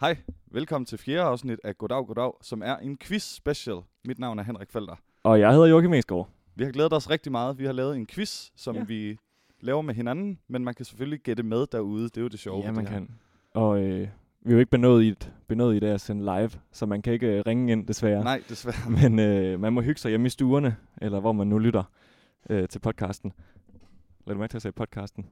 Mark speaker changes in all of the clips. Speaker 1: Hej, velkommen til fjerde afsnit af Goddag, Goddag, som er en quiz special. Mit navn er Henrik Felter.
Speaker 2: Og jeg hedder Joachim Esgaard.
Speaker 1: Vi har glædet os rigtig meget. Vi har lavet en quiz, som ja.
Speaker 2: Ja.
Speaker 1: vi laver med hinanden, men man kan selvfølgelig gætte med derude. Det er jo det sjove. ved
Speaker 2: ja, man
Speaker 1: det her.
Speaker 2: kan. Og øh, vi er jo ikke benået i, et, benået i det at sende live, så man kan ikke øh, ringe ind desværre.
Speaker 1: Nej, desværre.
Speaker 2: Men øh, man må hygge sig hjemme i stuerne, eller hvor man nu lytter øh, til podcasten. Lad du mærke til at sige podcasten.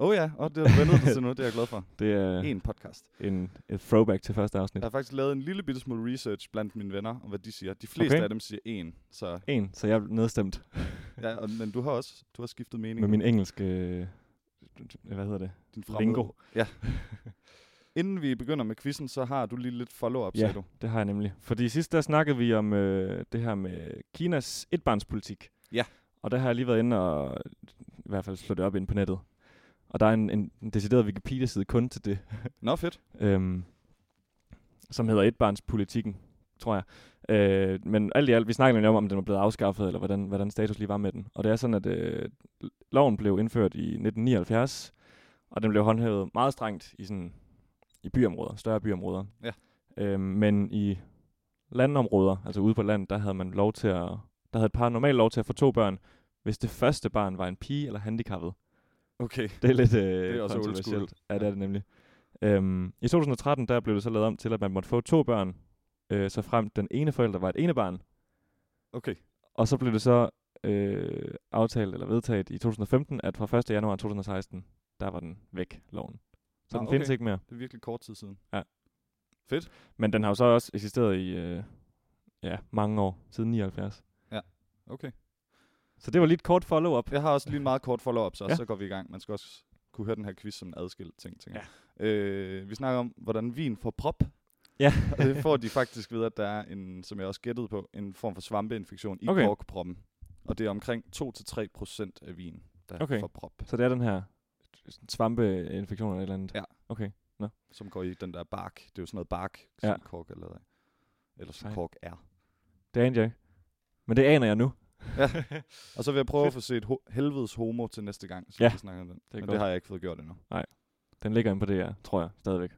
Speaker 1: Åh oh, ja, oh, det har du vendet dig til nu. Det er jeg glad for.
Speaker 2: Det er
Speaker 1: En podcast.
Speaker 2: en, et throwback til første afsnit.
Speaker 1: Jeg har faktisk lavet en lille bitte smule research blandt mine venner, om hvad de siger. De fleste
Speaker 2: Okay.
Speaker 1: af dem siger en. Så,
Speaker 2: En, så jeg er nedstemt
Speaker 1: ja, og, men du har også du har skiftet mening.
Speaker 2: med min engelske... Øh, hvad hedder det?
Speaker 1: din fremmede-
Speaker 2: Lingo.
Speaker 1: Inden vi begynder med quizzen, så har du lige lidt follow-up,
Speaker 2: Ja.
Speaker 1: sagde du.
Speaker 2: Det har jeg nemlig. Fordi sidst der snakkede vi om øh, det her med Kinas etbarnspolitik.
Speaker 1: Ja.
Speaker 2: Og der har jeg lige været inde og i hvert fald slå det op ind på nettet. Og der er en, en en decideret Wikipedia-side kun til det,
Speaker 1: Nå, fedt.
Speaker 2: øhm, som hedder etbarnspolitikken, tror jeg. Øh, men alt i alt, vi snakker nemlig om, om den var blevet afskaffet, eller hvordan, hvordan status lige var med den. Og det er sådan, at øh, loven blev indført i 1979, og den blev håndhævet meget strengt i, sådan, i byområder, større byområder.
Speaker 1: Ja.
Speaker 2: Øhm, men i landområder, altså ude på landet, der havde man lov til at, der havde et par normalt lov til at få to børn, hvis det første barn var en pige eller handicappet.
Speaker 1: Okay.
Speaker 2: Det er lidt øh,
Speaker 1: Det er også old
Speaker 2: kontroversielt. Ja, det er det nemlig. Øhm, I 2013 der blev det så lavet om til, at man måtte få to børn, øh, så frem den ene forælder var et ene barn.
Speaker 1: Okay.
Speaker 2: Og så blev det så øh, aftalt eller vedtaget i 2015, at fra 1. januar 2016, der var den væk, loven. Så
Speaker 1: Ah,
Speaker 2: den findes
Speaker 1: okay.
Speaker 2: ikke mere.
Speaker 1: Det er virkelig kort tid siden.
Speaker 2: Men den har jo så også eksisteret i øh, ja, mange år, siden 79.
Speaker 1: Okay.
Speaker 2: Så det var lige et kort follow-up.
Speaker 1: Jeg har også lige en meget kort follow-up, så, ja.
Speaker 2: Ja.
Speaker 1: så går vi i gang. Man skal også kunne høre den her quiz som en adskilt ting, tænker
Speaker 2: Ja.
Speaker 1: jeg. Øh, vi snakker om, hvordan vin får prop.
Speaker 2: Ja.
Speaker 1: Og det får de faktisk ved, at der er en, som jeg også gættede på, en form for svampeinfektion i okay.
Speaker 2: Okay.
Speaker 1: korkproppen. Og det er omkring 2-3 procent af vin, der okay.
Speaker 2: Okay.
Speaker 1: får prop,
Speaker 2: Så det er den her svampeinfektion eller et eller andet.
Speaker 1: Ja.
Speaker 2: Okay.
Speaker 1: som går i den der bark. Det er jo sådan noget bark,
Speaker 2: Ja.
Speaker 1: som kork er lavet af. Eller som
Speaker 2: Sejt.
Speaker 1: kork er.
Speaker 2: Det aner jeg ikke. Men det aner jeg nu.
Speaker 1: Ja. Og så vil jeg prøve at få set ho- helvedes homo til næste gang, så
Speaker 2: Ja.
Speaker 1: vi snakker om den.
Speaker 2: er
Speaker 1: Men
Speaker 2: godt.
Speaker 1: det har jeg ikke fået gjort endnu.
Speaker 2: Den ligger inde på DR, tror jeg, stadigvæk.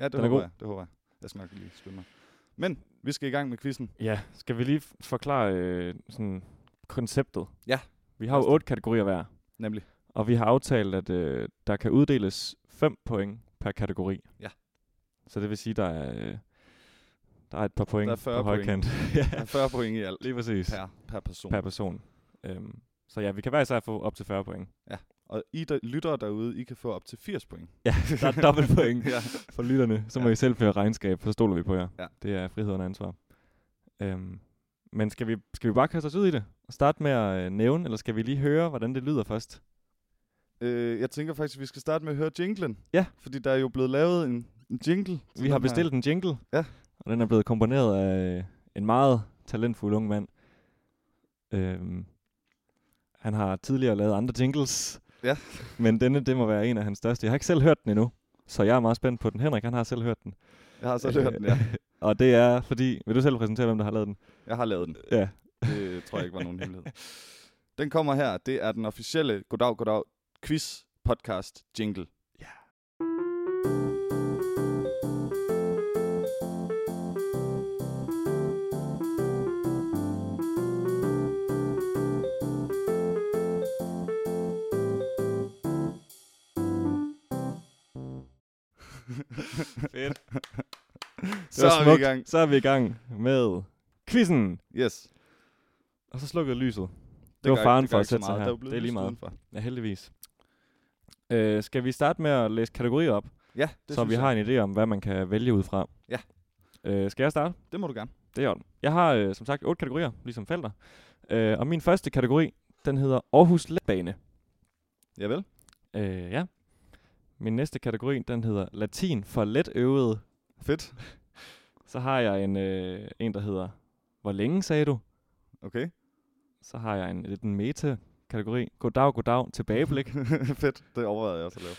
Speaker 1: Ja, det
Speaker 2: Den er
Speaker 1: håber
Speaker 2: god.
Speaker 1: jeg. Det håber jeg. Jeg skal nok lige skynde mig. Men vi skal i gang med quizzen.
Speaker 2: Ja, skal vi lige f- forklare øh, sådan konceptet?
Speaker 1: Ja.
Speaker 2: Vi har jo
Speaker 1: Lad os
Speaker 2: otte kategorier hver,
Speaker 1: Nemlig.
Speaker 2: og vi har aftalt, at øh, der kan uddeles 5 point per kategori.
Speaker 1: Ja.
Speaker 2: Så det vil sige, der er, øh, der er et par point
Speaker 1: 40
Speaker 2: på
Speaker 1: point.
Speaker 2: højkant.
Speaker 1: Der er 40 point i alt
Speaker 2: Lige præcis.
Speaker 1: per, per person.
Speaker 2: Per
Speaker 1: Per.
Speaker 2: person. Øhm, så ja, vi kan hver især få op til 40 point.
Speaker 1: Og I der, lyttere derude, I kan få op til 80 point.
Speaker 2: Ja, der er dobbelt point
Speaker 1: ja.
Speaker 2: for lytterne. Så må
Speaker 1: Ja.
Speaker 2: I selv føre regnskab, så stoler vi på jer.
Speaker 1: Ja.
Speaker 2: Det er friheden og ansvar. Øhm, men skal vi, skal vi bare kaste os ud i det? Og starte med at øh, nævne, eller skal vi lige høre, hvordan det lyder først?
Speaker 1: øh, jeg tænker faktisk, at vi skal starte med at høre jinglen.
Speaker 2: Ja.
Speaker 1: Fordi der er jo blevet lavet en, en jingle. til
Speaker 2: Vi har
Speaker 1: den her.
Speaker 2: bestilt en jingle,
Speaker 1: Ja.
Speaker 2: og den er blevet komponeret af øh, en meget talentfuld ung mand. Øhm, han har tidligere lavet andre jingles,
Speaker 1: Ja.
Speaker 2: men denne det må være en af hans største. Jeg har ikke selv hørt den endnu, så jeg er meget spændt på den. Henrik, han har selv hørt den.
Speaker 1: Jeg har så hørt den, ja.
Speaker 2: og det er fordi... Vil du selv præsentere, hvem der har lavet den?
Speaker 1: Jeg har lavet den.
Speaker 2: Ja.
Speaker 1: Det tror jeg ikke var nogen hemmelighed. Den kommer her. Det er den officielle Goddag, Goddag quiz podcast jingle.
Speaker 2: Fedt.
Speaker 1: Så er vi i gang.
Speaker 2: Så er vi i gang med quizzen.
Speaker 1: Yes. Det,
Speaker 2: Og så slukkede lyset. Det,
Speaker 1: gør
Speaker 2: var
Speaker 1: ikke-
Speaker 2: faren
Speaker 1: gør
Speaker 2: for at
Speaker 1: ikke så
Speaker 2: sætte sig
Speaker 1: meget.
Speaker 2: her.
Speaker 1: Der er jo blevet
Speaker 2: Det er lige
Speaker 1: lyst
Speaker 2: meget.
Speaker 1: udenfor.
Speaker 2: Ja, heldigvis. Øh, skal vi starte med at læse kategorier op,
Speaker 1: Ja, det
Speaker 2: så vi
Speaker 1: synes
Speaker 2: har
Speaker 1: jeg.
Speaker 2: en idé om, hvad man kan vælge ud fra?
Speaker 1: Ja.
Speaker 2: Øh, skal jeg starte?
Speaker 1: Det må du gerne.
Speaker 2: Det er orden. Jeg har øh, som sagt otte kategorier, ligesom Felter. Øh, og min første kategori, den hedder Aarhus Letbane.
Speaker 1: Javel.
Speaker 2: Øh, ja. Min næste kategori, den hedder Latin for letøvede.
Speaker 1: Fedt.
Speaker 2: Så har jeg en, øh, en der hedder Hvor længe sagde du?
Speaker 1: Okay.
Speaker 2: Så har jeg en lidt en meta-kategori. Goddag, goddag, tilbageblik.
Speaker 1: Fedt. Det overvejede jeg også at lave.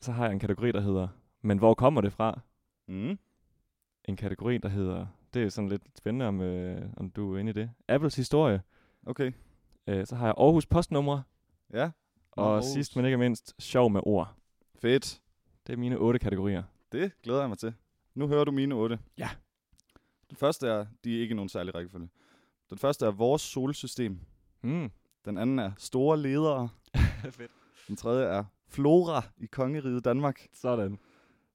Speaker 2: Så har jeg en kategori, der hedder Men hvor kommer det fra?
Speaker 1: Mm.
Speaker 2: en kategori, der hedder, det er sådan lidt spændende, om, øh, om du er inde i det, Apples historie.
Speaker 1: Okay.
Speaker 2: Øh, så har jeg Aarhus postnumre,
Speaker 1: Ja. Nå,
Speaker 2: og
Speaker 1: Aarhus.
Speaker 2: sidst men ikke mindst, sjov med ord.
Speaker 1: Fedt.
Speaker 2: Det er mine otte kategorier.
Speaker 1: Det glæder jeg mig til. Nu hører du mine otte.
Speaker 2: Ja.
Speaker 1: Den første er, de er ikke i nogen særlig rækkefølge. Den første er vores solsystem.
Speaker 2: Mm.
Speaker 1: Den anden er store ledere.
Speaker 2: Fedt.
Speaker 1: Den tredje er flora i kongeriget Danmark.
Speaker 2: Sådan.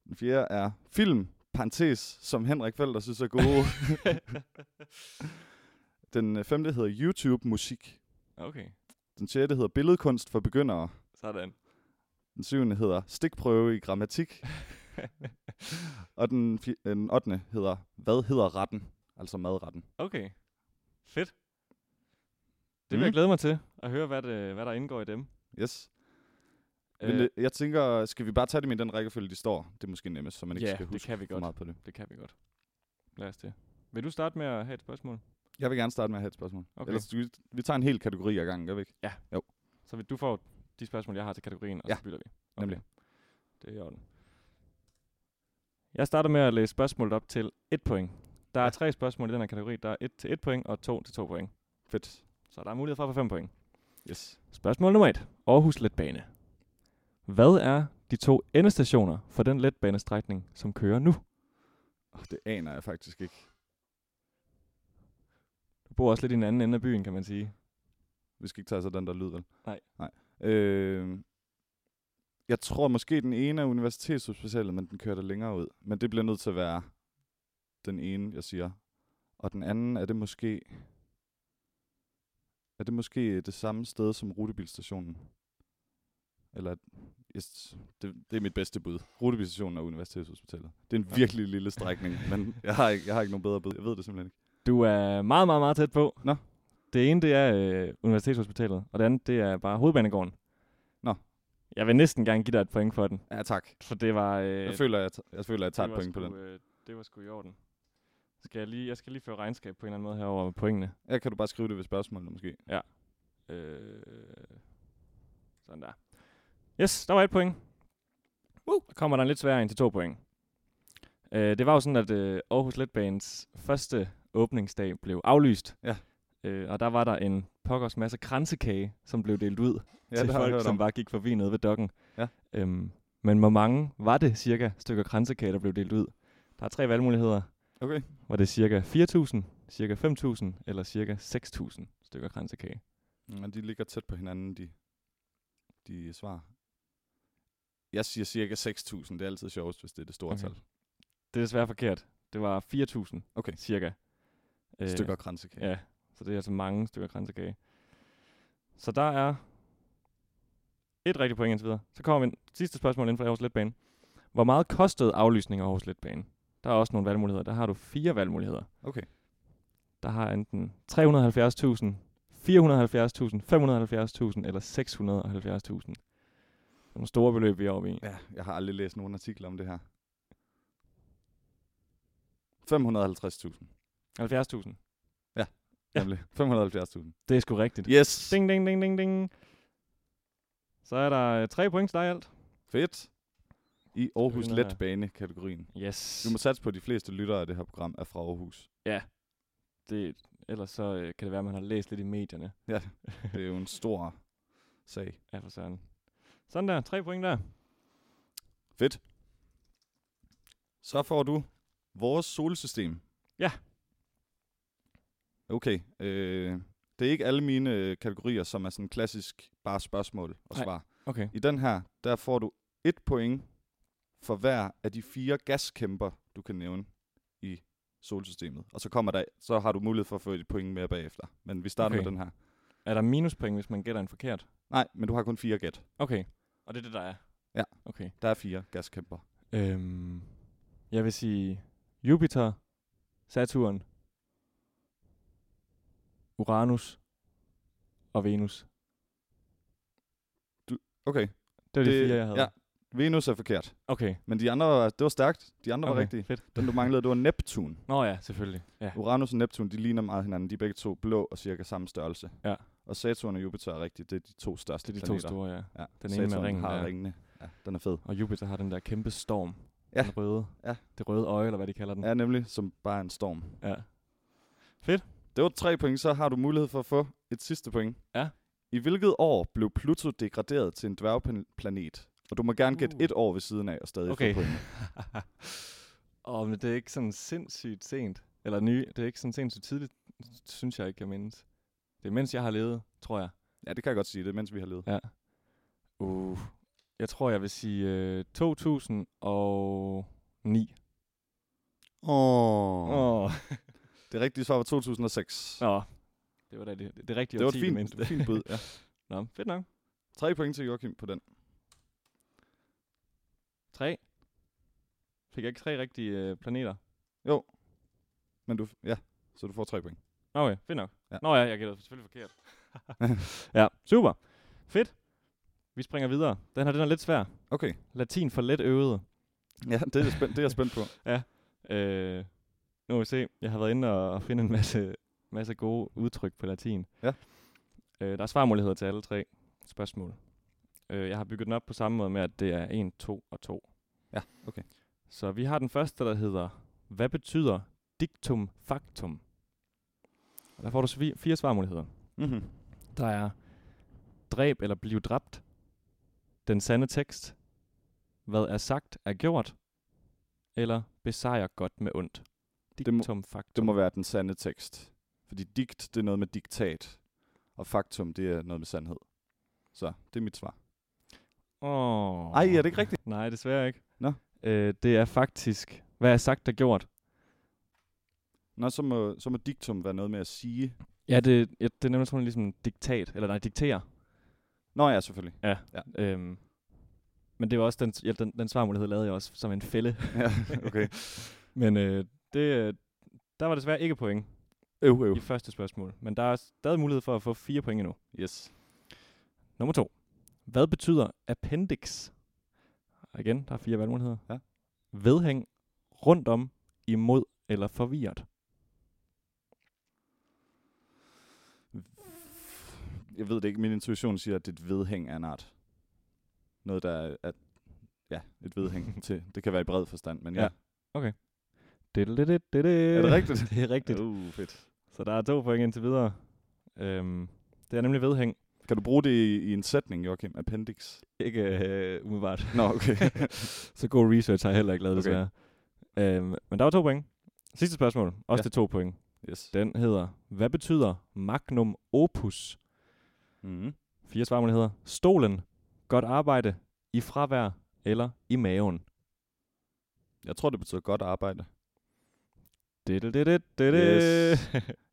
Speaker 1: Den fjerde er film, parentes, som Henrik Felder synes er gode. den øh, femte hedder YouTube musik.
Speaker 2: Okay.
Speaker 1: Den sjette hedder billedkunst for begyndere.
Speaker 2: Sådan.
Speaker 1: Den syvende hedder stikprøve i grammatik. Og den, fi- øh, den ottende hedder, hvad hedder retten? Altså madretten.
Speaker 2: Okay. Fedt. Det vil mm. jeg
Speaker 1: Mm.
Speaker 2: glæde mig til at høre, hvad, det, hvad der indgår i dem.
Speaker 1: Yes. Øh.
Speaker 2: Øh,
Speaker 1: Det, jeg tænker, skal vi bare tage dem i den rækkefølge, de står? Det er måske nemmest, så man ikke
Speaker 2: ja,
Speaker 1: skal
Speaker 2: det
Speaker 1: huske
Speaker 2: kan vi
Speaker 1: for
Speaker 2: godt.
Speaker 1: meget på det.
Speaker 2: Det kan vi godt. Lad os det. Vil du starte med at have et spørgsmål?
Speaker 1: Jeg vil gerne starte med at have et spørgsmål.
Speaker 2: Okay.
Speaker 1: Okay. Ellers, vi, vi tager en hel kategori ad gangen, gør vi ikke?
Speaker 2: Så vil du får de spørgsmål, jeg har til kategorien, og ja.
Speaker 1: Ja,
Speaker 2: så bytter vi.
Speaker 1: nemlig.
Speaker 2: Det er i orden. Jeg starter med at læse spørgsmålet op til 1 point. Der er tre spørgsmål i den her kategori. Der er 1 til 1 point og 2 til 2 point.
Speaker 1: Fedt.
Speaker 2: Så der er mulighed for at få 5 point.
Speaker 1: Yes.
Speaker 2: Spørgsmål nummer 1. Aarhus Letbane. Hvad er de to endestationer for den letbanestrækning, som kører nu?
Speaker 1: Oh, det aner jeg faktisk ikke.
Speaker 2: Du bor også lidt i den anden ende af byen, kan man sige.
Speaker 1: Vi skal ikke tage så den der lyd, vel?
Speaker 2: Nej.
Speaker 1: Nej. Øh, jeg tror måske den ene er universitetshospitalet, men den kører der længere ud. Men det bliver nødt til at være den ene, jeg siger. Og den anden er det måske... Er det måske det samme sted som rutebilstationen? Eller... Yes, det, det er mit bedste bud. Rutebilstationen og universitetshospitalet. Det er en
Speaker 2: Ja.
Speaker 1: virkelig lille strækning, men jeg har, ikke, jeg har ikke nogen bedre bud. Jeg ved det simpelthen ikke.
Speaker 2: Du er meget, meget, meget tæt på.
Speaker 1: Nå.
Speaker 2: Det ene, det er øh, Universitetshospitalet, og det andet, det er bare Hovedbanegården.
Speaker 1: Nå.
Speaker 2: Jeg vil næsten gerne give dig et point for den,
Speaker 1: Ja, tak.
Speaker 2: for det var... Øh,
Speaker 1: Jeg føler, jeg, t- jeg, føler, jeg tager et point på den.
Speaker 2: Øh, det var sgu i orden. Skal jeg, lige, jeg skal lige føre regnskab på en eller anden måde herover med pointene.
Speaker 1: Ja, kan du bare skrive det ved spørgsmålene måske?
Speaker 2: Øh, sådan der. Yes, der var et point. Woo. Der kommer der en lidt sværere en til to point. Øh, det var jo sådan, at øh, Aarhus Letbanes første åbningsdag blev aflyst.
Speaker 1: Ja.
Speaker 2: Øh, og der var der en pokkers masse kransekage, som blev delt ud ja, til
Speaker 1: det har jeg
Speaker 2: folk,
Speaker 1: hørt
Speaker 2: som
Speaker 1: om.
Speaker 2: bare gik forbi nede ved dokken.
Speaker 1: Ja.
Speaker 2: Øhm, men hvor mange var det cirka stykker kransekage, der blev delt ud? Der er tre valgmuligheder.
Speaker 1: Okay.
Speaker 2: Var det cirka 4.000, cirka 5.000 eller cirka 6.000 stykker kransekage?
Speaker 1: Men de ligger tæt på hinanden, de, de svar. Jeg siger cirka 6.000. Det er altid sjovest, hvis det er det store
Speaker 2: Okay.
Speaker 1: okay. tal.
Speaker 2: Det er desværre forkert. Det var 4.000
Speaker 1: Okay.
Speaker 2: cirka. Øh,
Speaker 1: Stykker kransekage.
Speaker 2: Ja, så det er altså mange stykker kransekage. Så der er et rigtigt point indtil videre. Så kommer vi ind. sidste spørgsmål inden for Aarhus Letbane. Hvor meget kostede aflysning af Aarhus Letbane? Der er også nogle valgmuligheder. Der har du fire valgmuligheder.
Speaker 1: Okay.
Speaker 2: Der har enten 370.000, 470.000, 570.000 eller 670.000. Det er nogle store beløb, vi er oppe i.
Speaker 1: Ja, jeg har aldrig læst nogen artikler om det her. 550.000.
Speaker 2: 70.000. Ja.
Speaker 1: Nemlig. 570.000.
Speaker 2: Det er sgu rigtigt.
Speaker 1: Yes! Ding.
Speaker 2: Ding, ding, ding, ding, ding. Så er der øh, tre point til dig i alt.
Speaker 1: Fedt. I Aarhus
Speaker 2: Sådan her.
Speaker 1: Letbane-kategorien.
Speaker 2: Yes.
Speaker 1: Du må satse på, at de fleste lyttere af det her program er fra Aarhus.
Speaker 2: Det, ellers så øh, kan det være, at man har læst lidt i medierne.
Speaker 1: Ja, det er jo en stor sag.
Speaker 2: Ja, for søren. Sådan der, tre point der.
Speaker 1: Fedt. Så får du vores solsystem.
Speaker 2: Ja.
Speaker 1: Okay. Øh, det er ikke alle mine øh, kategorier, som er sådan klassisk bare spørgsmål og
Speaker 2: Nej.
Speaker 1: svar.
Speaker 2: Okay.
Speaker 1: I den her, der får du et point for hver af de fire gaskæmper, du kan nævne i solsystemet. Og så kommer der, så har du mulighed for at få et point mere bagefter. Men vi starter
Speaker 2: Okay.
Speaker 1: med den her.
Speaker 2: Er der minuspoint, hvis man gætter en forkert?
Speaker 1: Nej, men du har kun fire gæt.
Speaker 2: Okay. Og det er det, der er?
Speaker 1: Ja.
Speaker 2: Okay.
Speaker 1: Der er fire gaskæmper.
Speaker 2: Øhm, jeg vil sige Jupiter, Saturn, Uranus og Venus.
Speaker 1: Okay.
Speaker 2: Det var det, de fire, jeg havde.
Speaker 1: Ja. Venus er forkert.
Speaker 2: Okay.
Speaker 1: Men de andre, var- det var stærkt. De andre okay. var
Speaker 2: okay.
Speaker 1: rigtige.
Speaker 2: Fedt.
Speaker 1: Den, du manglede, det var Neptun.
Speaker 2: Nå ja, selvfølgelig. Ja.
Speaker 1: Uranus og Neptun, de ligner meget hinanden. De er begge to blå og cirka samme størrelse.
Speaker 2: Ja.
Speaker 1: Og Saturn og Jupiter er rigtigt. Det er de to største
Speaker 2: Det er de to
Speaker 1: planeter.
Speaker 2: store, ja.
Speaker 1: Ja.
Speaker 2: med
Speaker 1: Den Saturn
Speaker 2: ringen
Speaker 1: har
Speaker 2: der.
Speaker 1: ringene. Ja, den er fed.
Speaker 2: Og Jupiter har den der kæmpe storm.
Speaker 1: Ja.
Speaker 2: Den røde.
Speaker 1: Ja.
Speaker 2: Det røde øje, eller hvad de kalder den.
Speaker 1: Ja, nemlig som bare en storm.
Speaker 2: ja.
Speaker 1: Det var tre point, så har du mulighed for at få et sidste point.
Speaker 2: Ja.
Speaker 1: I hvilket år blev Pluto degraderet til en dværgplanet? Og du må gerne gætte
Speaker 2: Uh.
Speaker 1: et år ved siden af og stadig
Speaker 2: Okay.
Speaker 1: få point.
Speaker 2: Åh, men det er ikke sådan sindssygt sent. Eller nye, det er ikke sådan sindssygt tidligt, synes jeg ikke, jeg mindes. Det er mens jeg har levet, tror jeg.
Speaker 1: Ja, det kan jeg godt sige. Det er mens vi har levet.
Speaker 2: Ja. Uh, jeg tror, jeg vil sige øh, 2009.
Speaker 1: Åh.
Speaker 2: Åh, oh.
Speaker 1: Det rigtige svar var 2006.
Speaker 2: Nå, det var da det, det rigtige
Speaker 1: det var et
Speaker 2: årti, vi
Speaker 1: fint,
Speaker 2: mindste.
Speaker 1: fint bud. Ja.
Speaker 2: Nå, fedt nok.
Speaker 1: Tre point til Joachim på den.
Speaker 2: Tre. Fik jeg ikke tre rigtige øh, planeter?
Speaker 1: Men du, ja, så du får tre point.
Speaker 2: Nå, okay, fedt nok.
Speaker 1: Ja.
Speaker 2: Ja. Nå ja, jeg gættede selvfølgelig forkert. ja, super. Fedt. Vi springer videre. Den her, den er lidt svær.
Speaker 1: Okay.
Speaker 2: Latin for let øvede.
Speaker 1: Ja, det er, jeg spændt, det er jeg spændt på.
Speaker 2: Øh, nu må vi se. Jeg har været inde og og finde en masse, masse gode udtryk på latin.
Speaker 1: Ja.
Speaker 2: Øh, der er svarmuligheder til alle tre spørgsmål. Øh, jeg har bygget den op på samme måde med, at det er 1, 2 og 2.
Speaker 1: Ja, okay.
Speaker 2: Så vi har den første, der hedder, hvad betyder dictum factum? Og der får du svi- fire svarmuligheder.
Speaker 1: Mm-hmm.
Speaker 2: Der er dræb eller blive dræbt. Den sande tekst. Hvad er sagt er gjort. Eller besejr godt med ondt.
Speaker 1: må-
Speaker 2: Dictum
Speaker 1: Det
Speaker 2: factum.
Speaker 1: må være den sande tekst. Fordi digt, det er noget med diktat. Og faktum, det er noget med sandhed. Så det er mit svar.
Speaker 2: Åh.
Speaker 1: Ej, er det ikke rigtigt?
Speaker 2: Nej, desværre ikke.
Speaker 1: Nå.
Speaker 2: Øh, det er faktisk, hvad er sagt er gjort.
Speaker 1: Nå, så må, så må diktum være noget med at sige.
Speaker 2: Ja, det, ja, det er nemlig sådan ligesom diktat, eller nej, dikterer.
Speaker 1: Nå ja, selvfølgelig.
Speaker 2: Øhm, men det var også den, ja, den, den svarmulighed lavede jeg også som en fælde.
Speaker 1: Ja, okay.
Speaker 2: Men øh, det, øh, der var desværre ikke point.
Speaker 1: Øv, øv.
Speaker 2: i første spørgsmål, men der er stadig mulighed for at få fire point endnu.
Speaker 1: Yes.
Speaker 2: Nummer to. Hvad betyder appendix? Og igen, der er fire valgmuligheder.
Speaker 1: Ja.
Speaker 2: Vedhæng, rundt om, imod eller forvirret.
Speaker 1: Jeg ved det ikke. Min intuition siger, at det er et vedhæng af en art. Noget, der er, at, ja, et vedhæng til. Det kan være i bred forstand, men ja.
Speaker 2: Ja. Er det
Speaker 1: rigtigt?
Speaker 2: Det er rigtigt.
Speaker 1: Uh, fedt.
Speaker 2: Så der er to point indtil videre. Øhm, det er nemlig vedhæng.
Speaker 1: Kan du bruge det i, i en sætning, Joachim? Appendix?
Speaker 2: Ikke øh, umiddelbart.
Speaker 1: Nå, okay.
Speaker 2: Så god research har jeg heller ikke lavet,
Speaker 1: Okay.
Speaker 2: desværre. Øhm, men der var to point. Sidste spørgsmål.
Speaker 1: Ja.
Speaker 2: Også ja. til to point.
Speaker 1: Yes.
Speaker 2: Den hedder, hvad betyder magnum opus?
Speaker 1: Mm-hmm.
Speaker 2: Fire svarmuligheder. Stolen, godt arbejde, i fravær eller i maven.
Speaker 1: Jeg tror, det betyder godt arbejde.
Speaker 2: Det, det, det, det, det, det.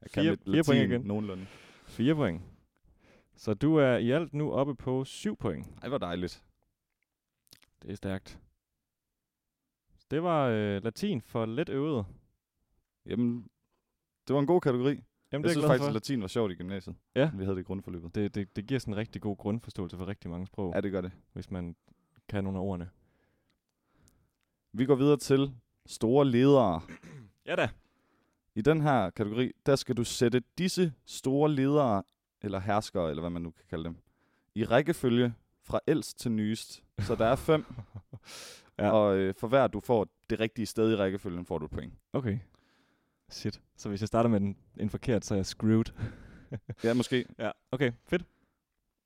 Speaker 1: Jeg kan
Speaker 2: Fire-
Speaker 1: lidt
Speaker 2: fire point
Speaker 1: latin
Speaker 2: igen.
Speaker 1: Nogenlunde.
Speaker 2: Fire point. Så du er i alt nu oppe på syv point.
Speaker 1: Ej, hvor dejligt.
Speaker 2: Det er stærkt. Det var øh, latin for let øvet.
Speaker 1: Jamen, det var en god kategori.
Speaker 2: Jamen,
Speaker 1: jeg
Speaker 2: det er
Speaker 1: synes
Speaker 2: jeg glad
Speaker 1: faktisk,
Speaker 2: for.
Speaker 1: at latin var sjovt i gymnasiet.
Speaker 2: Ja.
Speaker 1: Vi havde det i grundforløbet.
Speaker 2: Det, det, det giver sådan en rigtig god grundforståelse for rigtig mange sprog,
Speaker 1: Ja, det gør det.
Speaker 2: hvis man kan nogle af ordene.
Speaker 1: Vi går videre til store ledere.
Speaker 2: Ja da.
Speaker 1: I den her kategori, der skal du sætte disse store ledere, eller herskere, eller hvad man nu kan kalde dem, i rækkefølge fra ældst til nyest. Så der er fem, ja.
Speaker 2: Ja.
Speaker 1: og øh, for hver du får det rigtige sted i rækkefølgen, får du et point.
Speaker 2: Okay. Shit. Så hvis jeg starter med en, en forkert, så er jeg screwed.
Speaker 1: Ja, måske.
Speaker 2: Ja. Okay, fedt.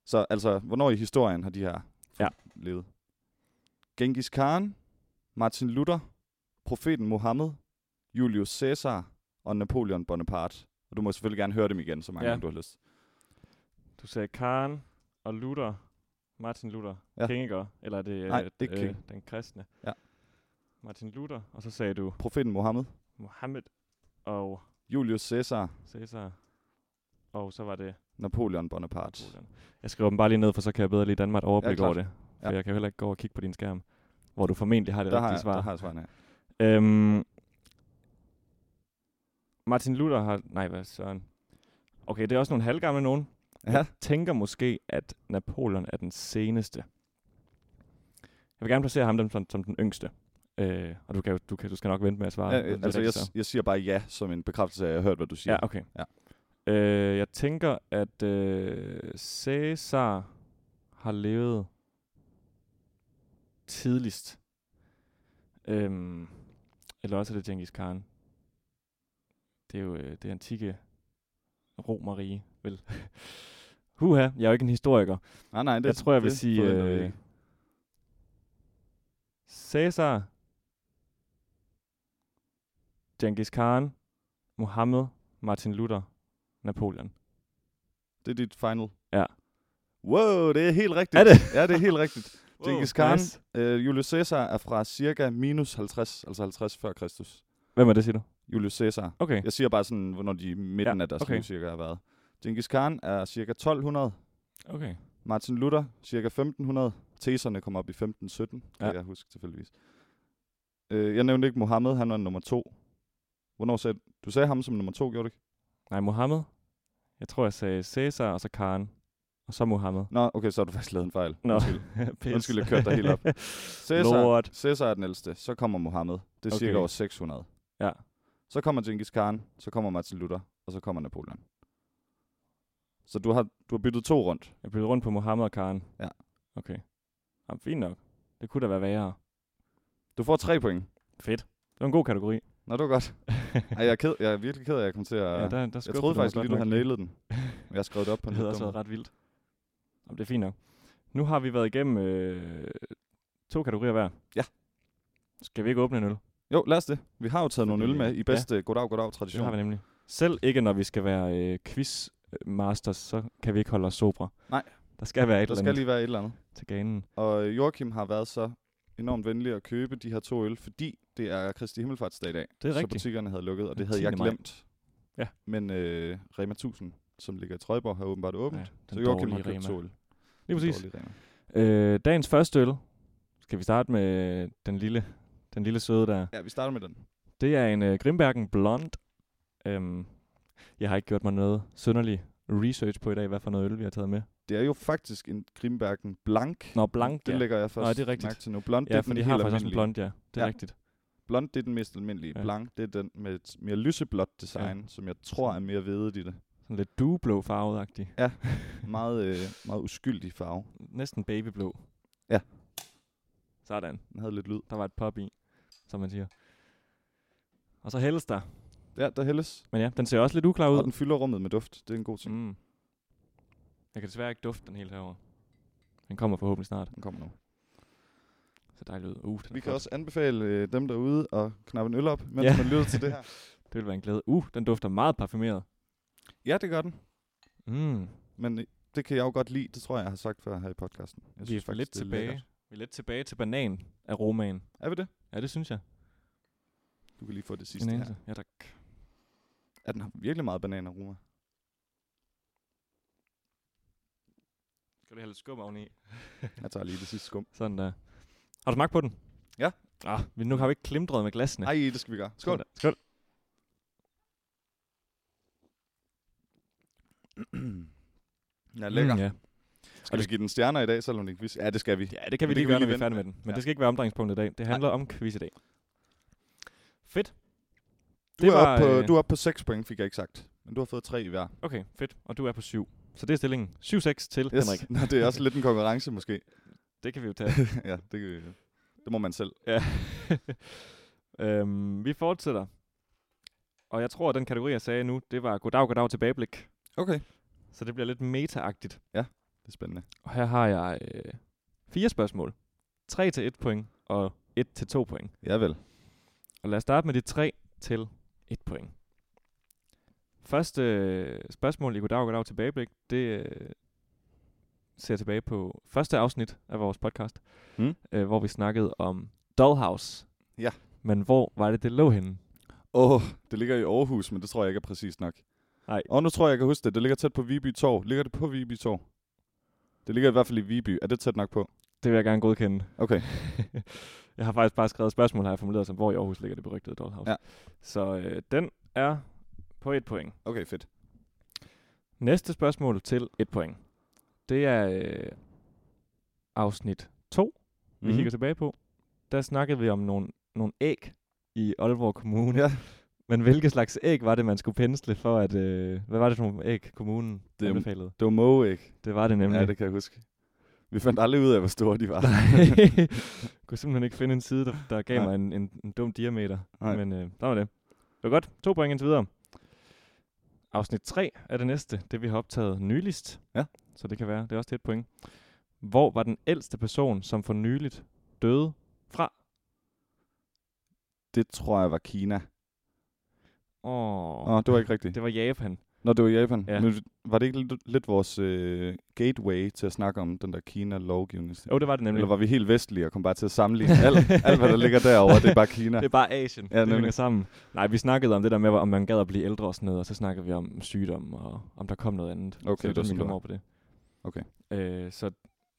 Speaker 1: Så altså, hvornår i historien har de her
Speaker 2: Ja.
Speaker 1: levet? Genghis Khan, Martin Luther, profeten Mohammed, Julius Caesar og Napoleon Bonaparte. Og du må selvfølgelig gerne høre dem igen, så mange
Speaker 2: Ja.
Speaker 1: ja. du har lyst.
Speaker 2: Du sagde Karen og Luther, Martin Luther,
Speaker 1: Ja.
Speaker 2: ja. Kinginger, eller er det,
Speaker 1: Nej,
Speaker 2: øh,
Speaker 1: det er King.
Speaker 2: øh, den kristne.
Speaker 1: Ja.
Speaker 2: Martin Luther, og så sagde du
Speaker 1: Profeten Mohammed,
Speaker 2: Mohammed og
Speaker 1: Julius Caesar,
Speaker 2: Caesar, og så var det
Speaker 1: Napoleon Bonaparte.
Speaker 2: Roland. Jeg skriver dem bare lige ned, for så kan jeg bedre lige danne mig et overblik
Speaker 1: klart.
Speaker 2: over det. For
Speaker 1: Ja.
Speaker 2: jeg kan jo heller ikke gå og kigge på din skærm, hvor du formentlig har det
Speaker 1: Der har,
Speaker 2: rigtige
Speaker 1: jeg,
Speaker 2: svar.
Speaker 1: der har jeg svarene her.
Speaker 2: Øhm, Martin Luther har... Nej, hvad søren. Okay, det er også nogle halvgamle nogen.
Speaker 1: Ja.
Speaker 2: Jeg tænker måske, at Napoleon er den seneste. Jeg vil gerne placere ham dem som, som den yngste. Øh, og du, kan, jo- du, kan, du skal nok vente med at svare.
Speaker 1: Ja,
Speaker 2: når det
Speaker 1: øh,
Speaker 2: er
Speaker 1: altså, jeg,
Speaker 2: rigtigt, så.
Speaker 1: jeg siger bare ja som en bekræftelse af, at jeg har hørt, hvad du siger.
Speaker 2: Ja, okay.
Speaker 1: Ja.
Speaker 2: Øh, jeg tænker, at øh, Cæsar har levet tidligst. Øhm, eller også er det Genghis Khan. Det er jo øh, det antikke romerige, vel? Huha, jeg er jo ikke en historiker.
Speaker 1: Ah, Nej, nej, det,
Speaker 2: jeg tror, jeg vil
Speaker 1: det
Speaker 2: sige...
Speaker 1: forventer vi
Speaker 2: Øh,
Speaker 1: ikke.
Speaker 2: Cæsar, Genghis Khan, Mohammed, Martin Luther, Napoleon.
Speaker 1: Det er dit final.
Speaker 2: Ja.
Speaker 1: Wow, det er helt rigtigt.
Speaker 2: Er det?
Speaker 1: Ja, det er helt rigtigt.
Speaker 2: Wow,
Speaker 1: Genghis Khan,
Speaker 2: nice.
Speaker 1: øh, Julius Caesar er fra cirka minus 50, altså 50 før Kristus.
Speaker 2: Hvem er det, siger du?
Speaker 1: Julius Caesar.
Speaker 2: Okay.
Speaker 1: Jeg siger bare sådan, hvornår de i midten
Speaker 2: Ja,
Speaker 1: ja, af deres
Speaker 2: okay.
Speaker 1: okay. liv cirka har været. Genghis Khan er cirka 1200.
Speaker 2: Okay.
Speaker 1: Martin Luther cirka 1500. Teserne kom op i 1517, kan
Speaker 2: Ja.
Speaker 1: ja. jeg huske tilfældigvis. Øh, jeg nævnte ikke Mohammed, han var nummer to. Hvornår sagde du? Du sagde ham som nummer to, gjorde du ikke?
Speaker 2: Nej, Mohammed. Jeg tror, jeg sagde Cæsar, og så Khan, og så Mohammed.
Speaker 1: Nå, okay, så har du faktisk lavet en fejl.
Speaker 2: Nå.
Speaker 1: Undskyld.
Speaker 2: Pis.
Speaker 1: Undskyld, jeg kørte dig helt op. Cæsar,
Speaker 2: Lord.
Speaker 1: Cæsar er den ældste, så kommer Mohammed. Det er okay. cirka
Speaker 2: Okay.
Speaker 1: år 600.
Speaker 2: Ja.
Speaker 1: Så kommer Genghis Khan, så kommer Martin Luther, og så kommer Napoleon. Så du har, du har byttet to rundt.
Speaker 2: Jeg byttede rundt på Mohammed og Karen.
Speaker 1: Ja.
Speaker 2: Okay. Jamen, fint nok. Det kunne da være værre.
Speaker 1: Du får tre point.
Speaker 2: Fedt. Det var en god kategori.
Speaker 1: Nå, det var godt. Ej, jeg, er ked, jeg er virkelig ked af, at jeg kom til at...
Speaker 2: ja, der, der
Speaker 1: jeg troede faktisk lige, du havde nailet den. Men Jeg har skrevet det op på en
Speaker 2: Det havde
Speaker 1: lidt
Speaker 2: også
Speaker 1: dum.
Speaker 2: været ret vildt. Jamen, det er fint nok. Nu har vi været igennem øh, to kategorier hver.
Speaker 1: Ja.
Speaker 2: Skal vi ikke åbne en øl?
Speaker 1: Jo, lad os det. Vi har jo taget nogle øl med i
Speaker 2: Ja.
Speaker 1: bedste goddag, goddag
Speaker 2: Det har vi
Speaker 1: tradition.
Speaker 2: nemlig. Selv ikke, når vi skal være øh, quizmasters, så kan vi ikke holde os sobre.
Speaker 1: Nej.
Speaker 2: Der skal være et
Speaker 1: Der
Speaker 2: eller
Speaker 1: skal
Speaker 2: andet
Speaker 1: lige være et eller andet.
Speaker 2: til ganen.
Speaker 1: Og Joachim har været så enormt venlig at købe de her to øl, fordi det er Kristi Himmelfartsdag i dag.
Speaker 2: Det er
Speaker 1: så
Speaker 2: rigtigt.
Speaker 1: butikkerne havde lukket, og
Speaker 2: Den
Speaker 1: det havde jeg
Speaker 2: 10. maj.
Speaker 1: glemt.
Speaker 2: Ja.
Speaker 1: Men øh, Rema 1000, som ligger i Trøjborg, har åbenbart åbent.
Speaker 2: Ja,
Speaker 1: Ja, så
Speaker 2: den
Speaker 1: Joachim har
Speaker 2: dårlige
Speaker 1: købt
Speaker 2: Rema.
Speaker 1: to øl.
Speaker 2: Lige præcis.
Speaker 1: Den dårlige Rema.
Speaker 2: Øh, dagens første øl. Skal vi starte med øh, den lille, den lille søde der?
Speaker 1: Ja, vi starter med den.
Speaker 2: Det er en øh, Grimbergen Blond. Øhm, jeg har ikke gjort mig noget synderlig research på i dag, hvad for noget øl vi har taget med.
Speaker 1: Det er jo faktisk en Grimbergen Blank.
Speaker 2: Nå, Blank,
Speaker 1: Det
Speaker 2: ja.
Speaker 1: lægger jeg først
Speaker 2: Nå, det er rigtigt.
Speaker 1: mærke til nu. Blond,
Speaker 2: Ja,
Speaker 1: det er
Speaker 2: for
Speaker 1: den
Speaker 2: de
Speaker 1: helt
Speaker 2: har faktisk også en
Speaker 1: almindelige.
Speaker 2: blond, ja. Det er ja.
Speaker 1: Ja.
Speaker 2: rigtigt.
Speaker 1: Blond, det er den mest almindelige.
Speaker 2: Ja.
Speaker 1: Ja. Blank, det er den med et mere lyseblåt design, ja. som jeg tror er mere vedet i det.
Speaker 2: Sådan lidt dueblå farvet
Speaker 1: Meget, øh, meget uskyldig farve.
Speaker 2: Næsten babyblå.
Speaker 1: Ja.
Speaker 2: Sådan.
Speaker 1: Den havde lidt lyd.
Speaker 2: Der var et pop i, som man siger. Og så hældes der.
Speaker 1: Ja, der hældes.
Speaker 2: Men ja, den ser også lidt uklar
Speaker 1: Og
Speaker 2: ud.
Speaker 1: den fylder rummet med duft. Det er en god ting.
Speaker 2: Mm. Jeg kan desværre ikke dufte den helt herover. Den kommer forhåbentlig snart.
Speaker 1: Den kommer nu.
Speaker 2: Så dejligt ud. Uh, den er
Speaker 1: Vi kan
Speaker 2: flot.
Speaker 1: også anbefale øh, dem derude at knappe en øl op, mens
Speaker 2: Ja.
Speaker 1: ja. man lytter til det her.
Speaker 2: Det vil være en glæde. Uh, den dufter meget parfumeret.
Speaker 1: Ja, det gør den.
Speaker 2: Mm.
Speaker 1: Men øh, det kan jeg jo godt lide. Det tror jeg, jeg har sagt før her i podcasten. Jeg
Speaker 2: Vi er lidt
Speaker 1: det
Speaker 2: tilbage.
Speaker 1: lækkert.
Speaker 2: Vi er lidt tilbage til banan af romanen.
Speaker 1: Er vi det?
Speaker 2: Ja, det synes jeg.
Speaker 1: Du kan lige få det sidste
Speaker 2: En
Speaker 1: her.
Speaker 2: anelse. Ja, tak.
Speaker 1: Ja, den har virkelig meget bananer, Roma.
Speaker 2: Skal du have lidt skum oveni?
Speaker 1: Jeg tager lige det sidste skum.
Speaker 2: Sådan der. Har du smagt på den?
Speaker 1: Ja.
Speaker 2: Ah, vi nu har vi ikke klimdret med glasene.
Speaker 1: Nej, det skal vi gøre. Skål.
Speaker 2: Sådan der. Skål.
Speaker 1: Ja, lækker. Mm,
Speaker 2: Mm,
Speaker 1: ja.
Speaker 2: ja.
Speaker 1: Skal vi give den stjerner i dag, selvom det ikke vidste? Ja, det skal vi.
Speaker 2: ja, det kan
Speaker 1: Men
Speaker 2: vi
Speaker 1: det kan
Speaker 2: lige
Speaker 1: vi
Speaker 2: gøre, når
Speaker 1: lige
Speaker 2: vi er
Speaker 1: vente
Speaker 2: færdige med den. Men
Speaker 1: Ja.
Speaker 2: det skal ikke være omdrejningspunktet i dag. Det handler om quiz i dag. Fedt.
Speaker 1: Du, det er oppe på,
Speaker 2: øh,
Speaker 1: du er oppe på 6 point, fik jeg ikke sagt. Men du har fået 3 i hver.
Speaker 2: Okay, fedt. Og du er på 7. Så det er stillingen. 7-6 til yes. Henrik.
Speaker 1: Nå, det er også lidt en konkurrence, måske.
Speaker 2: Det kan vi jo tage.
Speaker 1: ja, det, kan vi- det må man selv.
Speaker 2: Ja. øhm, vi fortsætter. Og jeg tror, at den kategori, jeg sagde nu, det var goddag, goddag tilbageblik.
Speaker 1: Okay.
Speaker 2: Så det bliver lidt metaagtigt.
Speaker 1: Det er spændende.
Speaker 2: Og her har jeg øh, fire spørgsmål. 3 til 1 point og 1 til 2 point.
Speaker 1: Ja vel.
Speaker 2: Og lad os starte med de 3 til 1 point. Første øh, spørgsmål i goddag, goddag tilbageblik, det øh, ser tilbage på første afsnit af vores podcast,
Speaker 1: Mm.
Speaker 2: øh, hvor vi snakkede om Dollhouse.
Speaker 1: Ja.
Speaker 2: Men hvor var det, det lå henne?
Speaker 1: Åh, oh, det ligger i Aarhus, men det tror jeg ikke er præcist nok.
Speaker 2: Nej.
Speaker 1: Og nu tror jeg, jeg kan huske det. Det ligger tæt på Viby Torv. Ligger det på Viby Torv? Det ligger i hvert fald i Viby. Er det tæt nok på?
Speaker 2: Det vil jeg gerne godkende.
Speaker 1: Okay.
Speaker 2: jeg har faktisk bare skrevet et spørgsmål, har jeg formuleret som, hvor i Aarhus ligger det berygtede Dollhouse.
Speaker 1: Ja.
Speaker 2: Så øh, den er på et point.
Speaker 1: Okay, fedt.
Speaker 2: Næste spørgsmål til et point. Det er øh, afsnit 2, vi
Speaker 1: Mhm.
Speaker 2: mm. kigger tilbage på. Der snakkede vi om nogle, nogle æg i Aalborg Kommune.
Speaker 1: Ja.
Speaker 2: Men hvilke slags æg var det, man skulle pensle for at... Øh, hvad var det for nogle æg, kommunen
Speaker 1: Det
Speaker 2: det
Speaker 1: er-
Speaker 2: anbefalede?
Speaker 1: Det var Moe, ikke?
Speaker 2: Det var det nemlig.
Speaker 1: Ja, det kan jeg huske. Vi fandt aldrig ud af, hvor store de var.
Speaker 2: jeg kunne simpelthen ikke finde en side, der, der gav
Speaker 1: Nej.
Speaker 2: mig en, en, en dum diameter.
Speaker 1: Nej.
Speaker 2: Men øh, der var det. Det var godt. To point indtil videre. Afsnit 3 er det næste. Det vi har optaget nyligst.
Speaker 1: Ja.
Speaker 2: Så det kan være. Det er også et point. Hvor var den ældste person, som for nyligt døde, fra?
Speaker 1: Det tror jeg var Kina.
Speaker 2: Åh,
Speaker 1: Nå, det var ikke rigtigt.
Speaker 2: det var Japan.
Speaker 1: Nå, det var Japan.
Speaker 2: Ja.
Speaker 1: Ja. Men var det ikke lidt, lidt vores øh, gateway til at snakke om den der Kina-lovgivning?
Speaker 2: Jo, det var det nemlig.
Speaker 1: Eller var vi helt vestlige og kom bare til at sammenligne alt, alt hvad der ligger derovre, det er bare Kina.
Speaker 2: Det er bare Asien. Ja,
Speaker 1: Ja,
Speaker 2: det
Speaker 1: nemlig.
Speaker 2: hænger sammen. Nej, vi snakkede om det der med, om man gad at blive ældre og sådan noget, og så snakkede vi om sygdom, og om der kom noget andet.
Speaker 1: Okay,
Speaker 2: så
Speaker 1: det var
Speaker 2: vi
Speaker 1: sådan, det
Speaker 2: kom
Speaker 1: var.
Speaker 2: over på det.
Speaker 1: Okay.
Speaker 2: Øh, så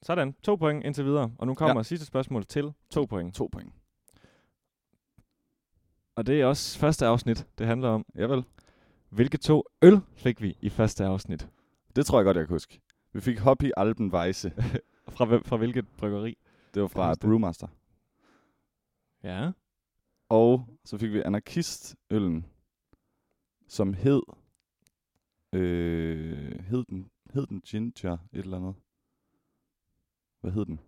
Speaker 2: sådan, to point indtil videre. Og nu kommer ja. sidste spørgsmål til to point.
Speaker 1: To point.
Speaker 2: Og det er også første afsnit, det handler om.
Speaker 1: Ja vel.
Speaker 2: Hvilke to øl fik vi i første afsnit?
Speaker 1: Det tror jeg godt, jeg kan huske. Vi fik Hobby Alpenweisse.
Speaker 2: Fra, hvem- fra hvilket bryggeri?
Speaker 1: Det var
Speaker 2: Kan du
Speaker 1: fra
Speaker 2: huske det?
Speaker 1: Brewmaster.
Speaker 2: Ja.
Speaker 1: Og så fik vi Anarkistøllen, som hed... Øh, hed, den, hed den Ginger et eller andet? Hvad hed den?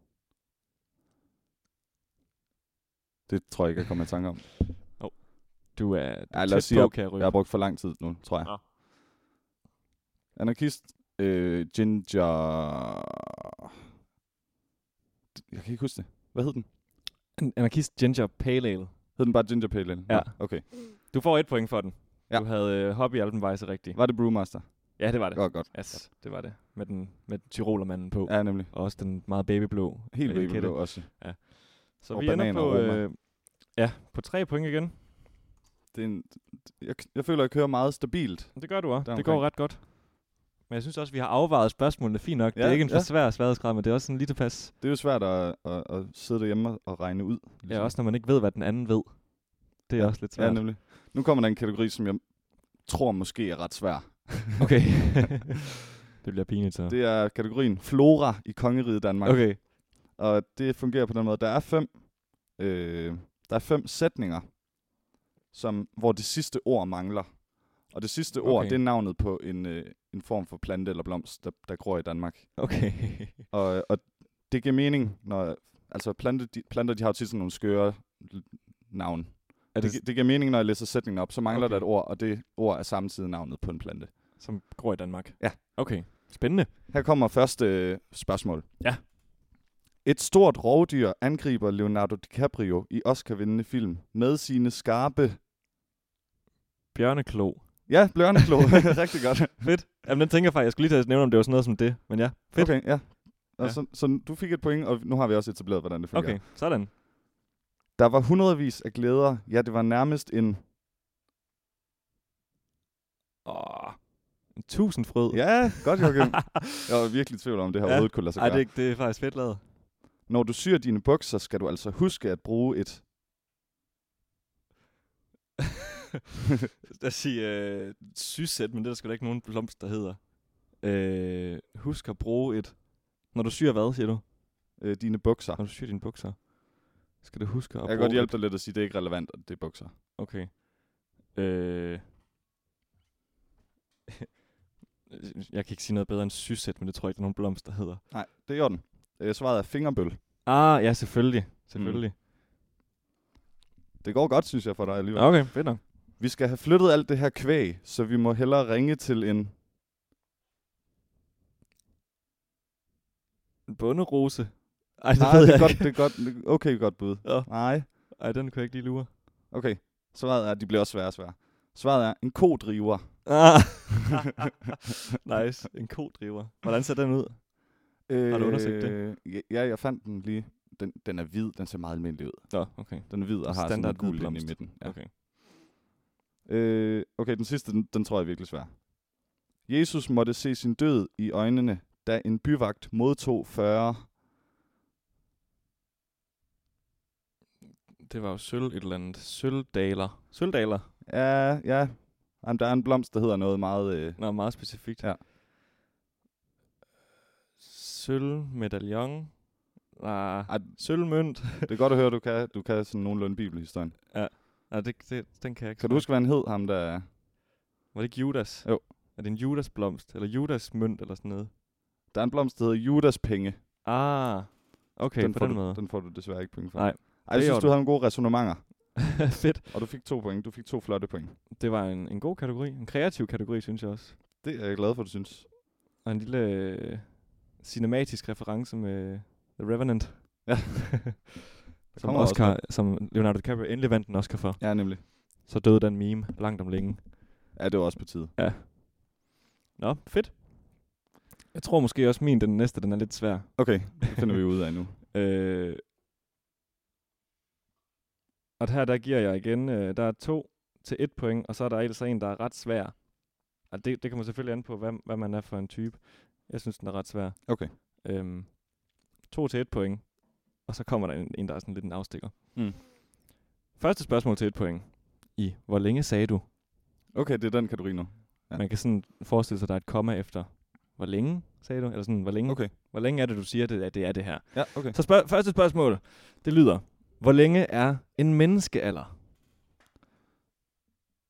Speaker 1: Det tror jeg ikke, jeg kommer i tanke om.
Speaker 2: Du er du
Speaker 1: Ja,
Speaker 2: er
Speaker 1: lad
Speaker 2: tæt
Speaker 1: os sige,
Speaker 2: på, kan jeg
Speaker 1: Jeg
Speaker 2: ryge.
Speaker 1: har brugt for lang tid nu, tror jeg.
Speaker 2: Nå.
Speaker 1: Anarkist, øh, Ginger... Jeg kan ikke huske det. Hvad hed den?
Speaker 2: An- Anarkist Ginger Pale Ale.
Speaker 1: Hed den bare Ginger Pale Ale? Nå,
Speaker 2: Ja.
Speaker 1: Okay.
Speaker 2: Du får et point for den. Ja.
Speaker 1: Ja.
Speaker 2: Du havde øh, Hobby Alpenweisse rigtigt.
Speaker 1: Var det Brewmaster?
Speaker 2: Ja, det var det.
Speaker 1: Godt, godt.
Speaker 2: Yes, det var det. Med, den, med Tirolermanden på.
Speaker 1: Ja, nemlig.
Speaker 2: Og også den meget babyblå.
Speaker 1: Helt
Speaker 2: øh,
Speaker 1: babyblå
Speaker 2: etikette.
Speaker 1: også.
Speaker 2: Så
Speaker 1: Og
Speaker 2: vi ender
Speaker 1: bananer og
Speaker 2: på,
Speaker 1: roma.
Speaker 2: øh, ja, på tre point igen.
Speaker 1: Det er en, jeg, jeg føler, jeg kører meget stabilt.
Speaker 2: Det gør du også. Det
Speaker 1: Deromkring.
Speaker 2: går ret godt. Men jeg synes også, vi har afvejet spørgsmålene fint nok. Ja, det er
Speaker 1: Ja,
Speaker 2: ikke en for
Speaker 1: ja.
Speaker 2: svær sværhedsgrad, men det er også sådan lige tilpas.
Speaker 1: Det er jo svært at, at, at sidde derhjemme og- og regne ud. ligesom.
Speaker 2: Ja, også når man ikke ved, hvad den anden ved. Det er også lidt
Speaker 1: Ja,
Speaker 2: svært.
Speaker 1: nemlig. Nu kommer der en kategori, som jeg tror måske er ret svær.
Speaker 2: okay. det bliver pinligt så.
Speaker 1: Det er kategorien Flora i Kongeriget Danmark.
Speaker 2: Okay.
Speaker 1: Og det fungerer på den måde. Der er fem, øh, der er fem sætninger, som, hvor det sidste ord mangler. Og det sidste ord,
Speaker 2: Okay.
Speaker 1: det er navnet på en, øh, en form for plante eller blomst, der, der gror i Danmark.
Speaker 2: Okay.
Speaker 1: Og, og det giver mening, når... Altså, plante, de, planter, de har jo tit sådan nogle skøre l- navn.
Speaker 2: er
Speaker 1: Det,
Speaker 2: det,
Speaker 1: gi- det giver mening, når jeg læser sætningen op. Så mangler
Speaker 2: Okay.
Speaker 1: okay. der et ord, og det ord er samtidig navnet på en plante.
Speaker 2: som gror i Danmark?
Speaker 1: Ja.
Speaker 2: Okay. Spændende.
Speaker 1: Her kommer første øh, spørgsmål.
Speaker 2: Ja.
Speaker 1: Et stort rovdyr angriber Leonardo DiCaprio i Oscar-vindende film med sine skarpe...
Speaker 2: Bjørneklo.
Speaker 1: Ja, bjørneklo. Rigtig godt.
Speaker 2: Fedt. Jamen, den tænker jeg faktisk, jeg skulle lige til at nævne, om det var sådan noget som det. Men ja, fedt.
Speaker 1: Okay, ja. Og
Speaker 2: Ja.
Speaker 1: ja. Så, så du fik et point, og nu har vi også etableret, hvordan det fungerer.
Speaker 2: Okay, sådan.
Speaker 1: Der var hundredvis af glæder. Ja, det var nærmest en...
Speaker 2: Åh, en tusindfrød.
Speaker 1: Ja, godt, Joachim. Jeg var virkelig i tvivl om, det her
Speaker 2: Ja.
Speaker 1: ja. overhovedet kunne lade sig
Speaker 2: Ej,
Speaker 1: gøre.
Speaker 2: det, er ikke- det er faktisk fedt lavet.
Speaker 1: Når du syr dine bukser, skal du altså huske at bruge et...
Speaker 2: Lad os sige øh, sygsæt, men det er der sgu da ikke nogen blomst, der hedder. Øh, husk at bruge et... Når du syr hvad, siger du?
Speaker 1: Øh, dine bukser.
Speaker 2: Når du syr dine bukser, skal du huske at
Speaker 1: Jeg
Speaker 2: bruge
Speaker 1: kan godt hjælpe
Speaker 2: et...
Speaker 1: dig lidt at sige, at det er ikke relevant, at det er bukser.
Speaker 2: Okay. Øh, jeg kan ikke sige noget bedre end sygsæt, men det tror jeg ikke, der er nogen blomst, der hedder.
Speaker 1: Nej, det er i orden. Øh, svaret er fingerbøl.
Speaker 2: Ah, ja, selvfølgelig. Selvfølgelig.
Speaker 1: Mm. Det går godt, synes jeg, for dig
Speaker 2: Mm.
Speaker 1: alligevel.
Speaker 2: Okay, fedt nok.
Speaker 1: Vi skal have flyttet alt det her kvæg, så vi må hellere ringe til en...
Speaker 2: En bunderose. Ej, det
Speaker 1: Nej, Ah,
Speaker 2: ved
Speaker 1: det
Speaker 2: jeg
Speaker 1: er godt,
Speaker 2: ikke.
Speaker 1: det er godt, okay godt bud.
Speaker 2: Ja.
Speaker 1: Nej,
Speaker 2: Ej, den kunne jeg ikke lige lure.
Speaker 1: okay. Svaret er, de bliver også svære og svære. Svaret er, en kodriver.
Speaker 2: Ah. nice. En kodriver. Hvordan ser den ud?
Speaker 1: Øh,
Speaker 2: Har du undersøgt det?
Speaker 1: Ja, ja, jeg fandt den lige. Den, den er hvid, den ser meget almindelig ud.
Speaker 2: Nå, okay.
Speaker 1: Den er hvid og har sådan
Speaker 2: Standard
Speaker 1: en gul
Speaker 2: hvid
Speaker 1: ind i
Speaker 2: blomst.
Speaker 1: midten.
Speaker 2: Ja. okay.
Speaker 1: Øh, okay, den sidste, den, den tror jeg er virkelig svær. Jesus måtte se sin død i øjnene, da en byvagt modtog 40.
Speaker 2: Det var jo sølv et eller andet. Sølvdaler. Sølvdaler.
Speaker 1: Ja, ja. Jamen, der er en blomst, der hedder noget meget... Øh,
Speaker 2: Nå, meget specifikt.
Speaker 1: Ja.
Speaker 2: Sølvmedaljon. Nej,
Speaker 1: ej,
Speaker 2: sølvmønt.
Speaker 1: det er godt at høre, du kan, du kan sådan nogenlunde bibelhistorien.
Speaker 2: Nej, det, det, den kan jeg ikke.
Speaker 1: Kan du
Speaker 2: snakke.
Speaker 1: huske, hvad han hed, ham der...
Speaker 2: Var det ikke Judas?
Speaker 1: Jo.
Speaker 2: Er det en Judas-blomst? Eller Judas-mønt eller sådan noget?
Speaker 1: Der er en blomst, der hedder Judas penge.
Speaker 2: Ah, okay, den på
Speaker 1: får
Speaker 2: den
Speaker 1: du,
Speaker 2: måde.
Speaker 1: Den får du desværre ikke point for.
Speaker 2: Nej,
Speaker 1: Ej, jeg
Speaker 2: det er i
Speaker 1: synes, du
Speaker 2: orden.
Speaker 1: havde nogle gode resonementer.
Speaker 2: Fedt.
Speaker 1: Og du fik to point. Du fik to flotte point.
Speaker 2: Det var en, en god kategori. En kreativ kategori, synes jeg også.
Speaker 1: Det er jeg glad for, du synes.
Speaker 2: Og en lille øh, cinematisk reference med The Revenant.
Speaker 1: Ja.
Speaker 2: der som,
Speaker 1: kommer
Speaker 2: Oscar, som Leonardo DiCaprio endelig vandt en Oscar for.
Speaker 1: Ja, nemlig.
Speaker 2: Så døde den meme langt om længe.
Speaker 1: Ja, det var også på tide.
Speaker 2: Nå, fedt. Jeg tror måske også min, den næste, den er lidt svær.
Speaker 1: Okay, det finder vi ud af nu.
Speaker 2: Øh, og her der giver jeg igen, øh, der er to til et point, og så er der altså en, der er ret svær. Og det, det kommer selvfølgelig an på, hvad, hvad man er for en type. Jeg synes, den er ret svær.
Speaker 1: Okay.
Speaker 2: Øhm, to til et point, og så kommer der en, en der er sådan lidt en afstikker.
Speaker 1: Mm.
Speaker 2: Første spørgsmål til et point. I, hvor længe sagde du?
Speaker 1: Okay, det er den kategori nu. Ja.
Speaker 2: Ja. Man kan sådan forestille sig, at der er et komma efter. Hvor længe, sagde du? Eller sådan, hvor længe, okay.
Speaker 1: Okay.
Speaker 2: hvor længe er det, du siger, det, at det er det her?
Speaker 1: Ja, okay.
Speaker 2: Så spørg- første spørgsmål, det lyder, hvor længe er en menneskealder?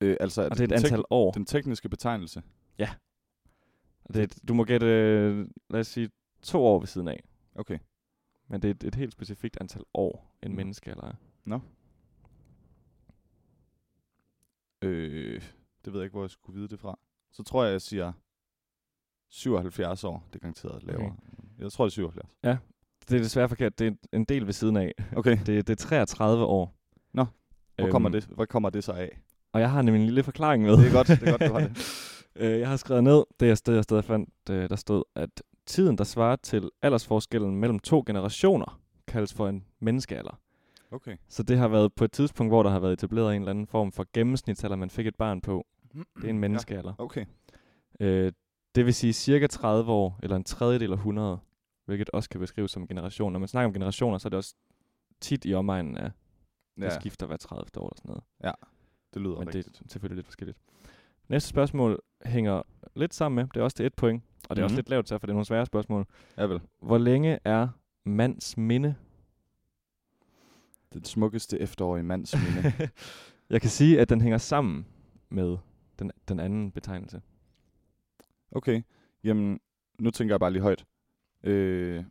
Speaker 1: Øh, altså, er
Speaker 2: Og det er et
Speaker 1: den tek-
Speaker 2: antal år.
Speaker 1: Den tekniske betegnelse.
Speaker 2: Og Det er et, du må gætte, øh, lad os sige, to år ved siden af.
Speaker 1: Okay.
Speaker 2: Men det er et, et helt specifikt antal år, en
Speaker 1: Mhm.
Speaker 2: menneskealder er.
Speaker 1: Øh, det ved jeg ikke, hvor jeg skulle vide det fra. Så tror jeg, jeg siger 77 år. Det er garanteret lavere. Okay. Jeg tror, det er 77.
Speaker 2: Det er desværre forkert, det er en- en del ved siden af.
Speaker 1: Okay,
Speaker 2: Det, er- det er 33 år.
Speaker 1: Nå, hvor
Speaker 2: Øhm,
Speaker 1: kommer, det, hvor kommer det så af?
Speaker 2: Og jeg har nemlig en lille forklaring med.
Speaker 1: Det er godt, det er godt, du har det.
Speaker 2: Øh, jeg har skrevet ned, det er sted, jeg stadig fandt, øh, der stod, at tiden, der svarer til aldersforskellen mellem to generationer, kaldes for en menneskealder.
Speaker 1: Okay.
Speaker 2: Så det har været på et tidspunkt, hvor der har været etableret en eller anden form for gennemsnitsalder, man fik et barn på. Det er en menneskealder.
Speaker 1: Mm, Ja. Okay.
Speaker 2: Ja. Øh, det vil sige cirka 30 år, eller en tredjedel af 100, hvilket også kan beskrives som generation. Når man snakker om generationer, så er det også tit i omegnen af, ja.
Speaker 1: Ja,
Speaker 2: der skifter hver 30 år eller sådan noget.
Speaker 1: det lyder
Speaker 2: Men
Speaker 1: rigtigt.
Speaker 2: det er selvfølgelig lidt forskelligt. Næste spørgsmål hænger lidt sammen med, det er også til et point, og det er mm. også
Speaker 1: Mhm.
Speaker 2: lidt lavt, så for det er nogle svære spørgsmål.
Speaker 1: Ja, vel.
Speaker 2: Hvor længe er mands minde?
Speaker 1: Det smukkeste efterår i mands minde.
Speaker 2: Jeg kan sige, at den hænger sammen med den, den anden betegnelse.
Speaker 1: Okay. Jamen, nu tænker jeg bare lige højt. Øh,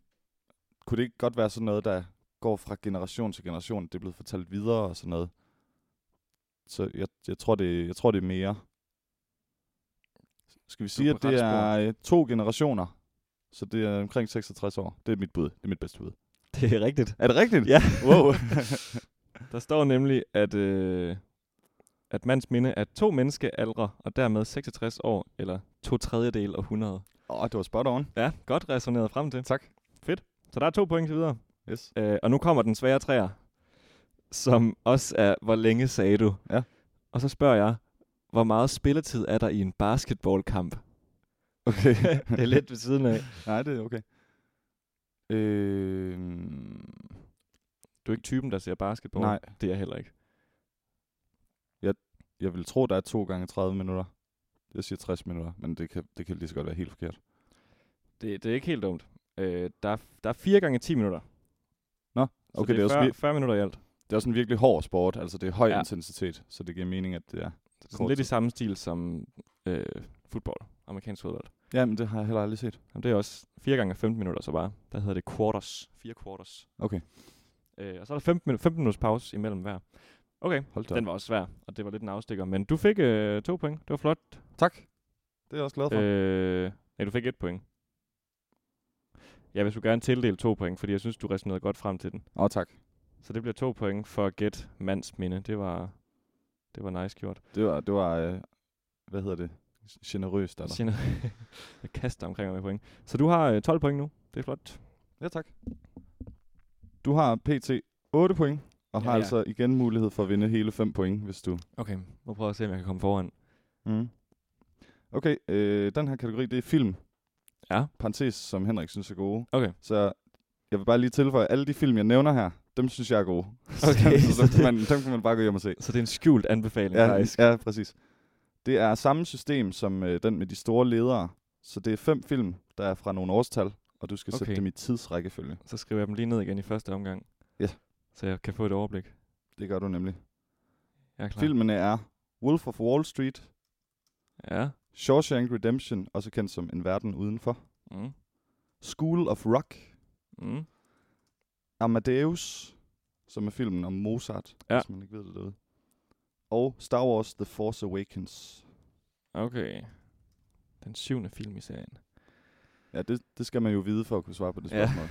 Speaker 1: kunne det ikke godt være sådan noget, der går fra generation til generation? Det er blevet fortalt videre og sådan noget. Så jeg, jeg, tror, det, jeg tror, det er mere. Skal vi sige,
Speaker 2: på
Speaker 1: at det
Speaker 2: rette
Speaker 1: er øh, to generationer? Så det er omkring 66 år. Det er mit bud. Det er mit bedste bud.
Speaker 2: Det er rigtigt.
Speaker 1: Er det rigtigt?
Speaker 2: Ja.
Speaker 1: Wow.
Speaker 2: Der står nemlig, at, øh, at mands minde er to menneskealdre, og dermed 66 år, eller to tredjedel og 100.
Speaker 1: Åh, oh, det var spot on.
Speaker 2: Ja, godt resoneret frem til.
Speaker 1: Tak.
Speaker 2: Så der er to point til videre.
Speaker 1: Yes.
Speaker 2: Øh, og nu kommer den svære træer, som også er, hvor længe sagde du?
Speaker 1: Ja.
Speaker 2: Og så spørger jeg, hvor meget spilletid er der i en basketballkamp?
Speaker 1: Okay.
Speaker 2: det er lidt ved siden af.
Speaker 1: Nej, det er okay. Øh,
Speaker 2: Du er ikke typen, der ser basketball.
Speaker 1: nej,
Speaker 2: Det er jeg heller ikke.
Speaker 1: Jeg vil tro, der er to gange 30 minutter. Jeg siger 60 minutter, men det kan, det kan lige så godt være helt forkert.
Speaker 2: Det, det er ikke helt dumt. Øh, der, er, der er fire gange 10 minutter.
Speaker 1: Nå,
Speaker 2: Så
Speaker 1: okay,
Speaker 2: det er
Speaker 1: også
Speaker 2: 40,
Speaker 1: vi-
Speaker 2: 40 minutter i alt.
Speaker 1: Det er også en virkelig hård sport, altså det er høj
Speaker 2: Ja.
Speaker 1: ja. intensitet, så det giver mening, at det er...
Speaker 2: Det er
Speaker 1: Kort
Speaker 2: sådan lidt i
Speaker 1: tid.
Speaker 2: samme stil som øh, fodbold, amerikansk fodbold.
Speaker 1: Ja, men det har jeg heller aldrig set.
Speaker 2: Jamen, det er også 4 gange 15 minutter så bare. Der hedder det quarters. 4 quarters.
Speaker 1: Okay,
Speaker 2: Øh, og så er der 15, minu- 15 minutters pause imellem hver. Okay,
Speaker 1: hold da.
Speaker 2: den var også svær, og det var lidt en afstikker. Men du fik øh, to point. Det var flot.
Speaker 1: Tak. Det er jeg også glad for. Øh.
Speaker 2: Øh, nej, du fik et point. Jeg vil sgu gerne tildele to point, fordi jeg synes, du resonerede godt frem til den.
Speaker 1: Øh. Åh, tak.
Speaker 2: Så det bliver to point for at gætte mands minde. Det var, det var nice gjort.
Speaker 1: Det var, det var øh, hvad hedder det? Generøst af dig.
Speaker 2: Sina, jeg kaster omkring mig med point. Så du har øh, 12 point nu. Det er flot.
Speaker 1: Ja, tak. Du har pt. 8 point, og
Speaker 2: Ja,
Speaker 1: har
Speaker 2: ja.
Speaker 1: altså igen mulighed for at vinde hele 5 point, hvis du...
Speaker 2: Okay, må prøve at se, om jeg kan komme foran.
Speaker 1: Mm. Okay, øh, den her kategori, det er film.
Speaker 2: Ja.
Speaker 1: Parentes, som Henrik synes er gode.
Speaker 2: Okay.
Speaker 1: Så jeg vil bare lige tilføje, at alle de film, jeg nævner her, dem synes jeg er gode.
Speaker 2: Okay,
Speaker 1: så,
Speaker 2: så
Speaker 1: dem, kan man, dem kan man bare gå hjem og se.
Speaker 2: Så det er en skjult anbefaling,
Speaker 1: Ja,
Speaker 2: faktisk.
Speaker 1: ja, præcis. Det er samme system som øh, den med de store ledere. Så det er fem film, der er fra nogle årstal, og du skal okay.
Speaker 2: Okay.
Speaker 1: sætte dem i tidsrækkefølge.
Speaker 2: Så skriver jeg dem lige ned igen i første omgang.
Speaker 1: Ja.
Speaker 2: Så jeg kan få et overblik.
Speaker 1: Det gør du nemlig.
Speaker 2: Jeg er klar.
Speaker 1: Klar. Filmene er Wolf of Wall Street,
Speaker 2: Ja.
Speaker 1: Shawshank Redemption, også kendt som En Verden Udenfor,
Speaker 2: Mm.
Speaker 1: School of Rock,
Speaker 2: Mm.
Speaker 1: Amadeus, som er filmen om Mozart,
Speaker 2: Ja.
Speaker 1: hvis man ikke ved det derude. Og Star Wars The Force Awakens.
Speaker 2: Okay. Den syvende film i serien.
Speaker 1: Ja, det, det skal man jo vide for at kunne svare på det
Speaker 2: Ja.
Speaker 1: spørgsmål.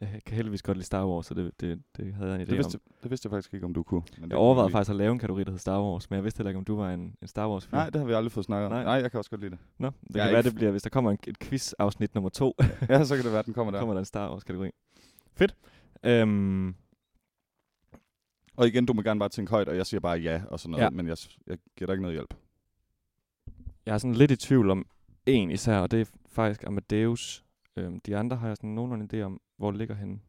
Speaker 2: Jeg kan heldigvis godt lide Star Wars, så det, det, det havde jeg en idé
Speaker 1: Det
Speaker 2: om.
Speaker 1: vidste, det vidste jeg faktisk ikke, om du kunne. Men det
Speaker 2: Jeg
Speaker 1: kan
Speaker 2: overvejede
Speaker 1: vi lige-
Speaker 2: faktisk at lave en kategori, der hed Star Wars, men jeg vidste heller ikke, om du var en, en Star Wars-fyr.
Speaker 1: Nej, det har vi aldrig fået snakket om. Nej.
Speaker 2: Nej.
Speaker 1: Nej, jeg kan også godt lide det.
Speaker 2: Nå, det
Speaker 1: Jeg er
Speaker 2: kan være,
Speaker 1: ikke-
Speaker 2: det bliver, hvis der kommer en, et quiz-afsnit nummer to,
Speaker 1: Ja, så kan det være, den kommer der.
Speaker 2: der kommer der en Star Wars-kategori. Fedt. Øhm,
Speaker 1: Og igen, du må gerne bare tænke højt, og jeg siger bare ja og sådan noget,
Speaker 2: Ja.
Speaker 1: ja. men jeg, s- jeg giver dig ikke noget hjælp.
Speaker 2: jeg er sådan lidt i tvivl om en især, og det er faktisk Amadeus. Øhm, de andre har jeg sådan nogenlunde idé om, hvor det ligger henne.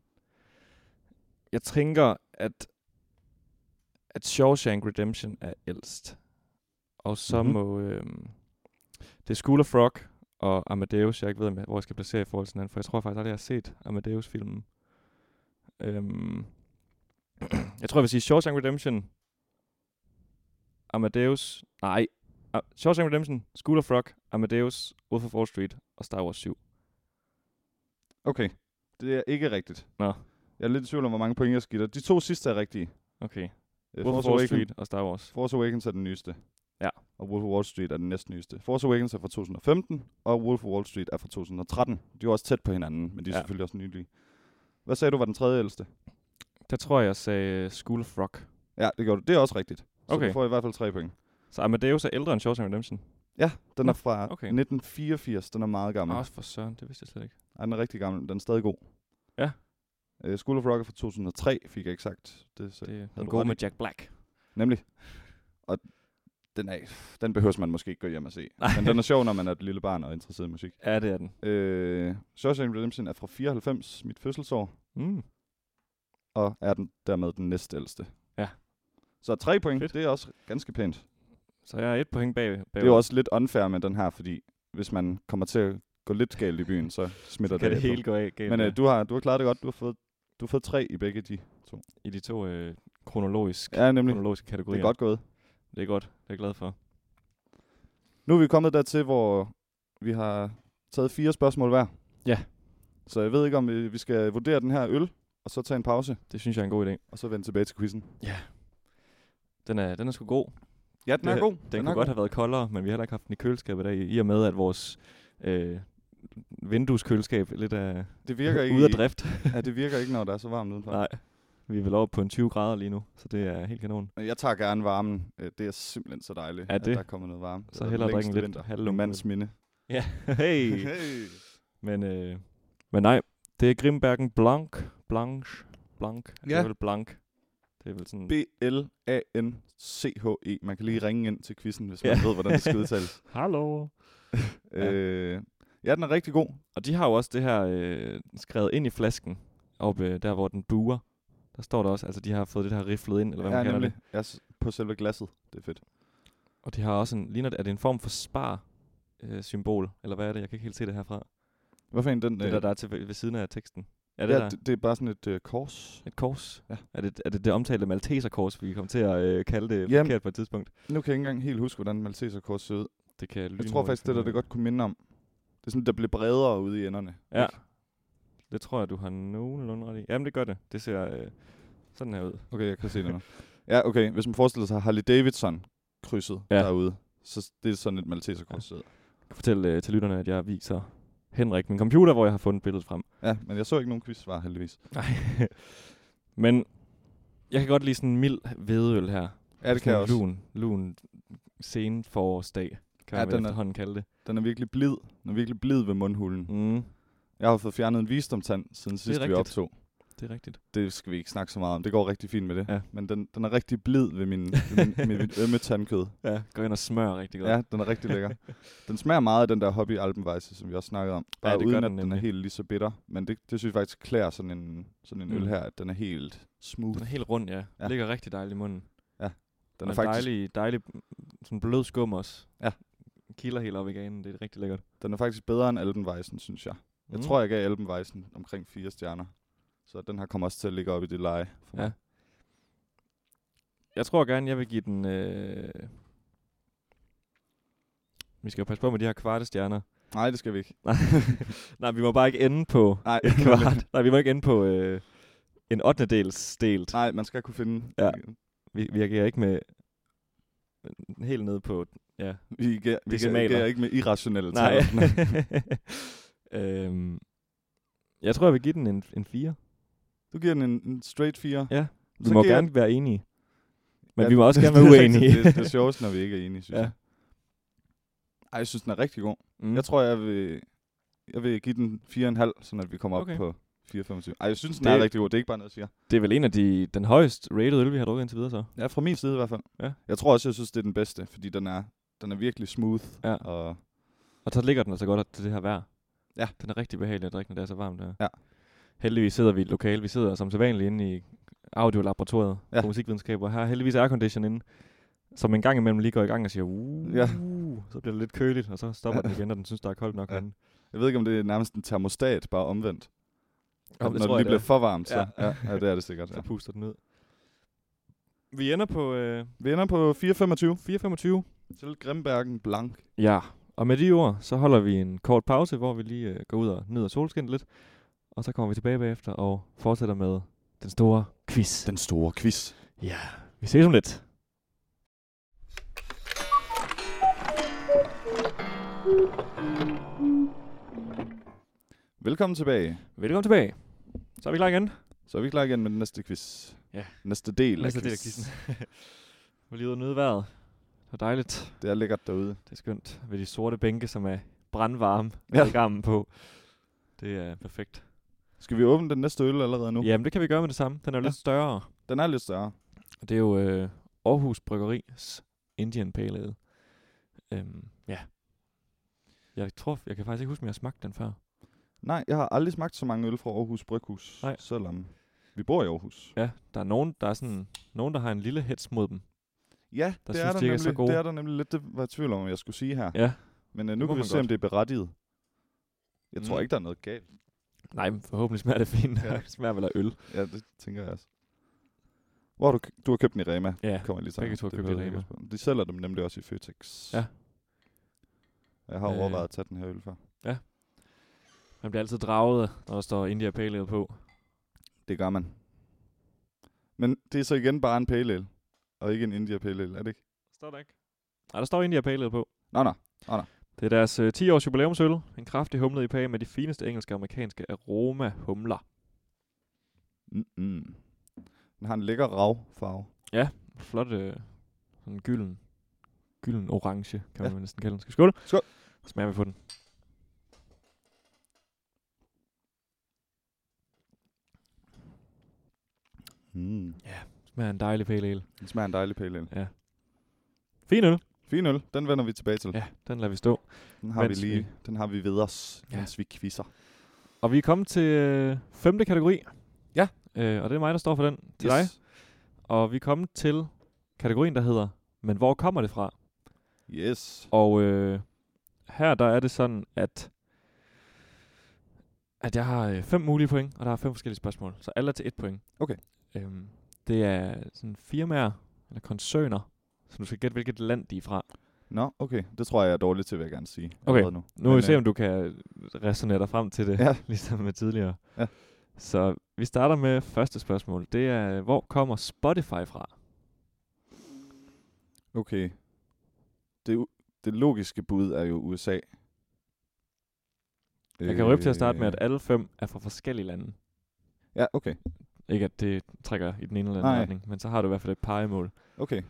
Speaker 2: Jeg tænker, at, at Shawshank Redemption er ældst. Og så
Speaker 1: Mhm.
Speaker 2: mm-hmm. må... Øhm, det er School of Rock og Amadeus. Jeg ikke ved, om jeg- hvor jeg skal placere i forhold til hinanden, for jeg tror faktisk aldrig, jeg har set Amadeus-filmen. Øhm, jeg tror, jeg vil sige Shawshank Redemption. Amadeus. Nej, Ah, Shawshank Redemption, School of Rock, Amadeus, Wolf of Wall Street og Star Wars 7.
Speaker 1: Okay, det er ikke rigtigt.
Speaker 2: Nå.
Speaker 1: Jeg er lidt i tvivl om, hvor mange point jeg skal give dig. De to sidste er rigtige.
Speaker 2: Okay.
Speaker 1: Øh,
Speaker 2: Wolf of
Speaker 1: Force
Speaker 2: Wall
Speaker 1: Awakens-
Speaker 2: Street og Star Wars.
Speaker 1: Force Awakens er den nyeste.
Speaker 2: Ja.
Speaker 1: Og Wolf of Wall Street er den næstnyeste. Force Awakens er fra 2015, og Wolf of Wall Street er fra 2013. De er også tæt på hinanden, men de er
Speaker 2: Ja.
Speaker 1: ja. selvfølgelig også nylige. Hvad sagde du var den tredje ældste?
Speaker 2: Der tror jeg, jeg sagde øh, School of Rock.
Speaker 1: Ja, det gjorde du. Det er også rigtigt. Så
Speaker 2: Okay.
Speaker 1: du får i hvert fald tre point.
Speaker 2: Så Amadeus er ældre end Shawshank Redemption.
Speaker 1: Ja, den
Speaker 2: Nå,
Speaker 1: er fra
Speaker 2: okay.
Speaker 1: 1984. Den er meget gammel.
Speaker 2: Åh, Ah, for søren, det vidste jeg slet ikke.
Speaker 1: Ej, den er rigtig gammel. Den er stadig god.
Speaker 2: Ja.
Speaker 1: Uh, School of Rock er fra 2003, fik jeg ikke sagt. Det, så. Det.
Speaker 2: Det er
Speaker 1: du
Speaker 2: god
Speaker 1: ret
Speaker 2: med Jack Black.
Speaker 1: Nemlig. Og den, er, den behøver man måske ikke gå hjem og se.
Speaker 2: Nej.
Speaker 1: Men den er sjov, når man er et lille barn og er interesseret i musik.
Speaker 2: Ja, det er den.
Speaker 1: Øh, Shawshank Redemption er fra 94, mit fødselsår,
Speaker 2: Mm.
Speaker 1: og er den dermed den næstældste.
Speaker 2: Ja.
Speaker 1: Så tre point,
Speaker 2: Fedt.
Speaker 1: Fedt. det er også ganske pænt.
Speaker 2: Så jeg er et point bag. bag
Speaker 1: Det er jo også lidt unfair med den her, fordi hvis man kommer til at gå lidt galt i byen, så smitter
Speaker 2: kan det
Speaker 1: det, af
Speaker 2: hele gå af galt
Speaker 1: på. Men
Speaker 2: ja.
Speaker 1: øh, du, har, du har klaret det godt, du har fået, du har fået tre i begge de.
Speaker 2: i de to øh, kronologisk,
Speaker 1: Ja, nemlig.
Speaker 2: kronologiske
Speaker 1: Det
Speaker 2: kategorier.
Speaker 1: er godt gået.
Speaker 2: Det er godt. Det er jeg glad for.
Speaker 1: Nu er vi kommet dertil, hvor vi har taget fire spørgsmål hver.
Speaker 2: Ja.
Speaker 1: Så jeg ved ikke, om vi, vi skal vurdere den her øl, og så tage en pause,
Speaker 2: Det synes jeg er en god idé.
Speaker 1: og så vende tilbage til quizzen.
Speaker 2: Den er, den er sgu god.
Speaker 1: Ja, den
Speaker 2: Det-
Speaker 1: er god.
Speaker 2: Den, den kunne godt have været koldere, men vi har heller ikke haft den i køleskabet i dag, i og med at vores øh, vindueskøleskab er lidt af,
Speaker 1: Det virker ikke
Speaker 2: ude af
Speaker 1: i-
Speaker 2: drift.
Speaker 1: Ja, det virker ikke, når der er så varmt udenfor.
Speaker 2: Nej, vi er vel oppe på en 20 grader lige nu, så det er helt kanon.
Speaker 1: Men Jeg tager gerne varmen. Øh, Det er simpelthen så dejligt,
Speaker 2: Er
Speaker 1: at
Speaker 2: det?
Speaker 1: der kommer noget varme.
Speaker 2: Så hellere drikke en lidt halvlunken
Speaker 1: halvlunken. mands minde.
Speaker 2: Ja, hey!
Speaker 1: Hey.
Speaker 2: men, øh, men nej, det er Grimbergen Blanc. Blanche. Blanc. Ja. Det
Speaker 1: Ja.
Speaker 2: er vel Blanc. Det er vel sådan...
Speaker 1: B-L-A-N-C-H-E. E. Man kan lige ringe ind til quizzen, hvis man
Speaker 2: Ja.
Speaker 1: ved, hvordan det skal udtales.
Speaker 2: Hallo! Ja.
Speaker 1: ja. Øh, ja, den er rigtig god.
Speaker 2: Og de har jo også det her øh, skrevet ind i flasken, oppe øh, der, hvor den buer. Der står der også, altså de har fået det her riflet ind, eller hvad man
Speaker 1: Ja,
Speaker 2: kalder
Speaker 1: nemlig.
Speaker 2: det.
Speaker 1: Ja, s- på selve glasset. Det er fedt.
Speaker 2: Og de har også en, ligner det, er det en form for spar-symbol, eller hvad er det? Jeg kan ikke helt se det herfra.
Speaker 1: Hvorfor en den?
Speaker 2: Det
Speaker 1: øh,
Speaker 2: der, der er til ved ved siden af teksten. Er det
Speaker 1: ja,
Speaker 2: der?
Speaker 1: det, det er bare sådan et øh, kors.
Speaker 2: Et kors?
Speaker 1: Ja.
Speaker 2: Er det er det, det omtalte Malteserkors, vi kom til at øh, kalde det
Speaker 1: Jamen.
Speaker 2: forkert på et tidspunkt?
Speaker 1: Nu kan jeg ikke engang helt huske, hvordan Malteserkors ser ud.
Speaker 2: Det kan
Speaker 1: Jeg tror faktisk, det der det godt kunne minde om. Det er sådan, der bliver bredere ude i enderne.
Speaker 2: Ja.
Speaker 1: Ikke?
Speaker 2: Det tror jeg, du har nogenlunde ret i. Jamen, det gør det. Det ser øh, sådan her ud.
Speaker 1: Okay, jeg kan se det nu. Ja, okay. Hvis man forestiller sig Harley Davidson krydset
Speaker 2: Ja.
Speaker 1: ja. derude, så s- det er sådan et Malteserkors. Ja.
Speaker 2: Jeg kan fortælle øh, til lytterne, at jeg viser Henrik min computer, hvor jeg har fundet billedet frem.
Speaker 1: ja, men jeg så ikke nogen quizsvar heldigvis.
Speaker 2: Nej. Men jeg kan godt lide sådan en mild vedøl her.
Speaker 1: Ja, det kan
Speaker 2: sådan
Speaker 1: jeg
Speaker 2: en
Speaker 1: også.
Speaker 2: Lun, lun sen forårsdag, kan
Speaker 1: Ja,
Speaker 2: ja, man vel
Speaker 1: den er-
Speaker 2: efterhånden kalde det.
Speaker 1: Den er virkelig blid. Den er virkelig blid ved mundhulen. Mm.
Speaker 2: Mm,
Speaker 1: Jeg har fået fjernet en visdomtand siden sidst vi
Speaker 2: rigtigt.
Speaker 1: optog.
Speaker 2: det er rigtigt.
Speaker 1: Det skal vi ikke snakke så meget om. Det går rigtig fint med det.
Speaker 2: Ja.
Speaker 1: Men den, den er rigtig blid ved min, ved min, med mit ømme tandkød.
Speaker 2: Ja, går ind og smører rigtig godt.
Speaker 1: Ja, den er rigtig lækker. Den smager meget af den der hobby alpenvejse, som vi også snakkede om. Bare
Speaker 2: det gør
Speaker 1: uden
Speaker 2: den
Speaker 1: at den er
Speaker 2: nemlig.
Speaker 1: helt lige så bitter. Men det, det synes jeg faktisk klæder sådan en, sådan en mm.
Speaker 2: Mm.
Speaker 1: øl her, at den er helt smooth.
Speaker 2: Den er helt rund, ja. ja.
Speaker 1: Ja.
Speaker 2: Ligger rigtig dejligt i munden.
Speaker 1: Den er faktisk
Speaker 2: dejlig, dejlig sådan blød skum også.
Speaker 1: Ja. Kilder
Speaker 2: Kilder helt op i ganen, det er rigtig lækkert.
Speaker 1: Den er faktisk bedre end Alpenweisen, synes jeg. Mm. Jeg tror, jeg gav Alpenweisen omkring fire stjerner. Så den her kommer også til at ligge op i det leje. For
Speaker 2: Ja.
Speaker 1: mig.
Speaker 2: jeg tror gerne, jeg vil give den... Øh... Vi skal jo passe på med de her kvarte stjerner.
Speaker 1: Nej, det skal vi ikke.
Speaker 2: Nej. Nej, vi må bare ikke ende på
Speaker 1: Nej,
Speaker 2: kvart. Nej, vi må ikke ende på øh, en 8. dels delt.
Speaker 1: Nej man skal kunne finde...
Speaker 2: Ja. Vi, vi agerer ikke med helt ned på... Ja,
Speaker 1: Vi, agerer- vi
Speaker 2: Decimaler.
Speaker 1: agerer ikke med irrationelle
Speaker 2: Nej.
Speaker 1: tal.
Speaker 2: øhm, Jeg tror, jeg vil give den en, en 4.
Speaker 1: Du giver den en, en straight 4.
Speaker 2: Ja. Vi
Speaker 1: Så
Speaker 2: må
Speaker 1: giver jeg
Speaker 2: gerne være enige. Men
Speaker 1: Ja,
Speaker 2: vi må også
Speaker 1: det-
Speaker 2: gerne være
Speaker 1: det er rigtigt.
Speaker 2: uenige.
Speaker 1: Det, det er sjovest, når vi ikke er enige, synes ja.
Speaker 2: Ja.
Speaker 1: jeg. Ej, jeg synes, den er rigtig god.
Speaker 2: Mm.
Speaker 1: Jeg tror, jeg vil, jeg vil give den 4,5, sådan at vi kommer op
Speaker 2: Okay.
Speaker 1: okay. på 4,25. Ej, jeg synes, den
Speaker 2: Det-
Speaker 1: det... er rigtig god. Det er ikke bare noget, jeg siger.
Speaker 2: Det er vel en af de, den højst rated øl, vi har drukket indtil videre så.
Speaker 1: Ja, fra min side i hvert fald.
Speaker 2: Ja.
Speaker 1: Jeg tror også, jeg synes, det er den bedste, fordi den er, den er virkelig smooth.
Speaker 2: Ja.
Speaker 1: Og
Speaker 2: Og så ligger den altså godt til det her vejr.
Speaker 1: Ja.
Speaker 2: Den er rigtig behagelig at drikke, når det er så varmt der.
Speaker 1: Ja.
Speaker 2: Heldigvis sidder vi i et lokale. Vi sidder som sædvanligt inde i audiolaboratoriet ja.
Speaker 1: Ja.
Speaker 2: på musikvidenskab, og her er heldigvis aircondition inde, som en gang imellem lige går i gang og siger, uh,
Speaker 1: Ja.
Speaker 2: så bliver det lidt køligt, og så stopper den igen, når den synes, der er koldt nok.
Speaker 1: Ja.
Speaker 2: Ja.
Speaker 1: jeg ved ikke, om det er nærmest en termostat, bare omvendt.
Speaker 2: Om
Speaker 1: Om,
Speaker 2: det
Speaker 1: når
Speaker 2: tror
Speaker 1: det
Speaker 2: jeg,
Speaker 1: lige bliver
Speaker 2: det
Speaker 1: for
Speaker 2: er.
Speaker 1: varmt, så.
Speaker 2: Ja.
Speaker 1: Ja. ja, det er det sikkert.
Speaker 2: Så
Speaker 1: Ja.
Speaker 2: puster den ud. Vi ender på øh,
Speaker 1: Vi ender på 4,25
Speaker 2: 4.25.
Speaker 1: til Grimbergen Blank.
Speaker 2: Ja, og med de ord, så holder vi en kort pause, hvor vi lige øh, går ud og nyder solskinnet lidt. Og så kommer vi tilbage bagefter og fortsætter med den store quiz.
Speaker 1: Den store quiz.
Speaker 2: Ja, vi ses om lidt.
Speaker 1: Velkommen tilbage.
Speaker 2: Velkommen tilbage. Så er vi klar igen.
Speaker 1: Så er vi klar igen med den næste quiz.
Speaker 2: Ja.
Speaker 1: Næste del
Speaker 2: Næste
Speaker 1: af
Speaker 2: del af
Speaker 1: quizzen.
Speaker 2: Vi er lige ude og nyde vejret. Det er dejligt.
Speaker 1: Det er lækkert derude.
Speaker 2: Det er skønt. Ved de sorte bænke, som er brandvarme
Speaker 1: Ja.
Speaker 2: ja. gammen på. Det er perfekt.
Speaker 1: Skal vi åbne den næste øl allerede nu?
Speaker 2: Jamen, det kan vi gøre med det samme. Den er jo ja. lidt større.
Speaker 1: Den er lidt større.
Speaker 2: Det er jo øh, Aarhus Bryggeris Indian Pale Ale. Øhm, ja. Jeg tror, jeg kan faktisk ikke huske, om jeg har smagt den før.
Speaker 1: Nej, jeg har aldrig smagt så mange øl fra Aarhus Bryghus.
Speaker 2: Nej.
Speaker 1: Selvom vi bor i Aarhus.
Speaker 2: Ja, der er nogen, der er sådan, nogen, der har en lille hets mod dem.
Speaker 1: Ja,
Speaker 2: Der
Speaker 1: det,
Speaker 2: synes
Speaker 1: er
Speaker 2: de
Speaker 1: der
Speaker 2: ikke er
Speaker 1: nemlig,
Speaker 2: så gode.
Speaker 1: det er der nemlig lidt, det var jeg i tvivl om, hvad jeg skulle sige her.
Speaker 2: Ja.
Speaker 1: Men øh, nu
Speaker 2: Det må
Speaker 1: kan vi
Speaker 2: man
Speaker 1: se,
Speaker 2: godt.
Speaker 1: om det er berettiget. Jeg tror
Speaker 2: Mm.
Speaker 1: ikke, der er noget galt.
Speaker 2: Nej, men forhåbentlig smager det fint. Ja.
Speaker 1: Ja.
Speaker 2: det smager vel af øl.
Speaker 1: Ja, det tænker jeg også. Hvor har du, kø- du har købt den i Rema.
Speaker 2: Ja,
Speaker 1: Kommer jeg lige til.
Speaker 2: begge to har
Speaker 1: Det
Speaker 2: købt i
Speaker 1: behøver jeg ikke
Speaker 2: Rema.
Speaker 1: at spørge om. De sælger dem nemlig også i Føtex.
Speaker 2: Ja.
Speaker 1: Jeg har
Speaker 2: Øh.
Speaker 1: overvejet at tage den her øl før.
Speaker 2: Man bliver altid draget, når der står India Pale Ale på.
Speaker 1: Det gør man. Men det er så igen bare en pale ale, og ikke en India pale ale, er det ikke?
Speaker 2: Står der ikke? Nej, der står India Pale Ale på.
Speaker 1: Nå, nå.
Speaker 2: Det er deres øh, 10-års jubilæumsøl. En kraftig humlet IPA med de fineste engelske og amerikanske aroma-humler.
Speaker 1: Mm-mm. Den har en lækker rav farve.
Speaker 2: flot øh, sådan gylden, gylden orange, kan man ja. næsten kalde den. Skal vi skåle?
Speaker 1: Skål.
Speaker 2: Så smager vi på den.
Speaker 1: Mm.
Speaker 2: Smager af en dejlig pale ale.
Speaker 1: Den smager af en dejlig pale ale.
Speaker 2: Fin øl.
Speaker 1: Fin øl, den vender vi tilbage til.
Speaker 2: Ja, den lader vi stå.
Speaker 1: Den har vi
Speaker 2: Mens
Speaker 1: lige,
Speaker 2: vi-
Speaker 1: den har vi ved os,
Speaker 2: Ja.
Speaker 1: ja. mens vi quizzer.
Speaker 2: Og vi er kommet til øh, femte kategori.
Speaker 1: Ja.
Speaker 2: Øh, og det er mig, der står for den til yes. dig. Og vi er kommet til kategorien, der hedder, men hvor kommer det fra?
Speaker 1: Yes.
Speaker 2: Og øh, her der er det sådan, at at jeg har øh, fem mulige point, og der er fem forskellige spørgsmål. Så alle er til et point.
Speaker 1: Okay.
Speaker 2: Øhm, det er sådan firmaer, eller koncerner, som du skal gætte, hvilket land de er fra.
Speaker 1: Nå, okay. Det tror jeg, jeg er dårligt til, vil jeg gerne sige.
Speaker 2: Okay.
Speaker 1: allerede Nu,
Speaker 2: Nu må vi
Speaker 1: Men,
Speaker 2: se,
Speaker 1: øh,
Speaker 2: om du kan resonere dig frem til det, ja.
Speaker 1: Ja.
Speaker 2: ligesom med tidligere.
Speaker 1: Ja.
Speaker 2: Så vi starter med første spørgsmål. Det er, hvor kommer Spotify fra?
Speaker 1: øh, Okay. Det, u- det logiske bud er jo USA.
Speaker 2: Jeg kan røbe til at starte med, at alle fem er fra forskellige lande.
Speaker 1: Øh, Ja, okay.
Speaker 2: Ikke at det trækker i den ene eller anden
Speaker 1: Nej.
Speaker 2: retning, men så har du i hvert fald et pegemål.
Speaker 1: Okay.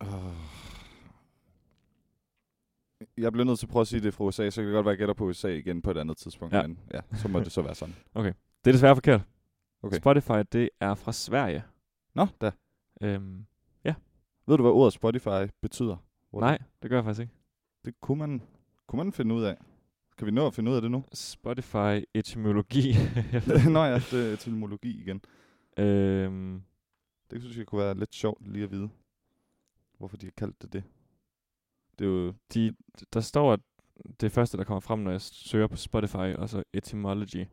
Speaker 1: Uh. Jeg bliver nødt til at prøve at sige det er fra USA, så kan det godt være, at jeg gætter på USA igen på et andet tidspunkt.
Speaker 2: Ja.
Speaker 1: Ja. Men ja, så må det så være sådan.
Speaker 2: Det er desværre forkert. Okay.
Speaker 1: Okay.
Speaker 2: Spotify, det er fra Sverige.
Speaker 1: Nå, da.
Speaker 2: Øhm,
Speaker 1: Ved du, hvad ordet Spotify betyder? What?
Speaker 2: nej, det gør jeg faktisk ikke.
Speaker 1: Det kunne man, kunne man finde ud af. Kan vi nå at finde ud af det nu?
Speaker 2: Spotify etymologi. Jeg ved
Speaker 1: Nå ja, det er etymologi igen.
Speaker 2: ikke. øhm,
Speaker 1: Det synes jeg kunne være lidt sjovt lige at vide, hvorfor de har kaldt det det. Det er jo...
Speaker 2: de, der står, at det første, der kommer frem, når jeg søger på Spotify, og så etymology,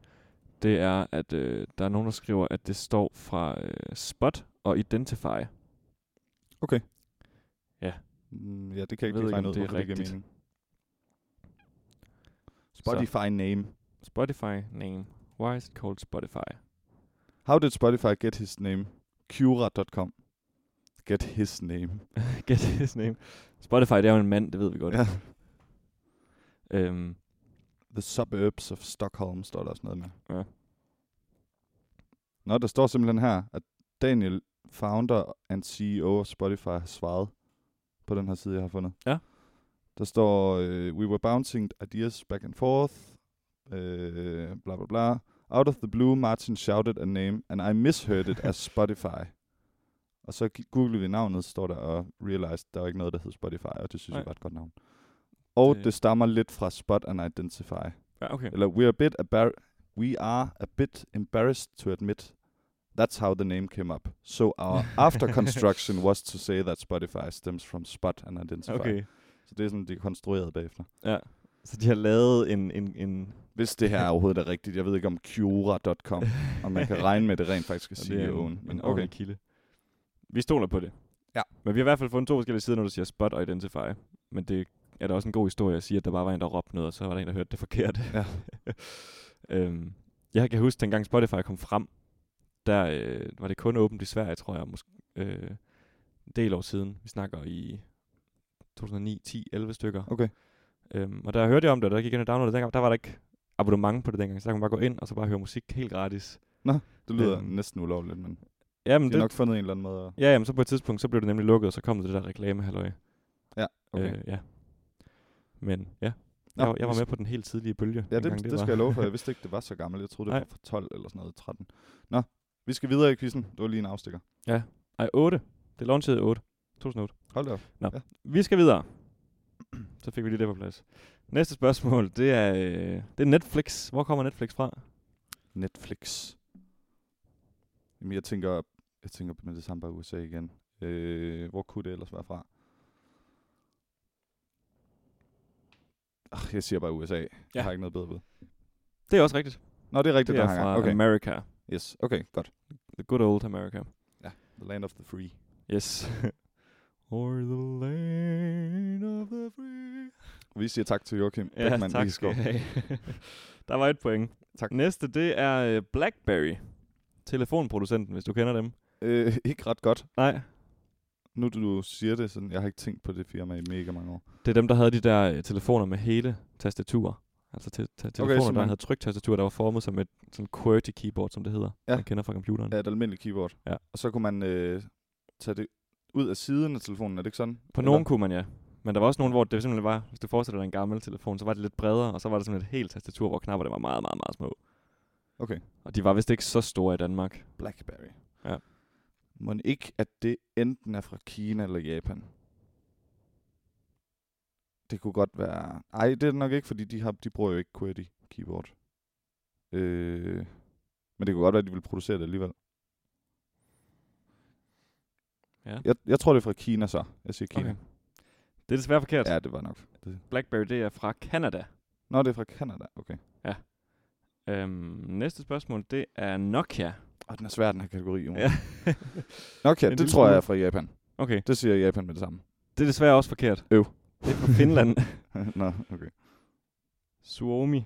Speaker 2: det er, at øh, der er nogen, der skriver, at det står fra øh, spot og identify.
Speaker 1: Mm, ja, det kan jeg ikke
Speaker 2: Jeg ved
Speaker 1: lige
Speaker 2: ikke,
Speaker 1: regne
Speaker 2: om
Speaker 1: ud,
Speaker 2: det er
Speaker 1: hvorfor det giver
Speaker 2: rigtigt.
Speaker 1: mening. Spotify name.
Speaker 2: Spotify name. Why is it called Spotify?
Speaker 1: How did Spotify get his name? Cura.com. Get his name.
Speaker 2: Get his name. Spotify, det er jo en mand, det ved vi godt.
Speaker 1: Ja.
Speaker 2: Øhm,
Speaker 1: The Suburbs of Stockholm, står der også noget med.
Speaker 2: Ja.
Speaker 1: Nå, der står simpelthen her, at Daniel, founder and CEO af Spotify, har svaret på den her side, jeg har fundet.
Speaker 2: Ja.
Speaker 1: Der står, øh, we were bouncing ideas back and forth, øh, bla bla bla. Out of the blue, Martin shouted a name, and I misheard it as Spotify. Og så gi- googlede vi navnet, står der, og realized, der var ikke noget, der hed Spotify, og det synes
Speaker 2: Nej.
Speaker 1: jeg var et godt navn. Og
Speaker 2: Det-
Speaker 1: det, det stammer lidt fra Spot and Identify.
Speaker 2: Ja, okay.
Speaker 1: Eller we are a bit abar- we are a bit embarrassed to admit that's how the name came up. So our after construction was to say that Spotify stems from spot and identify.
Speaker 2: Okay.
Speaker 1: Så det er sådan, de er konstrueret bagefter.
Speaker 2: Ja. Så de har lavet en... en, en
Speaker 1: Hvis det her overhovedet er rigtigt, jeg ved ikke om Cura.com, om man kan øh, regne med det rent faktisk er
Speaker 2: Og det er
Speaker 1: CEO'en.
Speaker 2: en,
Speaker 1: Men
Speaker 2: en
Speaker 1: okay.
Speaker 2: ordentlig kilde. Vi stoler på det.
Speaker 1: Ja.
Speaker 2: Men vi har i hvert fald fundet to forskellige sider, når du siger spot og identify. Men det er da også en god historie at sige, at der bare var en, der råbte noget, og så var der en, der hørte det forkert.
Speaker 1: Ja.
Speaker 2: øhm, jeg kan huske, dengang Spotify kom frem, der øh, var det kun åbent i Sverige, tror jeg, måske, øh, en del år siden. Vi snakker i 2009, 10, 11 stykker.
Speaker 1: Okay.
Speaker 2: Øhm, og der hørte jeg om det, og der gik jeg ind og downloadede det dengang. Der var der ikke abonnement på det dengang, så der kunne man bare gå ind og så bare høre musik helt gratis.
Speaker 1: Det lyder
Speaker 2: Øhm,
Speaker 1: næsten ulovligt, men
Speaker 2: Jamen,
Speaker 1: de har nok fundet en eller anden måde. at-
Speaker 2: Ja, jamen, så på et tidspunkt, så blev det nemlig lukket, og så kom det der reklamehalløj.
Speaker 1: Okay.
Speaker 2: Øh, ja. Men ja,
Speaker 1: Nå,
Speaker 2: jeg, jeg var
Speaker 1: hvis-
Speaker 2: med på den helt tidlige bølge.
Speaker 1: Ja, det,
Speaker 2: dengang
Speaker 1: det,
Speaker 2: var.
Speaker 1: det skal jeg love for. Jeg vidste ikke, det var så gammelt. Jeg troede, det
Speaker 2: Nej.
Speaker 1: var fra 12 eller sådan noget, 13. Nå, vi skal videre i quizzen. Det var lige en afstikker.
Speaker 2: Ej, 8. Det launchede i 8. 2008.
Speaker 1: Hold da op.
Speaker 2: Vi skal videre. Så fik vi lige det på plads. Næste spørgsmål, det er, øh, det er Netflix. Hvor kommer Netflix fra?
Speaker 1: Netflix. Jamen, jeg tænker, jeg tænker med det samme bare USA igen. Øh, hvor kunne det ellers være fra? Ach, Ah, jeg siger bare USA. Ja.
Speaker 2: Ja.
Speaker 1: Jeg har ikke noget bedre ved.
Speaker 2: Det er også rigtigt.
Speaker 1: Nå, det er rigtigt,
Speaker 2: det er
Speaker 1: der hænger.
Speaker 2: fra
Speaker 1: Okay.
Speaker 2: America.
Speaker 1: Yes, okay, godt.
Speaker 2: The good old America.
Speaker 1: The land of the free.
Speaker 2: Yes. Or the land of the free.
Speaker 1: Vi siger tak til Joachim
Speaker 2: Ja,
Speaker 1: Beckmann
Speaker 2: tak skal
Speaker 1: Liesgaard.
Speaker 2: I have. Der var et point.
Speaker 1: Tak.
Speaker 2: Næste, det er øh, BlackBerry. Telefonproducenten, hvis du kender dem.
Speaker 1: Øh, ikke ret godt.
Speaker 2: Nej.
Speaker 1: Nu du siger det sådan, jeg har ikke tænkt på det firma i mega mange år.
Speaker 2: Det er dem, der havde de der øh, telefoner med hele tastaturer. Altså te- te- telefoner, okay, der
Speaker 1: simpelthen.
Speaker 2: havde tryktastaturer, der var formet som et sådan QWERTY keyboard, som det hedder.
Speaker 1: Ja.
Speaker 2: Man kender fra computeren.
Speaker 1: Af et almindeligt keyboard.
Speaker 2: Ja.
Speaker 1: Og så kunne man øh, tage det ud af siden af telefonen, er det ikke sådan?
Speaker 2: På
Speaker 1: Eller-
Speaker 2: nogen kunne man, ja. Men der var også nogen, hvor det simpelthen var, hvis du forestiller dig en gammel telefon, så var det lidt bredere, og så var det sådan et helt tastatur, hvor knapperne var meget, meget, meget små.
Speaker 1: Okay.
Speaker 2: Og de var vist ikke så store i Danmark.
Speaker 1: Blackberry.
Speaker 2: Ja.
Speaker 1: Må ikke, at det enten er fra Kina eller Japan? Det kunne godt være... Ej, det er det nok ikke, fordi de, har, de bruger jo ikke QWERTY keyboard. Øh, men det kunne godt være, at de vil producere det alligevel.
Speaker 2: Ja.
Speaker 1: Jeg, jeg tror, det er fra Kina så. Jeg siger Kina.
Speaker 2: Okay. Det er desværre forkert.
Speaker 1: Ja, det var nok. Det.
Speaker 2: BlackBerry, det er fra Canada.
Speaker 1: Nå, det er fra Canada. Okay.
Speaker 2: Øhm, næste spørgsmål, det er Nokia.
Speaker 1: Og den er svær, den her kategori. Jonas.
Speaker 2: Ja.
Speaker 1: Nokia,
Speaker 2: En
Speaker 1: det
Speaker 2: lille
Speaker 1: tror jeg
Speaker 2: smule.
Speaker 1: er fra Japan.
Speaker 2: okay,
Speaker 1: Det siger Japan med det samme.
Speaker 2: det er desværre også forkert.
Speaker 1: Øv.
Speaker 2: Det er fra Finland.
Speaker 1: Nå, okay.
Speaker 2: Suomi.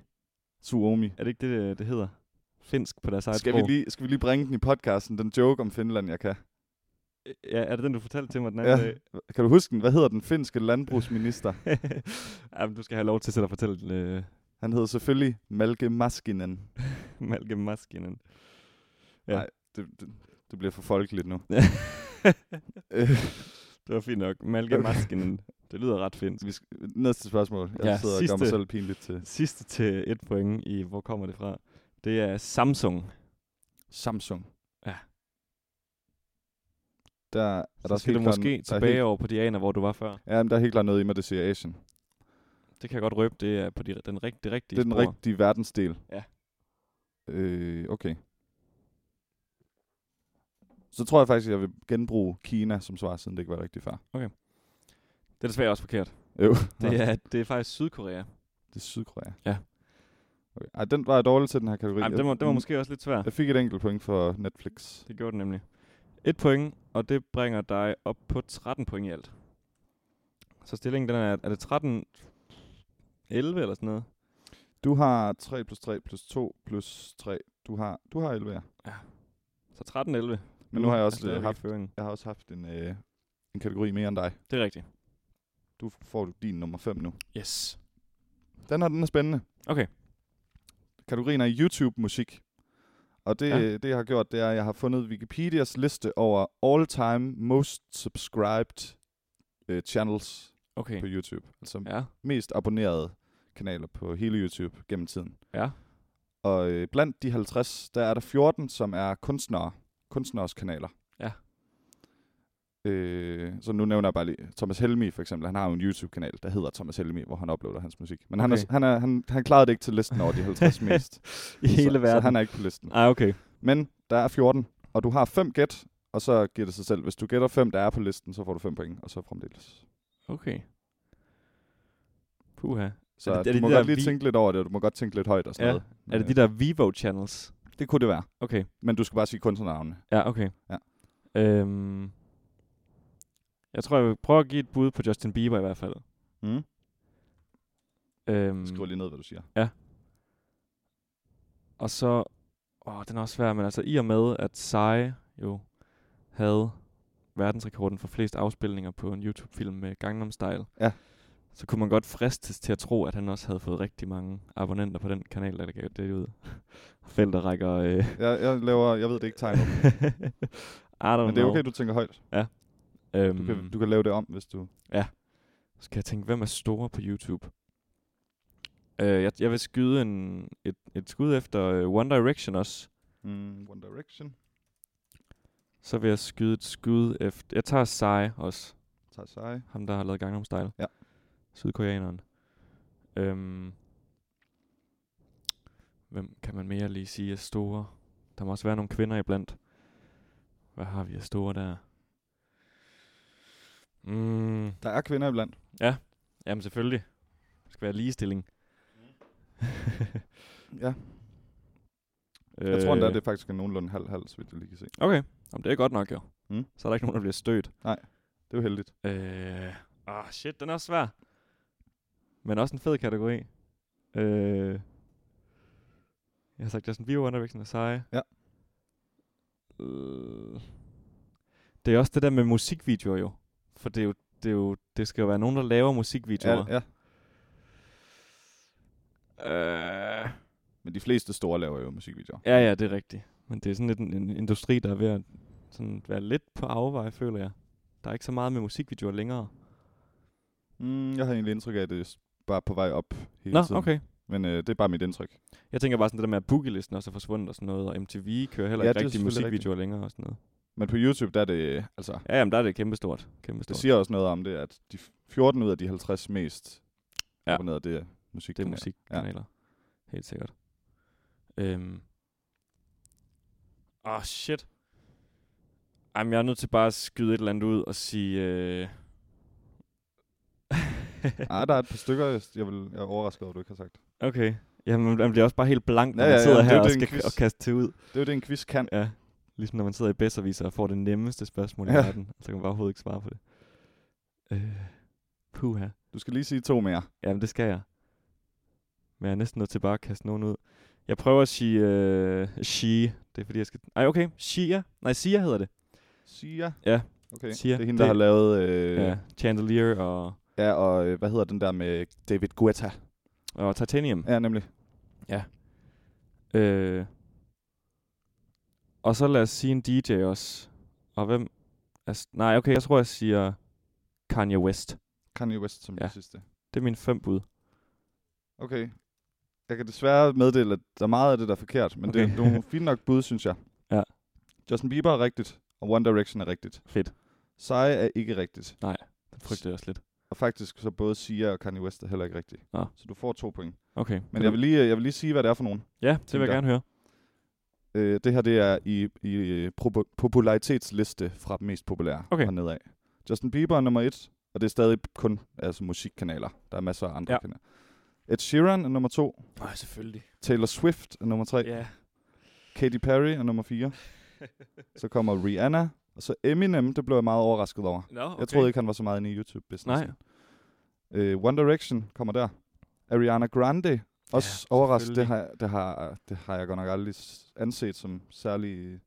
Speaker 1: Suomi.
Speaker 2: Er det ikke det, det, det hedder? Finsk på deres eget
Speaker 1: Skal vi,
Speaker 2: sprog.
Speaker 1: lige, skal vi lige bringe den i podcasten, den joke om Finland, jeg kan?
Speaker 2: Øh, Ja, er det den, du fortalte til mig den anden
Speaker 1: Ja.
Speaker 2: dag?
Speaker 1: Kan du huske den? Hvad hedder den finske landbrugsminister?
Speaker 2: ja, men du skal have lov til selv at fortælle den, øh,
Speaker 1: Han hedder selvfølgelig Malke Maskinen.
Speaker 2: Malke Maskinen.
Speaker 1: Det, det, det bliver for folkeligt nu. Øh,
Speaker 2: det var fint nok. Malke
Speaker 1: Okay.
Speaker 2: Maskinen. Det lyder ret finsk.
Speaker 1: vi skal, næste spørgsmål. Jeg
Speaker 2: Ja,
Speaker 1: ja, sidder og gør mig
Speaker 2: sidste.
Speaker 1: selv pinligt til.
Speaker 2: Sidste til et point i, hvor kommer det fra? Det er Samsung.
Speaker 1: Samsung.
Speaker 2: Ja.
Speaker 1: Der, er der
Speaker 2: Så skal
Speaker 1: helt
Speaker 2: du
Speaker 1: klart-
Speaker 2: måske
Speaker 1: der er
Speaker 2: tilbage
Speaker 1: Helt,
Speaker 2: over på de aner, hvor du var før.
Speaker 1: ja, men der er helt klart noget i mig, det siger Asien.
Speaker 2: Det kan jeg godt røbe, det er på de, den rigt, det rigtige
Speaker 1: Det er den
Speaker 2: spor.
Speaker 1: rigtige verdensdel.
Speaker 2: Ja.
Speaker 1: Øh, okay. Så tror jeg faktisk, at jeg vil genbruge Kina som svar, siden det ikke var rigtigt før.
Speaker 2: Det er desværre også forkert.
Speaker 1: Jo.
Speaker 2: Det er, det er faktisk Sydkorea.
Speaker 1: Det er Sydkorea.
Speaker 2: Ja.
Speaker 1: Okay. Ej, den var jeg dårlig til, den her kategori.
Speaker 2: Ej, men
Speaker 1: Jeg-
Speaker 2: det var, det var måske også lidt svært.
Speaker 1: Jeg fik et enkelt point for Netflix.
Speaker 2: Det gjorde den nemlig. Et point, og det bringer dig op på 13 point i alt. Så stillingen den er, er det 13, 11 eller sådan noget?
Speaker 1: Du har 3 plus 3 plus 2 plus 3. Du har, du har 11, ja.
Speaker 2: Så Mm. 13, 11.
Speaker 1: Men nu har jeg også,
Speaker 2: stadigvæk
Speaker 1: øh,
Speaker 2: i
Speaker 1: haft,
Speaker 2: Føringen.
Speaker 1: jeg har også haft en, øh, en kategori mere end dig.
Speaker 2: Det er rigtigt.
Speaker 1: Du får din nummer 5 nu.
Speaker 2: Yes.
Speaker 1: Den her, den er spændende.
Speaker 2: Okay.
Speaker 1: Kategorien er YouTube-musik. Og det,
Speaker 2: Ja.
Speaker 1: ja. det, jeg har gjort, det er, at jeg har fundet Wikipedias liste over all-time most subscribed øh, channels
Speaker 2: Okay.
Speaker 1: på YouTube. Altså
Speaker 2: Ja.
Speaker 1: mest abonnerede kanaler på hele YouTube gennem tiden.
Speaker 2: Ja.
Speaker 1: Og øh, blandt de 50, der er der 14, som er kunstnere. Kunstners kanaler.
Speaker 2: Ja.
Speaker 1: Øh, så nu nævner jeg bare lige Thomas Helmi for eksempel. Han har jo en YouTube-kanal, der hedder Thomas Helmi, hvor han uploader hans musik. Men okay. han, er,
Speaker 2: Okay.
Speaker 1: s- han, er, han, han klarede det ikke til listen over de 50 mest.
Speaker 2: I hele
Speaker 1: så,
Speaker 2: verden.
Speaker 1: Så han er ikke på listen.
Speaker 2: Ej, Ah, okay.
Speaker 1: Men der er 14, og du har 5 gæt, og så giver det sig selv. Hvis du gætter 5, der er på listen, så får du 5 point, og så fremdeles.
Speaker 2: Okay. Puha.
Speaker 1: Så
Speaker 2: Er
Speaker 1: er
Speaker 2: det- er
Speaker 1: det, du
Speaker 2: det
Speaker 1: må
Speaker 2: de der
Speaker 1: godt lige
Speaker 2: vi-
Speaker 1: tænke lidt over det, og du må godt tænke lidt højt og sådan
Speaker 2: Ja.
Speaker 1: noget. Øh,
Speaker 2: Er det de der Vivo-channels?
Speaker 1: det kunne det være.
Speaker 2: Okay.
Speaker 1: Men du skal bare sige kunstnernavne.
Speaker 2: Ja, okay.
Speaker 1: Ja.
Speaker 2: Øhm, jeg tror, jeg vil prøve at give et bud på Justin Bieber i hvert fald.
Speaker 1: Mm.
Speaker 2: Øhm,
Speaker 1: Skriv lige ned, hvad du siger.
Speaker 2: Og så... Åh, den er også svær, men altså i og med, at Sai jo havde verdensrekorden for flest afspilninger på en YouTube-film med Gangnam Style,
Speaker 1: Ja.
Speaker 2: så kunne man godt fristes til at tro, at han også havde fået rigtig mange abonnenter på den kanal, der gav det ud. Felter rækker... Øh.
Speaker 1: Jeg, jeg laver, jeg ved det ikke tegn,
Speaker 2: I don't
Speaker 1: men det er okay,
Speaker 2: know.
Speaker 1: du tænker højt.
Speaker 2: Øhm,
Speaker 1: Du kan, du kan lave det om, hvis du...
Speaker 2: Så kan jeg tænke, hvem er store på YouTube? Øh, jeg, jeg vil skyde en, et, et skud efter øh, One Direction også.
Speaker 1: Mm, One Direction.
Speaker 2: Så vil jeg skyde et skud efter... Jeg tager Psy også.
Speaker 1: Tager sig.
Speaker 2: Ham, der har lavet Gangnam Style.
Speaker 1: Ja.
Speaker 2: Sydkoreaneren. Øhm, hvem kan man mere lige sige er store? Der må også være nogle kvinder iblandt. Hvad har vi af store der? Mm,
Speaker 1: Der er kvinder iblandt.
Speaker 2: jamen selvfølgelig. Det skal være ligestilling.
Speaker 1: Ja, jeg tror
Speaker 2: Øh.
Speaker 1: endda, det er faktisk er nogenlunde halv-halv, så vidt jeg lige kan se.
Speaker 2: Okay, Jamen, det er godt nok jo.
Speaker 1: Mm.
Speaker 2: Så er der ikke nogen, der bliver stødt.
Speaker 1: Det er jo heldigt.
Speaker 2: Øh, ah, shit, den er også svær. Men også en fed kategori. Øh, jeg har sagt Justin Bieber, One Direction og seje.
Speaker 1: Ja.
Speaker 2: Øh, det er også det der med musikvideoer jo. For det, er jo, det, er jo, det skal jo være nogen, der laver musikvideoer.
Speaker 1: ja.
Speaker 2: Ja, øh,
Speaker 1: Men de fleste store laver jo musikvideoer.
Speaker 2: ja, ja, det er rigtigt. Men det er sådan lidt en, en industri, der er ved at sådan være lidt på afveje, føler jeg. Der er ikke så meget med musikvideoer længere.
Speaker 1: Mm, jeg har egentlig indtryk af, at det er s- bare på vej op hele
Speaker 2: Nå,
Speaker 1: tiden.
Speaker 2: okay.
Speaker 1: Men øh, det er bare mit indtryk.
Speaker 2: Jeg tænker bare sådan det der med, at boogielisten også er forsvundet og sådan noget, og MTV kører heller
Speaker 1: Ja, det er
Speaker 2: ja, ikke rigtig
Speaker 1: selvfølgelig
Speaker 2: musikvideoer længere og sådan noget.
Speaker 1: Men på YouTube, der er det... øh, Altså,
Speaker 2: Ja, jamen der er det kæmpestort.
Speaker 1: det
Speaker 2: kæmpestort.
Speaker 1: siger også noget om det, at de f- 14 ud af de 50 mest
Speaker 2: Ja.
Speaker 1: ja. abonnerede, det er musik.
Speaker 2: det er musikkanaler. Ja. Helt sikkert. Øhm. Åh, oh, shit. Jamen, jeg er nødt til bare at skyde et eller andet ud og sige... Øh...
Speaker 1: Ah, der er et par stykker, jeg, jeg, vil, jeg er overrasket over, at du ikke har sagt.
Speaker 2: okay. Jamen, man bliver også bare helt blank, når
Speaker 1: Ja,
Speaker 2: man
Speaker 1: ja,
Speaker 2: sidder
Speaker 1: ja, det er
Speaker 2: her
Speaker 1: jo
Speaker 2: og
Speaker 1: det, en
Speaker 2: skal
Speaker 1: quiz.
Speaker 2: og kaste det ud.
Speaker 1: Det er jo det, en quiz kan.
Speaker 2: Ja. Ligesom når man sidder i bedserviser og får det nemmeste spørgsmål i
Speaker 1: Ja.
Speaker 2: verden, så kan man bare overhovedet ikke svare på det. Øh, puha.
Speaker 1: Du skal lige sige to mere.
Speaker 2: Jamen, det skal jeg. Men jeg er næsten nødt til bare at kaste nogen ud. Jeg prøver at sige øh, She. Det er fordi, jeg skal... Ej, okay. Shia. Nej, Sia hedder det.
Speaker 1: Sia.
Speaker 2: Ja.
Speaker 1: Okay.
Speaker 2: Sia.
Speaker 1: Sia. Det er hende,
Speaker 2: Det-
Speaker 1: der har lavet... Øh,
Speaker 2: Øh. Ja.
Speaker 1: ja.
Speaker 2: Chandelier og,
Speaker 1: ja. og øh, hvad hedder den der med David Guetta?
Speaker 2: og Titanium.
Speaker 1: Ja, nemlig.
Speaker 2: Ja. Øh. Og så lad os sige en DJ også. Og hvem... Altså, nej, okay. Jeg tror, jeg siger Kanye West.
Speaker 1: Kanye West som
Speaker 2: Ja.
Speaker 1: ja. det sidste.
Speaker 2: Det er mine fem bud.
Speaker 1: Okay. Jeg kan desværre meddele, at der er meget af det, der er forkert, men okay. det
Speaker 2: Okay.
Speaker 1: er nogle fine nok bud, synes jeg.
Speaker 2: Ja.
Speaker 1: Justin Bieber er rigtigt, og One Direction er rigtigt.
Speaker 2: Fedt.
Speaker 1: Psy er ikke rigtigt,
Speaker 2: Den frygtede jeg også lidt.
Speaker 1: og faktisk så både Sia og Kanye West er heller ikke rigtigt.
Speaker 2: Nå.
Speaker 1: Så du får to point.
Speaker 2: Okay.
Speaker 1: Men jeg vil lige, øh, jeg vil lige sige, hvad det er for nogen.
Speaker 2: Ja, det vil jeg
Speaker 1: tænker-
Speaker 2: gerne høre.
Speaker 1: Øh, det her det er i, i øh, propo- popularitetsliste fra den mest populære
Speaker 2: Okay.
Speaker 1: og nedad. Justin Bieber er nummer et, og det er stadig kun altså, musikkanaler. Der er masser af andre
Speaker 2: Ja.
Speaker 1: ja. kanaler. Ed Sheeran er nummer to.
Speaker 2: Nej, selvfølgelig.
Speaker 1: Taylor Swift er nummer tre.
Speaker 2: Ja.
Speaker 1: Katy Perry er nummer 4. så kommer Rihanna. Og så Eminem, det blev jeg meget overrasket over. Okay.
Speaker 2: Nå, okay.
Speaker 1: Jeg troede ikke, han var så meget inde i YouTube-business.
Speaker 2: Nej.
Speaker 1: Øh, One Direction kommer der. Ariana Grande, også ja, overrasket. Det har, det, har, det har jeg godt nok aldrig s- anset som særlig...
Speaker 2: Nej,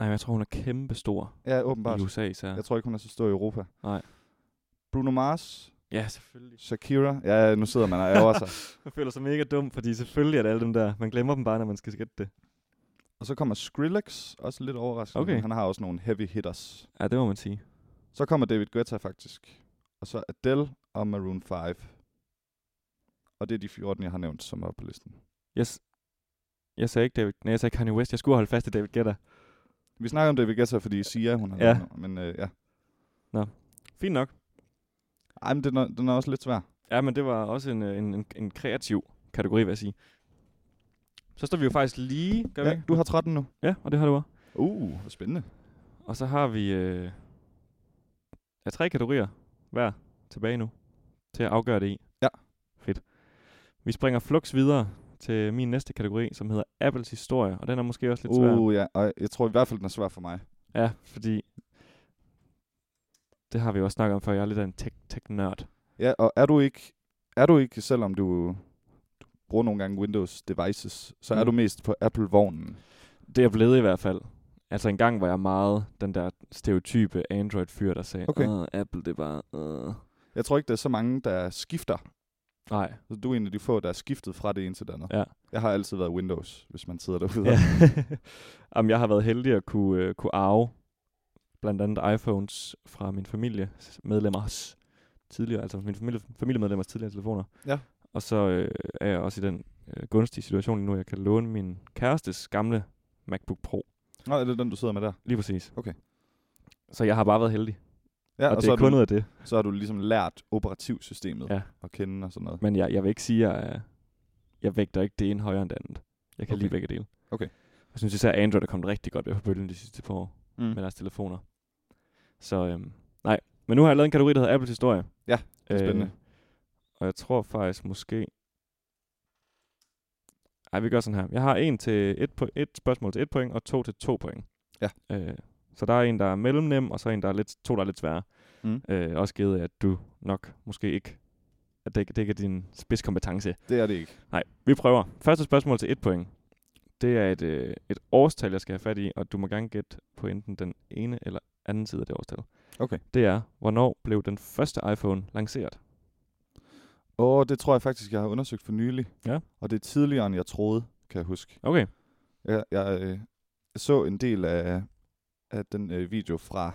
Speaker 2: men jeg tror, hun er kæmpe stor
Speaker 1: Ja, åbenbart.
Speaker 2: i USA især.
Speaker 1: Jeg tror ikke, hun er så stor i Europa.
Speaker 2: Nej.
Speaker 1: Bruno Mars,
Speaker 2: Ja, selvfølgelig.
Speaker 1: Shakira. Ja, nu sidder man og ærger sig.
Speaker 2: Man føler sig mega dum, fordi selvfølgelig er det alle dem der. Man glemmer dem bare, når man skal skætte det.
Speaker 1: Og så kommer Skrillex, også lidt overraskende.
Speaker 2: Okay.
Speaker 1: Han har også nogle heavy hitters.
Speaker 2: Ja, det må man sige.
Speaker 1: Så kommer David Guetta faktisk. Og så Adele og Maroon 5. Og det er de 14, jeg har nævnt, som er på listen.
Speaker 2: Jeg, s- jeg sagde ikke David, nej, jeg sagde Kanye West. Jeg skulle holde fast i David Guetta.
Speaker 1: Vi snakker om David Guetta, fordi Sia, hun har
Speaker 2: Ja.
Speaker 1: nævnt, Men øh, ja.
Speaker 2: Fint nok.
Speaker 1: Ej, men den er, den er også lidt svær.
Speaker 2: Ja, men det var også en, øh, en, en, en kreativ kategori, vil jeg sige. Så står vi jo faktisk lige, gør vi
Speaker 1: Ja,
Speaker 2: ikke?
Speaker 1: du har 13 nu.
Speaker 2: Ja, og det har du også.
Speaker 1: Uh, hvor spændende.
Speaker 2: Og så har vi øh, ja, tre kategorier hver tilbage nu til at afgøre det i.
Speaker 1: Ja.
Speaker 2: Fedt. Vi springer flux videre til min næste kategori, som hedder Apples historie, og den er måske også lidt svær.
Speaker 1: Uh, ja. Og jeg tror i hvert fald, den er svær for mig.
Speaker 2: Ja, fordi det har vi jo også snakket om før. Jeg er lidt af en tech- tech-nørd.
Speaker 1: Ja, og er du ikke, er du ikke selvom du, du bruger nogle gange Windows devices, så mm. er
Speaker 2: Mm.
Speaker 1: du mest på Apple-vognen.
Speaker 2: Det er jeg blevet i hvert fald. Altså en gang var jeg meget den der stereotype Android-fyr, der sagde,
Speaker 1: Okay.
Speaker 2: okay. Apple det var... Øh.
Speaker 1: Jeg tror ikke, der er så mange, der skifter.
Speaker 2: Nej.
Speaker 1: Så du er en af de få, der er skiftet fra det ene til det andet.
Speaker 2: Ja.
Speaker 1: Jeg har altid været Windows, hvis man sidder derude.
Speaker 2: Ja. Jamen, jeg har været heldig at kunne, øh, kunne arve blandt andet iPhones fra min familie medlemmers tidligere, altså min familie, familiemedlemmers tidligere telefoner.
Speaker 1: Ja.
Speaker 2: Og så øh, er jeg også i den øh, gunstige situation lige nu, at jeg kan låne min kærestes gamle MacBook Pro.
Speaker 1: Nå, er det den, du sidder med der?
Speaker 2: Lige præcis.
Speaker 1: Okay.
Speaker 2: Så jeg har bare været heldig,
Speaker 1: Ja,
Speaker 2: ja, og, og det
Speaker 1: så,
Speaker 2: er kun
Speaker 1: du,
Speaker 2: ud af det.
Speaker 1: så har du ligesom lært operativsystemet
Speaker 2: Ja.
Speaker 1: at kende og sådan noget.
Speaker 2: Men jeg, jeg vil ikke sige, at jeg, øh, jeg vægter ikke det ene højere end det andet. Jeg kan okay.
Speaker 1: Okay.
Speaker 2: lide begge dele.
Speaker 1: Okay.
Speaker 2: Jeg synes især, at Android er kommet rigtig godt ved på bølgen de sidste par år.
Speaker 1: Mm.
Speaker 2: med deres telefoner. Så øhm, nej, men nu har jeg lavet en kategori, der hedder Apples historie. Øhm,
Speaker 1: Ja, det er spændende.
Speaker 2: og jeg tror faktisk måske... Ej, vi gør sådan her. Jeg har en til et, po- et spørgsmål til et point, og to til to point.
Speaker 1: Ja.
Speaker 2: Øh, så der er en, der er mellemnem, og så en, der er lidt, to, der er lidt sværere.
Speaker 1: Mm.
Speaker 2: Øh, også givet, af, at du nok måske ikke... At det, ikke- det ikke er din spidskompetence.
Speaker 1: Det er det ikke.
Speaker 2: Nej, vi prøver. Første spørgsmål til et point. Det er et, øh, et årstal, jeg skal have fat i, og du må gerne gætte på enten den ene eller anden side af det årstal.
Speaker 1: Okay.
Speaker 2: Det er, hvornår blev den første iPhone lanceret?
Speaker 1: Åh, det tror jeg faktisk, jeg har undersøgt for nylig.
Speaker 2: Ja.
Speaker 1: Og det er tidligere, end jeg troede, kan jeg huske.
Speaker 2: Okay.
Speaker 1: Jeg, jeg øh, så en del af, af den øh, video fra,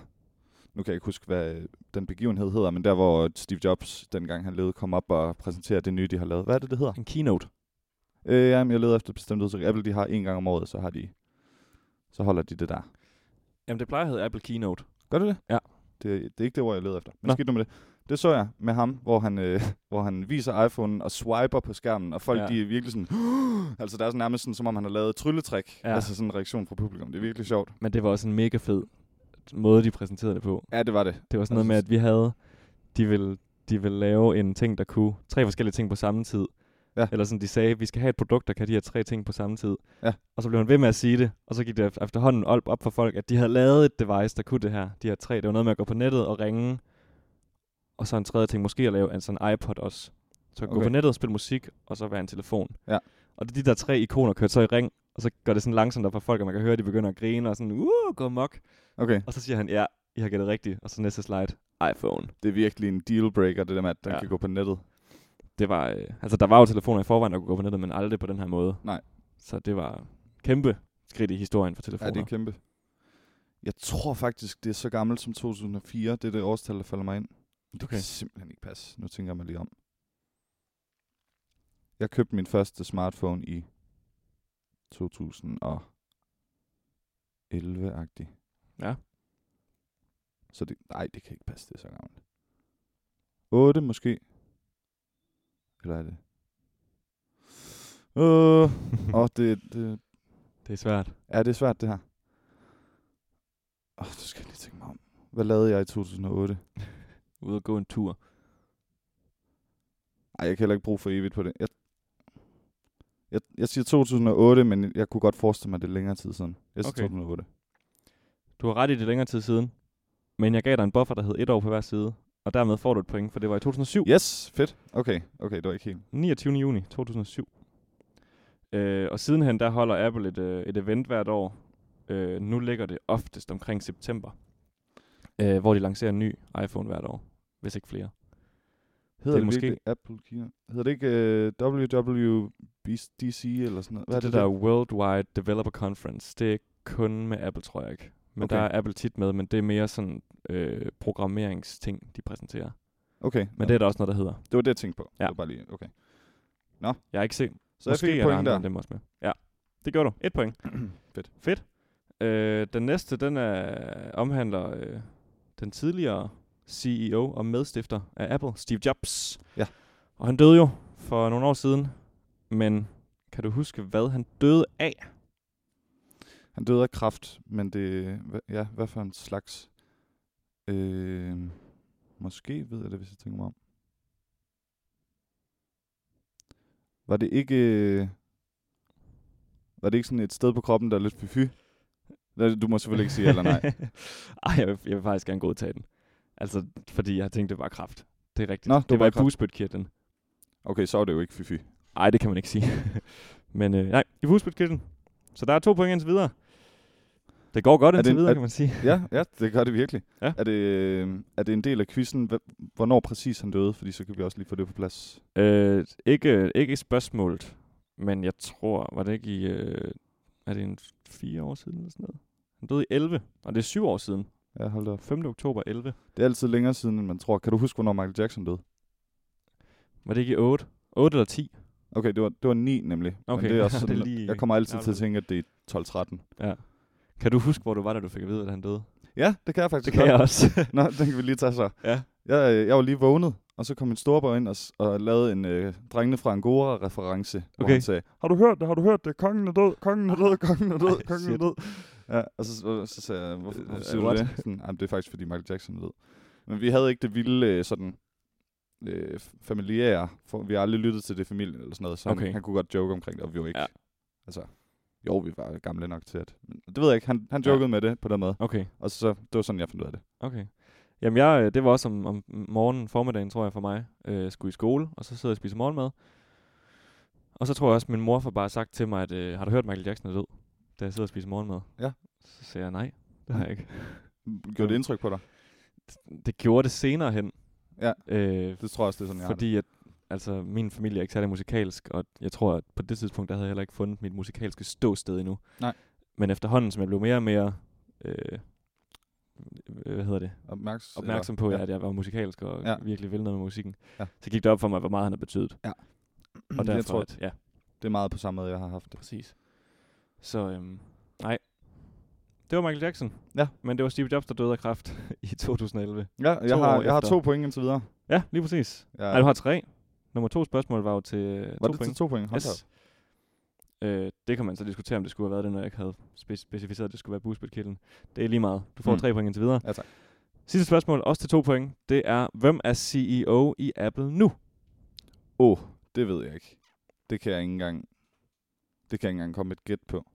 Speaker 1: nu kan jeg ikke huske, hvad øh, den begivenhed hedder, men der hvor Steve Jobs, dengang han levede, kom op og præsenterede det nye, de har lavet. Hvad er det, det hedder?
Speaker 2: En keynote.
Speaker 1: Øh, jamen, jeg leder efter et bestemt udtryk. Apple, de har en gang om året, så har de så holder de det der.
Speaker 2: Jamen, det plejer at hedde Apple Keynote.
Speaker 1: Gør det det?
Speaker 2: Ja.
Speaker 1: Det, det er ikke det ord, jeg leder efter. Men
Speaker 2: Nå.
Speaker 1: skidt nu med det. Det så jeg med ham, hvor han, øh, hvor han viser iPhone'en og swiper på skærmen, og folk
Speaker 2: Ja.
Speaker 1: ja. de er virkelig sådan... altså, der er sådan nærmest sådan, som om han har lavet et trylletrik.
Speaker 2: Ja.
Speaker 1: Ja. Altså sådan en reaktion fra publikum. Det er virkelig sjovt.
Speaker 2: Men det var også en mega fed måde, de præsenterede det på.
Speaker 1: Ja, det var det.
Speaker 2: Det var sådan noget med, at vi havde... De ville, de ville lave en ting, der kunne tre forskellige ting på samme tid.
Speaker 1: Ja.
Speaker 2: Eller sådan, de sagde, vi skal have et produkt, der kan de her tre ting på samme tid.
Speaker 1: Ja.
Speaker 2: Og så blev han ved med at sige det, og så gik det eft- efterhånden op, op for folk, at de havde lavet et device, der kunne det her. De her tre, det var noget med at gå på nettet og ringe. Og så en tredje ting, måske at lave en sådan iPod også. Så okay. gå
Speaker 1: Okay.
Speaker 2: på nettet og spille musik, og så være en telefon.
Speaker 1: Ja.
Speaker 2: Og det er de der tre ikoner, kørt så i ring, og så går det sådan langsomt op for folk, og man kan høre, at de begynder at grine og sådan, uh, gå mok.
Speaker 1: Okay.
Speaker 2: Og så siger han, ja, I har gættet rigtigt. Og så næste slide, iPhone.
Speaker 1: Det er virkelig en dealbreaker, det der med, at den
Speaker 2: Ja.
Speaker 1: ja. kan gå på nettet.
Speaker 2: Det var, øh, altså der var jo telefoner i forvejen, der kunne gå på nettet, men aldrig på den her måde.
Speaker 1: Nej.
Speaker 2: Så det var kæmpe skridt i historien for telefoner.
Speaker 1: Ja, det er kæmpe. Jeg tror faktisk, det er så gammelt som 2004. Det er det årstal, der falder mig ind. Det
Speaker 2: Okay.
Speaker 1: kan simpelthen ikke passe. Nu tænker jeg mig lige om. Jeg købte min første smartphone i 2011-agtig.
Speaker 2: Ja.
Speaker 1: Så det, nej, det kan ikke passe, det er så gammelt. 8 måske. Eller er det? Øh, åh, det, det,
Speaker 2: det er svært.
Speaker 1: Ja, det er svært, det her. Åh, oh, du skal jeg lige tænke mig om. Hvad lavede jeg i 2008?
Speaker 2: Ude at gå en tur.
Speaker 1: Ej, jeg kan heller ikke bruge for evigt på det. Jeg, jeg, jeg siger 2008, men jeg kunne godt forestille mig, at det er længere tid siden. Jeg siger
Speaker 2: Okay.
Speaker 1: okay. 2008.
Speaker 2: Du har ret i det er længere tid siden, men jeg gav dig en buffer, der hed et år på hver side. Og dermed får du et point, for det var i 2007.
Speaker 1: Yes, fedt. Okay, okay, det var ikke helt.
Speaker 2: 29. juni 2007. Øh, og sidenhen, der holder Apple et, øh, et event hvert år. Øh, nu ligger det oftest omkring september, øh, hvor de lancerer en ny iPhone hvert år, hvis ikke flere.
Speaker 1: Hedder det, det
Speaker 2: måske-
Speaker 1: måske... Apple Kina? Hedder det ikke uh, WWDC eller sådan noget?
Speaker 2: Hvad er det, det der Worldwide Developer Conference, det er kun med Apple, tror jeg ikke. Men okay. der
Speaker 1: Okay.
Speaker 2: er Apple tit med, men det er mere sådan øh, programmeringsting, de præsenterer.
Speaker 1: Okay,
Speaker 2: Men det er der også noget, der hedder.
Speaker 1: det var det, jeg tænkte på.
Speaker 2: Ja.
Speaker 1: Det var bare lige, okay.
Speaker 2: Jeg har ikke set.
Speaker 1: Så
Speaker 2: Måske
Speaker 1: jeg fik
Speaker 2: er
Speaker 1: et
Speaker 2: der
Speaker 1: point
Speaker 2: andre
Speaker 1: der.
Speaker 2: end dem også med. Ja, det gjorde du. Et point.
Speaker 1: Fedt.
Speaker 2: Fedt. Øh, den næste, den er, omhandler øh, den tidligere CEO og medstifter af Apple, Steve Jobs.
Speaker 1: Ja.
Speaker 2: Og han døde jo for nogle år siden, men kan du huske, hvad han døde af?
Speaker 1: Han døde af kræft, men det... hva- Ja, hvad for en slags... Øh, måske ved jeg det, hvis jeg tænker mig om. Var det ikke... øh, Var det ikke sådan et sted på kroppen, der er lidt fyfy? Nej, Du må selvfølgelig ikke sige ja eller nej.
Speaker 2: Ej, jeg vil, jeg vil faktisk gerne godtage den. Altså, fordi jeg tænkte, det var kraft. Det er rigtigt.
Speaker 1: Nå, det
Speaker 2: det, det
Speaker 1: var
Speaker 2: var i
Speaker 1: kræft.
Speaker 2: bugspytkirtlen.
Speaker 1: Okay, så var det jo ikke fyfy.
Speaker 2: Nej, det kan man ikke sige. Men øh, nej, i bugspytkirtlen. Så der er to point indtil videre. Det går godt
Speaker 1: Er
Speaker 2: indtil
Speaker 1: det en-
Speaker 2: videre,
Speaker 1: er-
Speaker 2: kan man sige.
Speaker 1: Ja, ja, det gør det virkelig.
Speaker 2: Ja.
Speaker 1: Er, det, øh, er det en del af quizzen, hva- hvornår præcis han døde? Fordi så kan vi også lige få det på plads.
Speaker 2: Øh, ikke, ikke spørgsmålet, men jeg tror, var det ikke i, øh, er det en fire år siden eller sådan noget? Han døde i 11, og det er syv år siden.
Speaker 1: Ja, hold da op.
Speaker 2: 5. oktober 11.
Speaker 1: Det er altid længere siden, end man tror. Kan du huske, hvornår Michael Jackson døde?
Speaker 2: Var det ikke i 8? 8 eller 10?
Speaker 1: Okay, det var, det var 9 nemlig.
Speaker 2: Okay,
Speaker 1: Men det er også
Speaker 2: det er
Speaker 1: sådan, det
Speaker 2: lige-
Speaker 1: lige... Jeg kommer altid
Speaker 2: Ja,
Speaker 1: til at
Speaker 2: det-
Speaker 1: tænke, at det er 12-13.
Speaker 2: Kan du huske, hvor du var, da du fik at vide, at han døde?
Speaker 1: Ja, det kan jeg faktisk
Speaker 2: Det kan jeg
Speaker 1: godt.
Speaker 2: også.
Speaker 1: Nå, den kan vi lige tage så.
Speaker 2: Ja.
Speaker 1: Jeg, øh, jeg var lige vågnet, og så kom min storebror ind og, s- og lavede en øh, drengene fra Angora-reference, okay. hvor
Speaker 2: Okay.
Speaker 1: han sagde, har du hørt det, har du hørt det, kongen er død, kongen er død, kongen er død,
Speaker 2: Ej,
Speaker 1: kongen er
Speaker 2: shit.
Speaker 1: død. Ja, og så, så, så sagde jeg, hvorfor,
Speaker 2: Øh,
Speaker 1: hvorfor siger du
Speaker 2: what?"
Speaker 1: det? Sådan, Jamen, det er faktisk, fordi Michael Jackson er død. Men vi havde ikke det vilde øh, sådan, øh, f- familiære, for vi har aldrig lyttet til det familie eller sådan noget, så
Speaker 2: Okay.
Speaker 1: han, han kunne godt joke omkring det, og vi var ikke,
Speaker 2: Ja.
Speaker 1: ja. altså, jo, vi var gamle nok til at, men det ved jeg ikke, han, han jokede ja. med det på den måde,
Speaker 2: Okay,
Speaker 1: og så, det var sådan, jeg fandt ud af det.
Speaker 2: okay. Jamen, jeg, øh, det var også om, om morgenen, formiddagen, tror jeg, for mig. Øh, skulle i skole, og så sidder jeg og spiser morgenmad. Og så tror jeg også, min mor får bare sagt til mig, at øh, har du hørt, Michael Jackson er død, da jeg sidder og spiser morgenmad?
Speaker 1: Ja.
Speaker 2: Så siger jeg, nej, det har jeg ikke.
Speaker 1: Gjorde det indtryk på dig?
Speaker 2: Det gjorde det senere hen.
Speaker 1: Ja.
Speaker 2: Øh,
Speaker 1: Det tror jeg også, det er sådan, jeg har det.
Speaker 2: fordi at, altså, min familie er ikke særlig musikalsk, og jeg tror, at på det tidspunkt, der havde jeg heller ikke fundet mit musikalske ståsted endnu.
Speaker 1: Nej.
Speaker 2: Men efterhånden, som jeg blev mere og mere, øh, øh, hvad hedder det,
Speaker 1: Opmærks
Speaker 2: opmærksom på,
Speaker 1: ja.
Speaker 2: ja. at jeg var musikalsk og
Speaker 1: Ja.
Speaker 2: ja. virkelig ville noget med musikken,
Speaker 1: Ja.
Speaker 2: ja. så gik det op for mig, hvor meget han har betydet.
Speaker 1: Ja.
Speaker 2: Og derfor,
Speaker 1: jeg tror,
Speaker 2: at, ja,
Speaker 1: det er meget på samme måde, jeg har haft det.
Speaker 2: præcis. Så, øhm, nej. Det var Michael Jackson.
Speaker 1: Ja.
Speaker 2: Men det var Steve Jobs, der døde af kræft i 2011.
Speaker 1: Ja, jeg,
Speaker 2: To
Speaker 1: har,
Speaker 2: år
Speaker 1: jeg har
Speaker 2: efter.
Speaker 1: to point indtil videre.
Speaker 2: Ja, lige præcis.
Speaker 1: Ja.
Speaker 2: Ja. Nej, du har tre. Nummer to spørgsmål var jo til øh,
Speaker 1: var
Speaker 2: to
Speaker 1: det
Speaker 2: point.
Speaker 1: til to point? Hold da op.
Speaker 2: Øh, det kan man så diskutere, om det skulle have været det, når jeg ikke havde spe- specificeret, at det skulle være bugspytkirtlen. Det er lige meget. Du får
Speaker 1: Mm.
Speaker 2: mm. tre point indtil videre.
Speaker 1: Ja, tak.
Speaker 2: Sidste spørgsmål, også til to point. Det er, hvem er CEO i Apple nu?
Speaker 1: Åh, oh, det ved jeg ikke. Det kan jeg ikke engang, det kan jeg ikke engang komme et gæt på.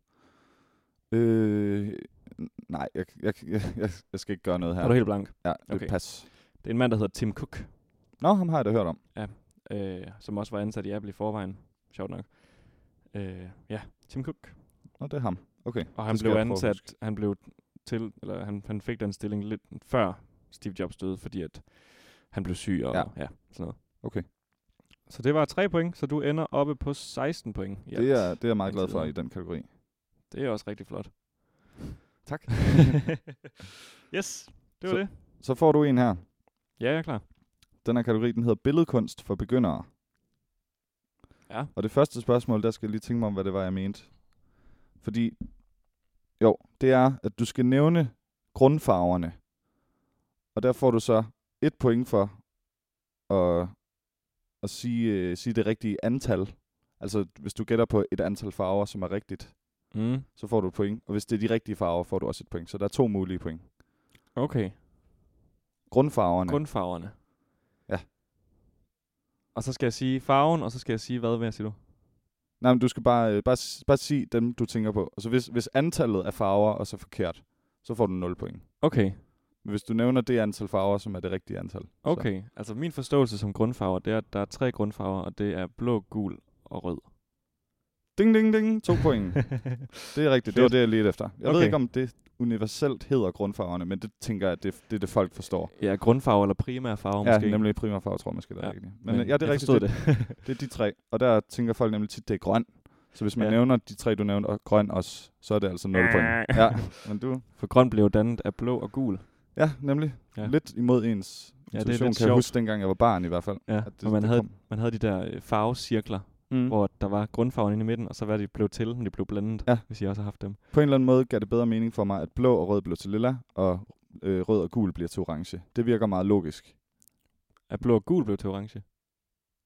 Speaker 1: Øh, n- nej, jeg, jeg, jeg, jeg, jeg skal ikke gøre noget
Speaker 2: Ja.
Speaker 1: her.
Speaker 2: Er du helt blank?
Speaker 1: Ja, det okay.
Speaker 2: Okay.
Speaker 1: pas.
Speaker 2: Det er en mand, der hedder Tim Cook,
Speaker 1: Nå, ham har jeg da hørt om.
Speaker 2: øh, som også var ansat i Apple i forvejen. Sjovt nok. Øh, ja, Tim Cook.
Speaker 1: Nå, det er ham. Okay.
Speaker 2: Og han
Speaker 1: det skal
Speaker 2: blev
Speaker 1: jeg prøve at
Speaker 2: ansat, han blev til, eller han, han fik den stilling lidt før Steve Jobs døde, fordi at han blev syg og
Speaker 1: Ja.
Speaker 2: ja. ja sådan noget.
Speaker 1: Okay.
Speaker 2: Så det var 3 point, så du ender oppe på 16 point. i
Speaker 1: Yep.
Speaker 2: alt.
Speaker 1: Det, er, det er jeg meget glad for i
Speaker 2: Indtil
Speaker 1: den kategori.
Speaker 2: det er også rigtig flot.
Speaker 1: Tak.
Speaker 2: yes, det var
Speaker 1: Så-
Speaker 2: det.
Speaker 1: Så får du en her.
Speaker 2: Ja, jeg er klar.
Speaker 1: Den her kategori, den hedder Billedkunst for begyndere.
Speaker 2: Ja.
Speaker 1: Og det første spørgsmål, der skal jeg lige tænke mig om, hvad det var, jeg mente. Fordi, jo, det er, at du skal nævne grundfarverne. Og der får du så et point for at, at sige, øh, sige det rigtige antal. Altså, hvis du gætter på et antal farver, som er rigtigt,
Speaker 2: Mm.
Speaker 1: så får du et point. Og hvis det er de rigtige farver, får du også et point. Så der er to mulige point.
Speaker 2: Okay,
Speaker 1: Grundfarverne.
Speaker 2: grundfarverne.
Speaker 1: Ja.
Speaker 2: Og så skal jeg sige farven, og så skal jeg sige, hvad mere siger du?
Speaker 1: Nej, men du skal bare, øh, bare, s- bare sige dem, du tænker på. Altså, hvis, hvis antallet af farver er så forkert, så får du 0 point.
Speaker 2: Okay,
Speaker 1: Men hvis du nævner det antal farver, som er det rigtige antal.
Speaker 2: okay. Så. Altså min forståelse som grundfarver, det er, at der er tre grundfarver, og det er blå, gul og rød.
Speaker 1: Ding, ding, ding. To point. Det er rigtigt. Det var
Speaker 2: Fedt.
Speaker 1: det, jeg ledte efter. Jeg okay.
Speaker 2: Okay.
Speaker 1: ved ikke, om det universelt hedder grundfarverne, men det tænker jeg, det, det er det, folk forstår.
Speaker 2: ja, grundfarve eller primære farve
Speaker 1: Ja,
Speaker 2: måske.
Speaker 1: nemlig primærfarve, tror jeg måske, der er
Speaker 2: Ja,
Speaker 1: rigtigt. Men, men ja, det er
Speaker 2: jeg
Speaker 1: rigtigt.
Speaker 2: forstod
Speaker 1: Det, det er de tre. Og der tænker folk nemlig tit, det er grøn. Så hvis man
Speaker 2: Ja.
Speaker 1: ja. nævner de tre, du nævnte, og grøn også, så er det altså 0 point. Ja, men du...
Speaker 2: For grøn blev dannet af blå og gul.
Speaker 1: Ja, nemlig.
Speaker 2: Ja.
Speaker 1: Ja. Lidt imod ens ja,
Speaker 2: Ja, det er
Speaker 1: intuition,
Speaker 2: lidt
Speaker 1: kan jeg
Speaker 2: sjovt.
Speaker 1: huske, dengang jeg var barn i hvert fald.
Speaker 2: Ja,
Speaker 1: at
Speaker 2: det, og man havde,
Speaker 1: kom.
Speaker 2: man havde de der øh, farvecirkler,
Speaker 1: Mm.
Speaker 2: mm. hvor der var grundfarven inde i midten, og så var de blev til, men de blev blandet,
Speaker 1: Ja.
Speaker 2: ja. hvis I også har haft dem.
Speaker 1: På en eller anden måde gav det bedre mening for mig, at blå og rød blev til lilla, og øh, rød og gul bliver til orange. Det virker meget logisk.
Speaker 2: At blå og gul blev til orange.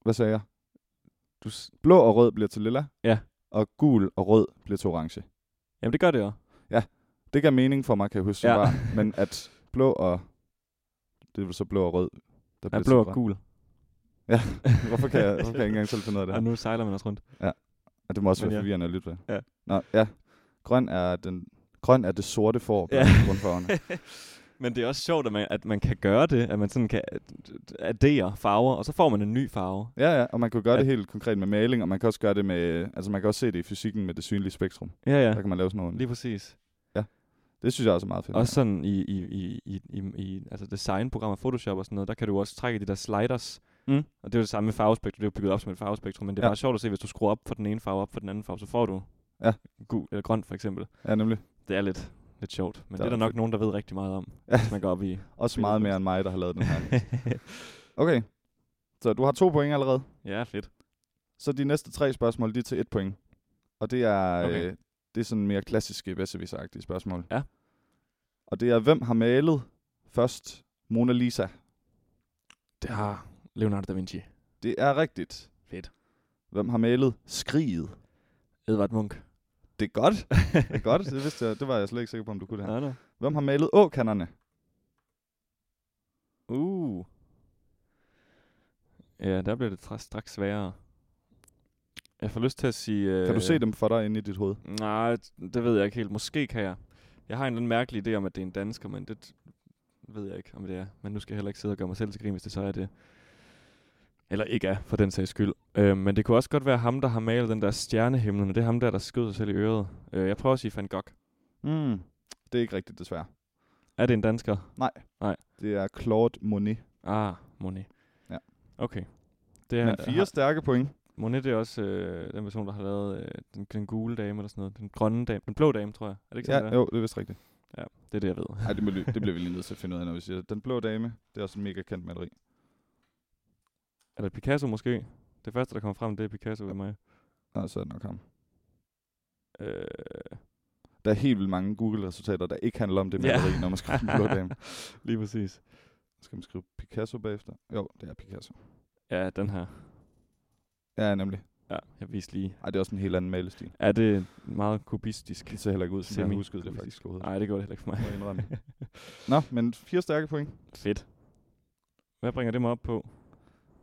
Speaker 1: Hvad sagde jeg?
Speaker 2: Du, s-
Speaker 1: Blå og rød bliver til lilla,
Speaker 2: Ja.
Speaker 1: og gul og rød bliver til orange.
Speaker 2: Jamen, det gør det jo.
Speaker 1: Det gav mening for mig, kan jeg huske,
Speaker 2: Ja.
Speaker 1: ja. var, men at blå og... Det er vel så blå og rød, der
Speaker 2: Ja,
Speaker 1: bliver
Speaker 2: blå
Speaker 1: til
Speaker 2: og
Speaker 1: grøn.
Speaker 2: gul.
Speaker 1: Ja, Hvorfor kan, jeg, hvorfor kan jeg ikke engang selv finde ud af det her?
Speaker 2: Og nu sejler man også rundt.
Speaker 1: Og det må også
Speaker 2: Men
Speaker 1: være
Speaker 2: ja.
Speaker 1: forvirrende at lytte til.
Speaker 2: Ja.
Speaker 1: Nå, ja. Grøn er, den, grøn er det sorte får på
Speaker 2: Ja.
Speaker 1: grundfarverne.
Speaker 2: Men det er også sjovt, at man, at man kan gøre det, at man sådan kan øh, addere farver, og så får man en ny farve.
Speaker 1: Ja, ja, og man kan jo gøre
Speaker 2: Ja.
Speaker 1: det helt konkret med maling, og man kan også gøre det med, altså man kan også se det i fysikken med det synlige spektrum.
Speaker 2: Ja,
Speaker 1: Ja. Der
Speaker 2: ja,
Speaker 1: kan man lave sådan noget.
Speaker 2: lige præcis.
Speaker 1: Det synes jeg også er meget fedt.
Speaker 2: Også sådan i, i, i, i, i, i altså designprogrammer, Photoshop og sådan noget, der kan du også trække de der sliders.
Speaker 1: Mm.
Speaker 2: Og det er jo det samme med farvespektrum, det er jo bygget op som et farvespektrum, men det er
Speaker 1: Ja.
Speaker 2: bare sjovt at se, hvis du skruer op for den ene farve op for den anden farve, så får du
Speaker 1: Ja.
Speaker 2: gul eller grøn for eksempel.
Speaker 1: Ja, nemlig.
Speaker 2: Det er lidt, lidt sjovt, men
Speaker 1: Det
Speaker 2: det er
Speaker 1: er
Speaker 2: der
Speaker 1: ret
Speaker 2: nok
Speaker 1: fedt.
Speaker 2: nogen, der ved rigtig meget om,
Speaker 1: Ja.
Speaker 2: hvis man går op i.
Speaker 1: Også meget mere end mig, der har lavet den her. Okay, så du har to point allerede.
Speaker 2: ja, fedt.
Speaker 1: Så de næste tre spørgsmål, de er til et point. Og det er,
Speaker 2: Okay.
Speaker 1: okay. øh, det er sådan mere klassiske, besserwisser spørgsmål.
Speaker 2: Ja.
Speaker 1: Og det er, hvem har malet først Mona Lisa?
Speaker 2: Det har Leonardo da Vinci.
Speaker 1: Det er rigtigt.
Speaker 2: Fedt.
Speaker 1: Hvem har malet skriget?
Speaker 2: Edvard Munch.
Speaker 1: Det er godt. Det er godt, det vidste jeg. Det var jeg slet ikke sikker på, om du kunne det her.
Speaker 2: Nej, nej.
Speaker 1: Hvem har malet åkanderne?
Speaker 2: Uh. Ja, der bliver det tra- straks sværere. Jeg får lyst til at sige... Øh,
Speaker 1: Kan du se dem for dig inde i dit hoved?
Speaker 2: Nej, det ved jeg ikke helt. Måske kan jeg. Jeg har en lidt mærkelig idé om, at det er en dansker, men det ved jeg ikke, om det er. Men nu skal jeg heller ikke sidde og gøre mig selv til grin, hvis det så er det. Eller ikke er, for den sags skyld. Øh, men det kunne også godt være ham, der har malet den der stjernehimmel, og det er ham der, der skød sig selv i øret. Øh, jeg prøver at sige Van Gogh.
Speaker 1: Mm. Det er ikke rigtigt, desværre.
Speaker 2: Er det en dansker?
Speaker 1: Det er Claude Monet.
Speaker 2: Ah, Monet.
Speaker 1: Ja.
Speaker 2: Okay. Det
Speaker 1: Ja, Men fire
Speaker 2: har-
Speaker 1: stærke point.
Speaker 2: Monet det er også øh, den person, der har lavet øh, den, den gule dame eller sådan noget. Den grønne dame. Den blå dame, tror jeg. Er det ikke sådan,
Speaker 1: Ja,
Speaker 2: det er?
Speaker 1: jo, det er vist rigtigt.
Speaker 2: Det er det, jeg ved.
Speaker 1: Ej, det, må, det bliver vi lige nødt til at finde ud af, når vi siger det. Den blå dame, det er også en mega kendt maleri.
Speaker 2: Er det Picasso måske? Det første, der kommer frem, det er Picasso ved mig.
Speaker 1: Nå, så er det nok ham.
Speaker 2: Øh,
Speaker 1: Der er helt vildt mange Google-resultater, der ikke handler om det
Speaker 2: Ja.
Speaker 1: maleri, når man skriver den blå dame.
Speaker 2: lige præcis.
Speaker 1: Skal man skrive Picasso bagefter? Jo, det er Picasso.
Speaker 2: Ja, den her.
Speaker 1: Ja, nemlig.
Speaker 2: Ja, jeg viste lige.
Speaker 1: Ej, det er også en helt anden malestil.
Speaker 2: Er det meget kubistisk?
Speaker 1: Det ser heller ikke ud, som jeg
Speaker 2: Semi-
Speaker 1: har husket det faktisk overhovedet.
Speaker 2: Nej, det går det heller ikke for mig.
Speaker 1: Må jeg indrømme. Nå, men fire stærke point.
Speaker 2: Fedt. Hvad bringer det mig op på?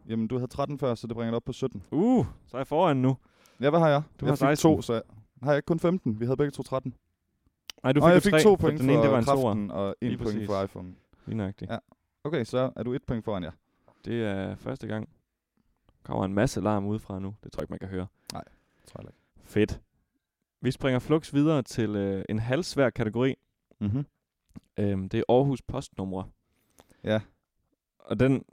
Speaker 1: Jamen, du havde 13 før, så det bringer det op på 17.
Speaker 2: Uh, så er jeg foran nu.
Speaker 1: Ja, hvad har jeg?
Speaker 2: Du
Speaker 1: jeg
Speaker 2: har
Speaker 1: fik
Speaker 2: 16.
Speaker 1: to, så jeg... har jeg ikke kun 15. Vi havde begge to 13.
Speaker 2: Nej, du
Speaker 1: og
Speaker 2: fik,
Speaker 1: jeg
Speaker 2: jo
Speaker 1: fik
Speaker 2: tre,
Speaker 1: to
Speaker 2: for
Speaker 1: point
Speaker 2: den ene,
Speaker 1: for
Speaker 2: det var en toer.
Speaker 1: kraften, og
Speaker 2: Lige
Speaker 1: en point for
Speaker 2: præcis.
Speaker 1: iPhone.
Speaker 2: Lige nøjagtigt.
Speaker 1: Ja. Okay, så er du et point foran jer.
Speaker 2: Det er første gang. Der kommer en masse larm udefra nu. Det tror jeg ikke, man kan høre.
Speaker 1: Tror jeg ikke.
Speaker 2: Fedt. Vi springer flux videre til øh, en halvsvær kategori.
Speaker 1: Mm-hmm.
Speaker 2: Øhm, det er Aarhus postnumre.
Speaker 1: Ja.
Speaker 2: Og den,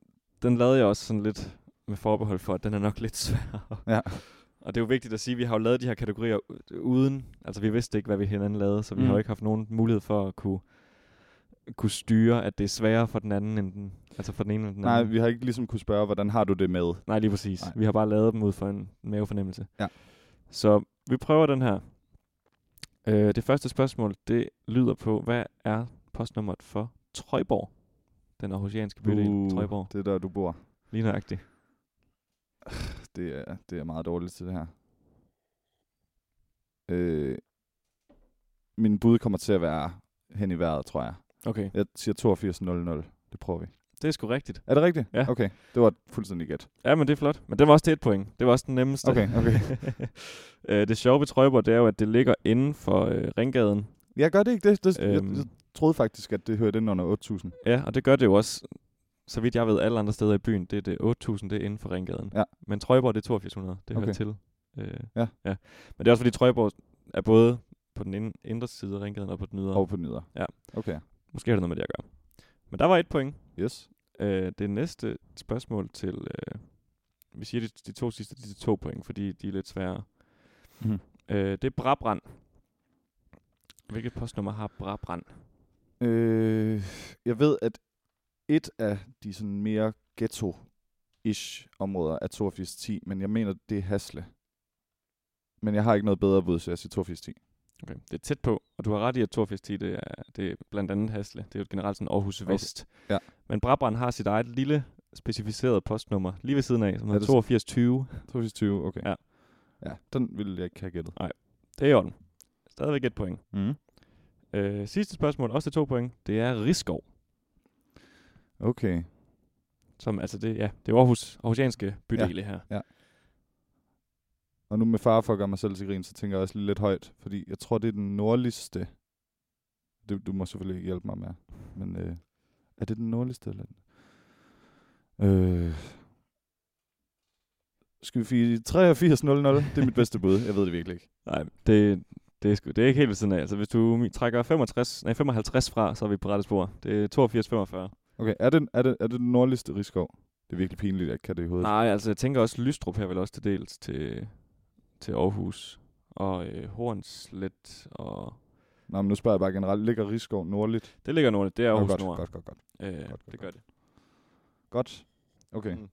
Speaker 2: den lavede jeg også sådan lidt med forbehold for, at den er nok lidt svær.
Speaker 1: Ja.
Speaker 2: Og det er jo vigtigt at sige, at vi har jo lavet de her kategorier u- uden, altså vi vidste ikke, hvad vi hinanden lavede, så vi mm. har jo
Speaker 1: Mm.
Speaker 2: ikke haft nogen mulighed for at kunne, kunne styre, at det er sværere for den anden end den, altså for den ene end den
Speaker 1: Nej,
Speaker 2: anden.
Speaker 1: vi har ikke ligesom kunne spørge, hvordan har du det med?
Speaker 2: Nej, lige præcis. Nej.
Speaker 1: Nej.
Speaker 2: Vi har bare lavet dem ud for en mavefornemmelse.
Speaker 1: Ja.
Speaker 2: Så vi prøver den her. Øh, det første spørgsmål, det lyder på, hvad er postnummeret for Trøjborg? Den aarhusianske bydel uh. Trøjborg.
Speaker 1: det er der, du bor.
Speaker 2: Lige nøjagtigt.
Speaker 1: Det er, det er meget dårligt til det her. Øh, min bud kommer til at være hen i vejret, tror jeg.
Speaker 2: Okay.
Speaker 1: Jeg siger 82.00. Det prøver vi.
Speaker 2: Det er sgu rigtigt.
Speaker 1: Er det rigtigt?
Speaker 2: Ja.
Speaker 1: Okay, det var et fuldstændig gæt.
Speaker 2: Ja, men det er flot. Men det var også til et point. Det var også den nemmeste.
Speaker 1: Okay, okay.
Speaker 2: øh, det sjove ved Trøjborg, det er jo, at det ligger inden for øh, Ringgaden.
Speaker 1: Jeg gør det ikke det. det
Speaker 2: Øhm.
Speaker 1: øhm. jeg, jeg troede faktisk, at det hørte ind under 8.000.
Speaker 2: Ja, og det gør det jo også, så vidt jeg ved, alle andre steder i byen. Det er det 8.000, det er inden for Ringgaden.
Speaker 1: Ja.
Speaker 2: Men Trøjborg, det er 8200. Det okay. hører
Speaker 1: Okay.
Speaker 2: til Øh,
Speaker 1: Ja.
Speaker 2: ja. Men det er også fordi Trøjborg er både på den ind- indre side af ringgaden og på den ydre.
Speaker 1: Over på den ydre.
Speaker 2: Ja.
Speaker 1: Okay.
Speaker 2: Måske har det noget med det at gøre. Men der var et point.
Speaker 1: Yes.
Speaker 2: Øh, det næste spørgsmål til... Øh, vi siger de, de to sidste, de er to point, fordi de er lidt sværere.
Speaker 1: Mhm.
Speaker 2: Øh, det er Brabrand. Hvilket postnummer har Brabrand?
Speaker 1: Øh, jeg ved, at et af de sådan mere ghetto-ish områder er 8210, men jeg mener, det er Hasle. Men jeg har ikke noget bedre bud, så jeg siger 8210.
Speaker 2: Okay. Det er tæt på, og du har ret i, at 8210, det er, det er blandt andet Hasle. Det er jo generelt sådan Aarhus
Speaker 1: Okay.
Speaker 2: okay. Vest.
Speaker 1: Ja.
Speaker 2: Men Brabrand har sit eget lille specificeret postnummer lige ved siden af, som
Speaker 1: Er
Speaker 2: hedder
Speaker 1: det s-
Speaker 2: 8220.
Speaker 1: 8220, okay.
Speaker 2: Ja.
Speaker 1: Ja, den ville jeg ikke have gættet.
Speaker 2: Det er i orden. Stadigvæk et point.
Speaker 1: Mm.
Speaker 2: Øh, sidste spørgsmål, også til to point, det er Rigskov.
Speaker 1: Okay.
Speaker 2: Som, altså det, ja, det er jo Aarhus, Aarhusianske bydele her.
Speaker 1: Og nu med far for at gøre mig selv til grin, så tænker jeg også lige lidt højt, fordi jeg tror, det er den nordligste. Det, du må selvfølgelig ikke hjælpe mig med. Men øh, er det den nordligste? Eller? Øh, skal vi sige 8300? Det er mit bedste bud. Jeg ved det virkelig ikke.
Speaker 2: Nej, det, det, er sgu, det er ikke helt ved siden af. Altså, hvis du mi- trækker 65, nej, 55 fra, så er vi på rette spor. Det er
Speaker 1: Okay, er det, er det, er det den nordligste Rigskov? Det er virkelig pinligt, at jeg ikke kan det i
Speaker 2: 82-45.
Speaker 1: hovedet.
Speaker 2: Nej, altså jeg tænker også, Lystrup her vel også til dels til, til Aarhus. Og øh, Hornslet, og...
Speaker 1: Nej, men nu spørger jeg bare generelt. Ligger Rigskov nordligt?
Speaker 2: Det ligger nordligt, det er
Speaker 1: Nå,
Speaker 2: Aarhus
Speaker 1: godt,
Speaker 2: Nord.
Speaker 1: godt, godt, godt.
Speaker 2: Øh,
Speaker 1: godt,
Speaker 2: det gør det.
Speaker 1: Godt. Okay.
Speaker 2: Mm.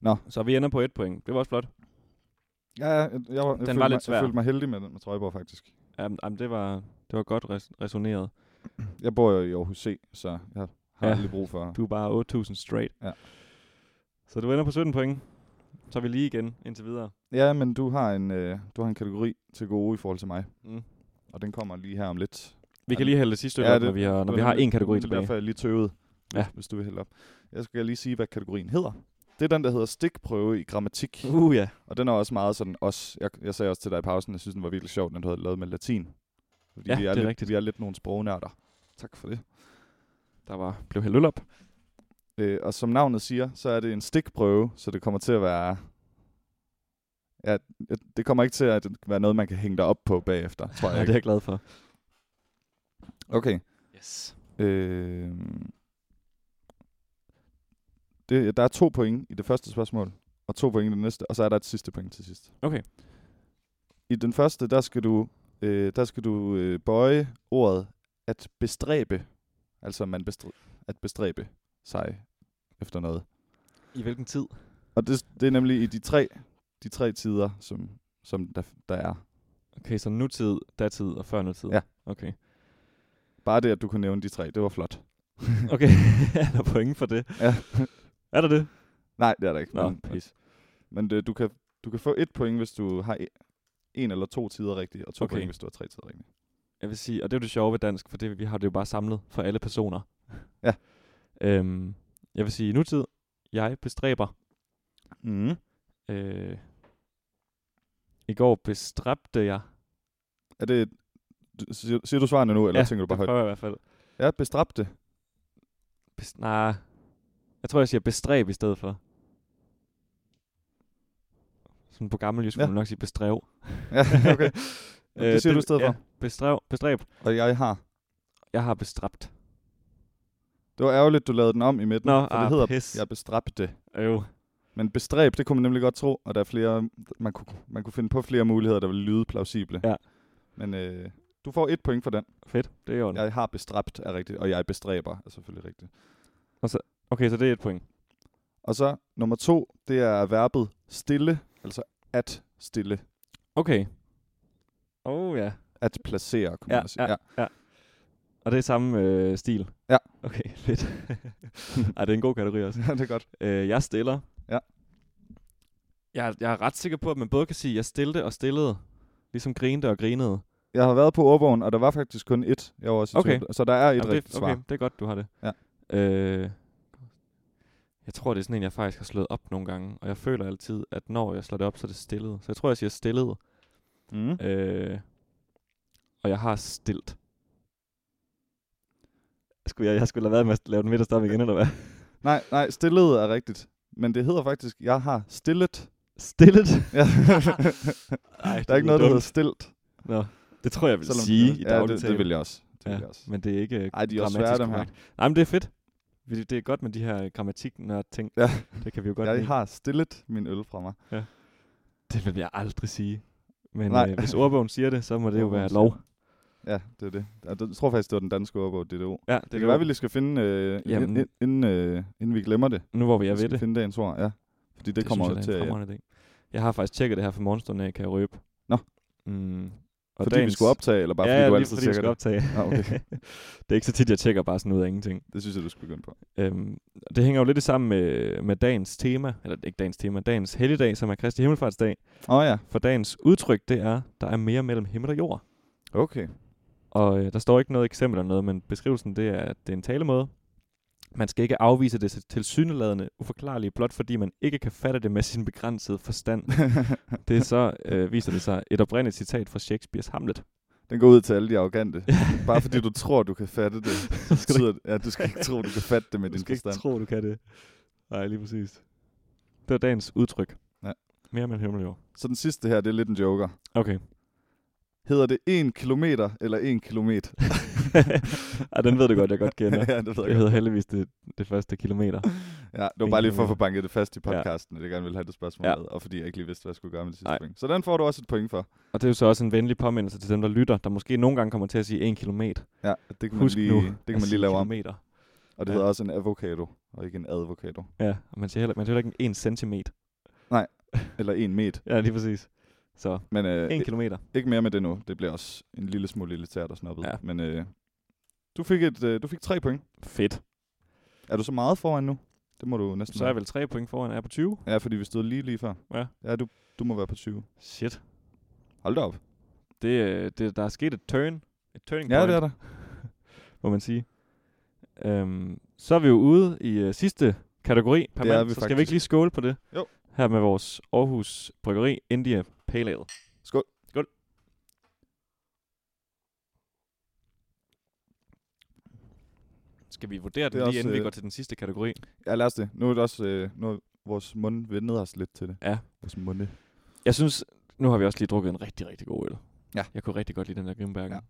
Speaker 1: Nå.
Speaker 2: Så vi ender på et point. Det var også flot.
Speaker 1: Ja, ja, jeg, jeg, jeg, jeg, følte
Speaker 2: var lidt
Speaker 1: mig,
Speaker 2: svær.
Speaker 1: jeg følte mig heldig med den med Trøjborg, faktisk.
Speaker 2: Jamen, jamen det, var, det var godt res- resoneret.
Speaker 1: Jeg bor jo i Aarhus C, så jeg har
Speaker 2: Ja.
Speaker 1: ja. aldrig brug for...
Speaker 2: Du er bare 8.000 straight.
Speaker 1: Ja.
Speaker 2: Så du ender på 17 point. Så er vi lige igen indtil videre.
Speaker 1: Ja, men du har en øh, du har en kategori til gode i forhold til mig,
Speaker 2: Mm.
Speaker 1: og den kommer lige her om lidt. Ja,
Speaker 2: Vi kan
Speaker 1: det-
Speaker 2: lige hælde det sidste stykke
Speaker 1: Ja,
Speaker 2: ja, op, når
Speaker 1: det-
Speaker 2: vi har, når
Speaker 1: det
Speaker 2: vi
Speaker 1: var
Speaker 2: har
Speaker 1: nemlig-
Speaker 2: én kategori
Speaker 1: Det er
Speaker 2: tilbage.
Speaker 1: derfor, jeg lige tøvede, hvis,
Speaker 2: Ja.
Speaker 1: ja. hvis du vil hælde op. Jeg skal lige sige, hvad kategorien hedder. Det er den, der hedder stikprøve i grammatik,
Speaker 2: Uh, ja.
Speaker 1: og den er også meget sådan os. Jeg, jeg sagde også til dig i pausen, jeg synes, den var virkelig sjov, den du havde lavet med latin. Fordi
Speaker 2: Ja,
Speaker 1: vi er,
Speaker 2: det er
Speaker 1: lidt,
Speaker 2: rigtigt.
Speaker 1: vi er lidt nogle sprognørder. Tak for det.
Speaker 2: Der var, blev hældt øl op.
Speaker 1: Øh, og som navnet siger, så er det en stikprøve, så det kommer til at være... Ja, det kommer ikke til at være noget, man kan hænge dig op på bagefter, tror
Speaker 2: Nej,
Speaker 1: jeg
Speaker 2: det er
Speaker 1: ikke.
Speaker 2: jeg glad for.
Speaker 1: Okay.
Speaker 2: Yes.
Speaker 1: Øh, det, der er to point i det første spørgsmål, og to point i det næste, og så er der et sidste point til sidst.
Speaker 2: Okay.
Speaker 1: I den første, der skal du, øh, der skal du øh, bøje ordet at bestræbe, altså man bestræ at bestræbe sig efter noget.
Speaker 2: I hvilken tid?
Speaker 1: Og det, det er nemlig i de tre, de tre tider, som, som der, der er.
Speaker 2: Okay, så nutid, datid og før nutid.
Speaker 1: Ja.
Speaker 2: Okay.
Speaker 1: Bare det, at du kunne nævne de tre, det var flot.
Speaker 2: Okay, er der point for det?
Speaker 1: Ja.
Speaker 2: Er der det?
Speaker 1: Nej, det er der ikke.
Speaker 2: Nå,
Speaker 1: men-
Speaker 2: pis.
Speaker 1: Men det, du, kan, du kan få et point, hvis du har e- en eller to tider rigtigt, og to
Speaker 2: Okay.
Speaker 1: okay. point, hvis du har tre tider rigtigt.
Speaker 2: Jeg vil sige, og det er jo det sjove ved dansk, for det, vi har det jo bare samlet for alle personer.
Speaker 1: Ja.
Speaker 2: Øhm, jeg vil sige, nutid, jeg bestræber. Mm-hmm.
Speaker 1: Mm.
Speaker 2: Øh, I går bestræbte jeg.
Speaker 1: Er det, du- siger, siger du svarene nu, eller
Speaker 2: ja,
Speaker 1: tænker du bare
Speaker 2: det
Speaker 1: højt?
Speaker 2: prøver jeg i hvert fald.
Speaker 1: Ja, bestræbte.
Speaker 2: Bes- nej, jeg tror, jeg siger bestræb i stedet for. Sådan på gammel jysk ja.
Speaker 1: Ja.
Speaker 2: må man nok sige bestræv.
Speaker 1: Ja, okay.
Speaker 2: Øh,
Speaker 1: det siger du i stedet
Speaker 2: ja,
Speaker 1: for.
Speaker 2: Bestræv, bestræb.
Speaker 1: Og jeg har.
Speaker 2: Jeg har bestræbt.
Speaker 1: Det var ærgerligt, du lavede den om i midten,
Speaker 2: Nå,
Speaker 1: for
Speaker 2: ah,
Speaker 1: det hedder
Speaker 2: pis.
Speaker 1: Jeg bestræbte.
Speaker 2: Øv.
Speaker 1: Men bestræb, det kunne man nemlig godt tro, og der er flere, man kunne, man kunne finde på flere muligheder, der ville lyde plausible.
Speaker 2: Ja.
Speaker 1: Men øh, du får et point for den.
Speaker 2: Fedt, det er jo ja.
Speaker 1: Jeg har bestræbt er rigtigt, og jeg bestræber er selvfølgelig rigtigt.
Speaker 2: Okay, så det er et point.
Speaker 1: Og så nummer to, det er verbet stille, altså at stille.
Speaker 2: Okay. Åh oh, ja.
Speaker 1: At placere, kunne
Speaker 2: Ja,
Speaker 1: ja, man sige.
Speaker 2: ja.
Speaker 1: Ja.
Speaker 2: Og det er samme øh, stil?
Speaker 1: Ja.
Speaker 2: Okay, fedt. Ej, det er en god kategori også.
Speaker 1: ja, det er godt.
Speaker 2: Øh, jeg stiller.
Speaker 1: Ja.
Speaker 2: Jeg, jeg er ret sikker på, at man både kan sige, at jeg stillede og stillede. Ligesom grinte og grinede.
Speaker 1: Jeg har været på ordbogen, og der var faktisk kun et. Jeg var også i
Speaker 2: Okay.
Speaker 1: tvivl. Så der er et
Speaker 2: Jamen,
Speaker 1: Jamen, rigtigt
Speaker 2: det, okay,
Speaker 1: svar.
Speaker 2: det er godt, du har det.
Speaker 1: Ja.
Speaker 2: Øh, jeg tror, det er sådan en, jeg faktisk har slået op nogle gange. Og jeg føler altid, at når jeg slår det op, så er det stillet. Så jeg tror, jeg siger stillet.
Speaker 1: Mm.
Speaker 2: Øh, og jeg har stilt. Skulle jeg, jeg skulle lade være med at lave den midt og stoppe igen, eller hvad?
Speaker 1: Nej, nej, stillet er rigtigt. Men det hedder faktisk, jeg har stillet
Speaker 2: Stillet?
Speaker 1: Ja.
Speaker 2: Nej,
Speaker 1: der er ikke noget, der hedder stilt.
Speaker 2: Nå, det tror jeg, vil
Speaker 1: selvom
Speaker 2: sige
Speaker 1: det,
Speaker 2: i
Speaker 1: ja,
Speaker 2: dagligt
Speaker 1: det, det vil jeg også. Det vil jeg også.
Speaker 2: Men det er ikke øh,
Speaker 1: Ej, de er også
Speaker 2: grammatisk
Speaker 1: svære, dem her.
Speaker 2: korrekt. Nej, men det er fedt. Vi- Det er godt med de her grammatik ting.
Speaker 1: Ja.
Speaker 2: Det kan vi jo godt lide.
Speaker 1: Jeg har stillet min øl fra mig.
Speaker 2: Det vil jeg aldrig sige. Men
Speaker 1: Nej.
Speaker 2: øh, hvis ordbogen siger det, så må det jo
Speaker 1: Ordbogen
Speaker 2: være
Speaker 1: siger
Speaker 2: lov.
Speaker 1: Ja, det er det. Jeg d- tror faktisk, det var den danske ordbog, DDO.
Speaker 2: Ja,
Speaker 1: Det kan være, vi lige skal finde, øh,
Speaker 2: Jamen.
Speaker 1: inden, ind- inden, øh, inden vi glemmer det.
Speaker 2: Nu hvor vi er
Speaker 1: Vi
Speaker 2: ved
Speaker 1: skal
Speaker 2: det.
Speaker 1: finde dagens ord, ja. Fordi det, det kommer jo
Speaker 2: synes
Speaker 1: til
Speaker 2: jeg,
Speaker 1: at...
Speaker 2: til at... Idé. Jeg har faktisk tjekket det her for morgenstunden af, kan jeg røbe.
Speaker 1: Nå.
Speaker 2: Mm. Og
Speaker 1: Fordi vi skulle optage, eller bare fordi
Speaker 2: ja,
Speaker 1: du
Speaker 2: lige
Speaker 1: altid
Speaker 2: fordi vi
Speaker 1: tjekker
Speaker 2: skal
Speaker 1: det?
Speaker 2: optage.
Speaker 1: Ah, okay.
Speaker 2: det er ikke så tit, jeg tjekker bare sådan ud af ingenting.
Speaker 1: Det synes jeg, du skulle begynde på.
Speaker 2: Øhm, og det hænger jo lidt sammen med, med dagens tema, eller ikke dagens tema, dagens helligdag, som er Kristi Himmelfartsdag.
Speaker 1: Åh oh, ja,
Speaker 2: For dagens udtryk, det er, der er mere mellem himmel og jord.
Speaker 1: okay.
Speaker 2: Og øh, der står ikke noget eksempel eller noget, men beskrivelsen det er, at det er en talemåde. Man skal ikke afvise det tilsyneladende uforklarlige, blot fordi man ikke kan fatte det med sin begrænsede forstand. Det er så, øh, viser det sig, et oprindeligt citat fra Shakespeare's Hamlet.
Speaker 1: Den går ud til alle de arrogante. Bare fordi du tror, du kan fatte det,
Speaker 2: Så skal
Speaker 1: betyder det, ja, du skal ikke tro, du kan fatte det med din forstand.
Speaker 2: tro, du kan det. Nej, lige præcis. Det var dagens udtryk.
Speaker 1: Ja.
Speaker 2: Mere med himmel og jord.
Speaker 1: Så den sidste her, det er lidt en joker.
Speaker 2: Okay.
Speaker 1: Hedder det 1 kilometer eller 1 kilometer?
Speaker 2: Ej, den ved du godt, jeg godt kender.
Speaker 1: ja, det ved jeg
Speaker 2: Det
Speaker 1: godt.
Speaker 2: hedder heldigvis det, det første kilometer.
Speaker 1: Ja, det var
Speaker 2: En
Speaker 1: bare lige for at få
Speaker 2: kilometer.
Speaker 1: banket det fast i
Speaker 2: Ja.
Speaker 1: podcasten, at jeg gerne ville have det spørgsmål
Speaker 2: Ja.
Speaker 1: med, og fordi jeg ikke lige vidste, hvad jeg skulle gøre med det sidste
Speaker 2: Nej.
Speaker 1: point. Så den får du også et point for.
Speaker 2: Og det er jo så også en venlig påmindelse til dem, der lytter, der måske nogle gange kommer til at sige en kilometer.
Speaker 1: Ja, det kan
Speaker 2: Husk
Speaker 1: man lige,
Speaker 2: nu
Speaker 1: det kan
Speaker 2: at
Speaker 1: man
Speaker 2: sige
Speaker 1: lige lave om.
Speaker 2: kilometer. om.
Speaker 1: Og det
Speaker 2: Ja.
Speaker 1: hedder også en avocado, og ikke en advocado.
Speaker 2: Ja, og man siger heller, man siger heller ikke en centimeter.
Speaker 1: Eller en met.
Speaker 2: Ja, lige præcis. Så,
Speaker 1: Men øh,
Speaker 2: en kilometer.
Speaker 1: ikke mere med det nu. Det bliver også en lille smule elitært og snobbet.
Speaker 2: Ja.
Speaker 1: Men øh, du, fik et, øh, du fik tre point.
Speaker 2: Fedt.
Speaker 1: Er du så meget foran nu? Det må du næsten
Speaker 2: Så er jeg
Speaker 1: være.
Speaker 2: vel tre point foran, er jeg på 20?
Speaker 1: Ja, fordi vi stod lige lige før.
Speaker 2: Ja.
Speaker 1: Ja, du, du må være på 20.
Speaker 2: Shit.
Speaker 1: Hold da op.
Speaker 2: Det, øh, det, der er sket et turn. Et turning
Speaker 1: Ja,
Speaker 2: point,
Speaker 1: det er der.
Speaker 2: må man sige. Øhm, så er vi jo ude i øh, sidste kategori. Per
Speaker 1: Det er
Speaker 2: mand,
Speaker 1: vi
Speaker 2: så skal vi
Speaker 1: faktisk.
Speaker 2: ikke lige skåle på det?
Speaker 1: Jo.
Speaker 2: Her med vores Aarhus Bryggeri India Pale Ale.
Speaker 1: Skål.
Speaker 2: Skål. Skal vi vurdere
Speaker 1: Det
Speaker 2: det
Speaker 1: er
Speaker 2: lige
Speaker 1: også,
Speaker 2: inden vi
Speaker 1: øh,
Speaker 2: går til den sidste kategori?
Speaker 1: Ja, lad os det. Nu er det også... Øh, nu er vores mund vendet os lidt til det.
Speaker 2: Ja.
Speaker 1: Vores munde.
Speaker 2: Jeg synes, nu har vi også lige drukket en rigtig, rigtig god øl.
Speaker 1: Ja.
Speaker 2: Jeg kunne rigtig godt lide den der Grimbergen.
Speaker 1: Den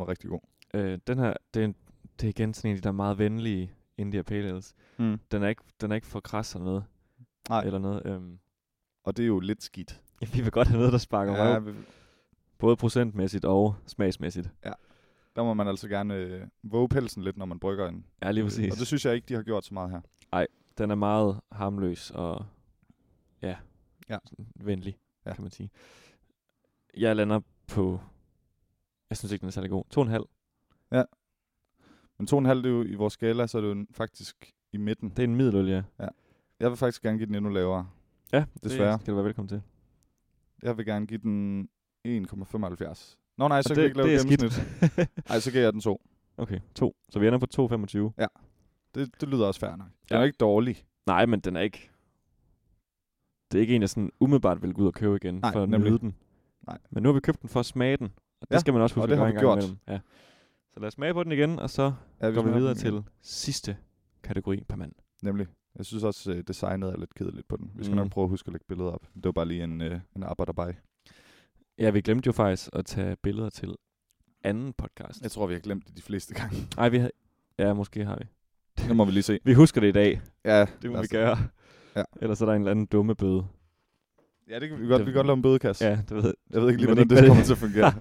Speaker 1: var rigtig god.
Speaker 2: Ja. Øh, den her, det er, en, det er igen sådan en af de der meget venlige India Pale Ales.
Speaker 1: Mm.
Speaker 2: Den er ikke, den er ikke for kras eller noget.
Speaker 1: Nej.
Speaker 2: Eller noget. Øhm,
Speaker 1: Og det er jo lidt skidt.
Speaker 2: ja, vi vil godt have noget, der sparker ja.
Speaker 1: Ja,
Speaker 2: røv.
Speaker 1: vi,
Speaker 2: Både procentmæssigt og smagsmæssigt.
Speaker 1: der må man altså gerne øh, våge pelsen lidt, når man brygger en.
Speaker 2: Ja, lige
Speaker 1: Og
Speaker 2: præcis.
Speaker 1: det synes jeg ikke, de har gjort så meget her.
Speaker 2: Den er meget harmløs og ja,
Speaker 1: Ja.
Speaker 2: sådan venlig,
Speaker 1: Ja.
Speaker 2: ja. kan man sige. Jeg lander på, jeg synes ikke, den er særlig god. To og en halv.
Speaker 1: Men 2,5 det er jo i vores skala, så er det jo n- faktisk i midten.
Speaker 2: Det er en middeløl, ja.
Speaker 1: Jeg vil faktisk gerne give den endnu lavere.
Speaker 2: Ja,
Speaker 1: Desværre.
Speaker 2: det skal du være velkommen til.
Speaker 1: Jeg vil gerne give den 1,75. Nå nej, så
Speaker 2: Og
Speaker 1: kan jeg
Speaker 2: det-
Speaker 1: ikke lave
Speaker 2: det er skidt.
Speaker 1: gennemsnit. Nej, så giver jeg den 2.
Speaker 2: Okay, to. Så vi ender på 2,25.
Speaker 1: Det, det lyder også fair nok. Den
Speaker 2: Ja.
Speaker 1: ja. er ikke dårlig.
Speaker 2: Nej, men den er ikke... Det er ikke en, jeg sådan umiddelbart vil gå ud og købe igen
Speaker 1: Nej,
Speaker 2: for at
Speaker 1: nemlig.
Speaker 2: nyde den.
Speaker 1: Nej.
Speaker 2: Men nu har vi købt den for at smage den. Og det
Speaker 1: Ja,
Speaker 2: skal man også huske
Speaker 1: og
Speaker 2: at
Speaker 1: det har
Speaker 2: gøre
Speaker 1: vi
Speaker 2: en gang
Speaker 1: gjort.
Speaker 2: imellem. Ja. Så lad os smage på den igen, og så
Speaker 1: Ja,
Speaker 2: går vi
Speaker 1: smager
Speaker 2: videre
Speaker 1: den igen.
Speaker 2: til sidste kategori per mand.
Speaker 1: Nemlig. Jeg synes også, øh, designet er lidt kedeligt på den. Vi skal
Speaker 2: Mm.
Speaker 1: nok prøve at huske at lægge billeder op. Det var bare lige en, øh, en arbejderbej.
Speaker 2: Ja, vi glemte jo faktisk at tage billeder til anden podcast.
Speaker 1: Jeg tror, vi har glemt det de fleste gange.
Speaker 2: Nej, vi havde... Ja, måske har vi.
Speaker 1: Det må vi lige se.
Speaker 2: Vi husker det i dag. Altså,
Speaker 1: Ja, Altså,
Speaker 2: Det må
Speaker 1: lad
Speaker 2: vi
Speaker 1: os-
Speaker 2: gøre.
Speaker 1: Ja.
Speaker 2: Ellers er der en eller anden dumme bøde.
Speaker 1: Ja, det kan vi godt.
Speaker 2: Det-
Speaker 1: Vi kan godt lave en bødekasse.
Speaker 2: Ja, det ved jeg.
Speaker 1: Jeg ved ikke lige,
Speaker 2: Men
Speaker 1: hvordan
Speaker 2: ikke,
Speaker 1: det
Speaker 2: hvad
Speaker 1: kommer til at fungere.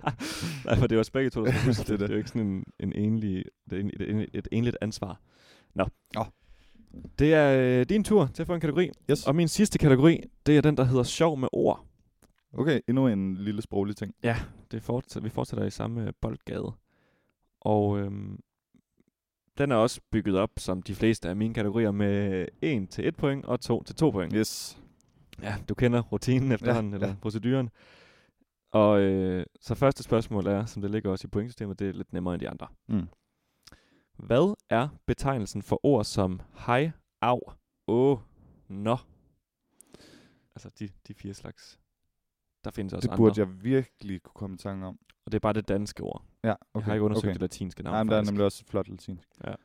Speaker 2: Nej, for det er jo os begge to, der skal huske
Speaker 1: det er
Speaker 2: det. Det
Speaker 1: det.
Speaker 2: er jo ikke sådan en, en enlig, det er en, et, en, et enligt ansvar. Nå.
Speaker 1: Nå.
Speaker 2: Det er øh, din tur til at få en kategori.
Speaker 1: Yes.
Speaker 2: Og min sidste kategori, det er den, der hedder sjov med ord.
Speaker 1: Okay, endnu en lille sproglig ting.
Speaker 2: Det fortsætter, vi fortsætter i samme øh, boldgade. Og øhm, den er også bygget op, som de fleste af mine kategorier, med 1 til 1 point og 2 til 2 point.
Speaker 1: Yes.
Speaker 2: Ja, du kender rutinen efterhånden, ja, eller
Speaker 1: ja.
Speaker 2: ja. proceduren. Og øh, så første spørgsmål er, som det ligger også i pointsystemet, det er lidt nemmere end de andre.
Speaker 1: Mm.
Speaker 2: Hvad er betegnelsen for ord som hej, au, åh, nå? Altså de, de fire slags. Der findes også
Speaker 1: Det
Speaker 2: andre.
Speaker 1: burde jeg virkelig kunne komme i tanke om.
Speaker 2: Og det er bare det danske ord. Okay,
Speaker 1: Ja, okay.
Speaker 2: jeg har ikke undersøgt
Speaker 1: okay.
Speaker 2: det latinske navn,
Speaker 1: Nej, men der er
Speaker 2: faktisk.
Speaker 1: nemlig også et flot latinsk.
Speaker 2: Ja.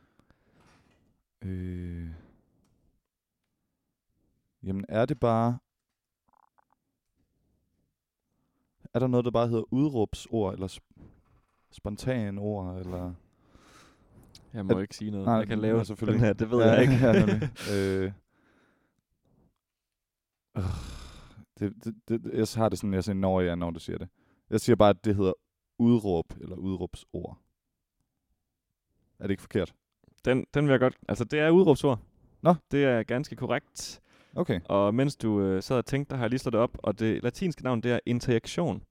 Speaker 1: Øh. Jamen, er det bare... Er der noget, der bare hedder udråbsord, eller sp- spontan ord, eller...
Speaker 2: Jeg må
Speaker 1: At-
Speaker 2: ikke sige noget.
Speaker 1: Nej,
Speaker 2: jeg kan lave
Speaker 1: nej, selvfølgelig.
Speaker 2: den her, det ved jeg ikke.
Speaker 1: Ja, nemlig. øh, øh, det, det, det, jeg har det sådan, jeg siger, når jeg når du siger det. Jeg siger bare, at det hedder udråb, eller udråbsord. Er det ikke forkert?
Speaker 2: den, den vil jeg godt... Altså, det er udråbsord.
Speaker 1: Nå.
Speaker 2: Det er ganske korrekt.
Speaker 1: Okay.
Speaker 2: Og mens du øh, sad og tænkte, der har jeg lige slået det op, og det latinske navn, det er interaktion.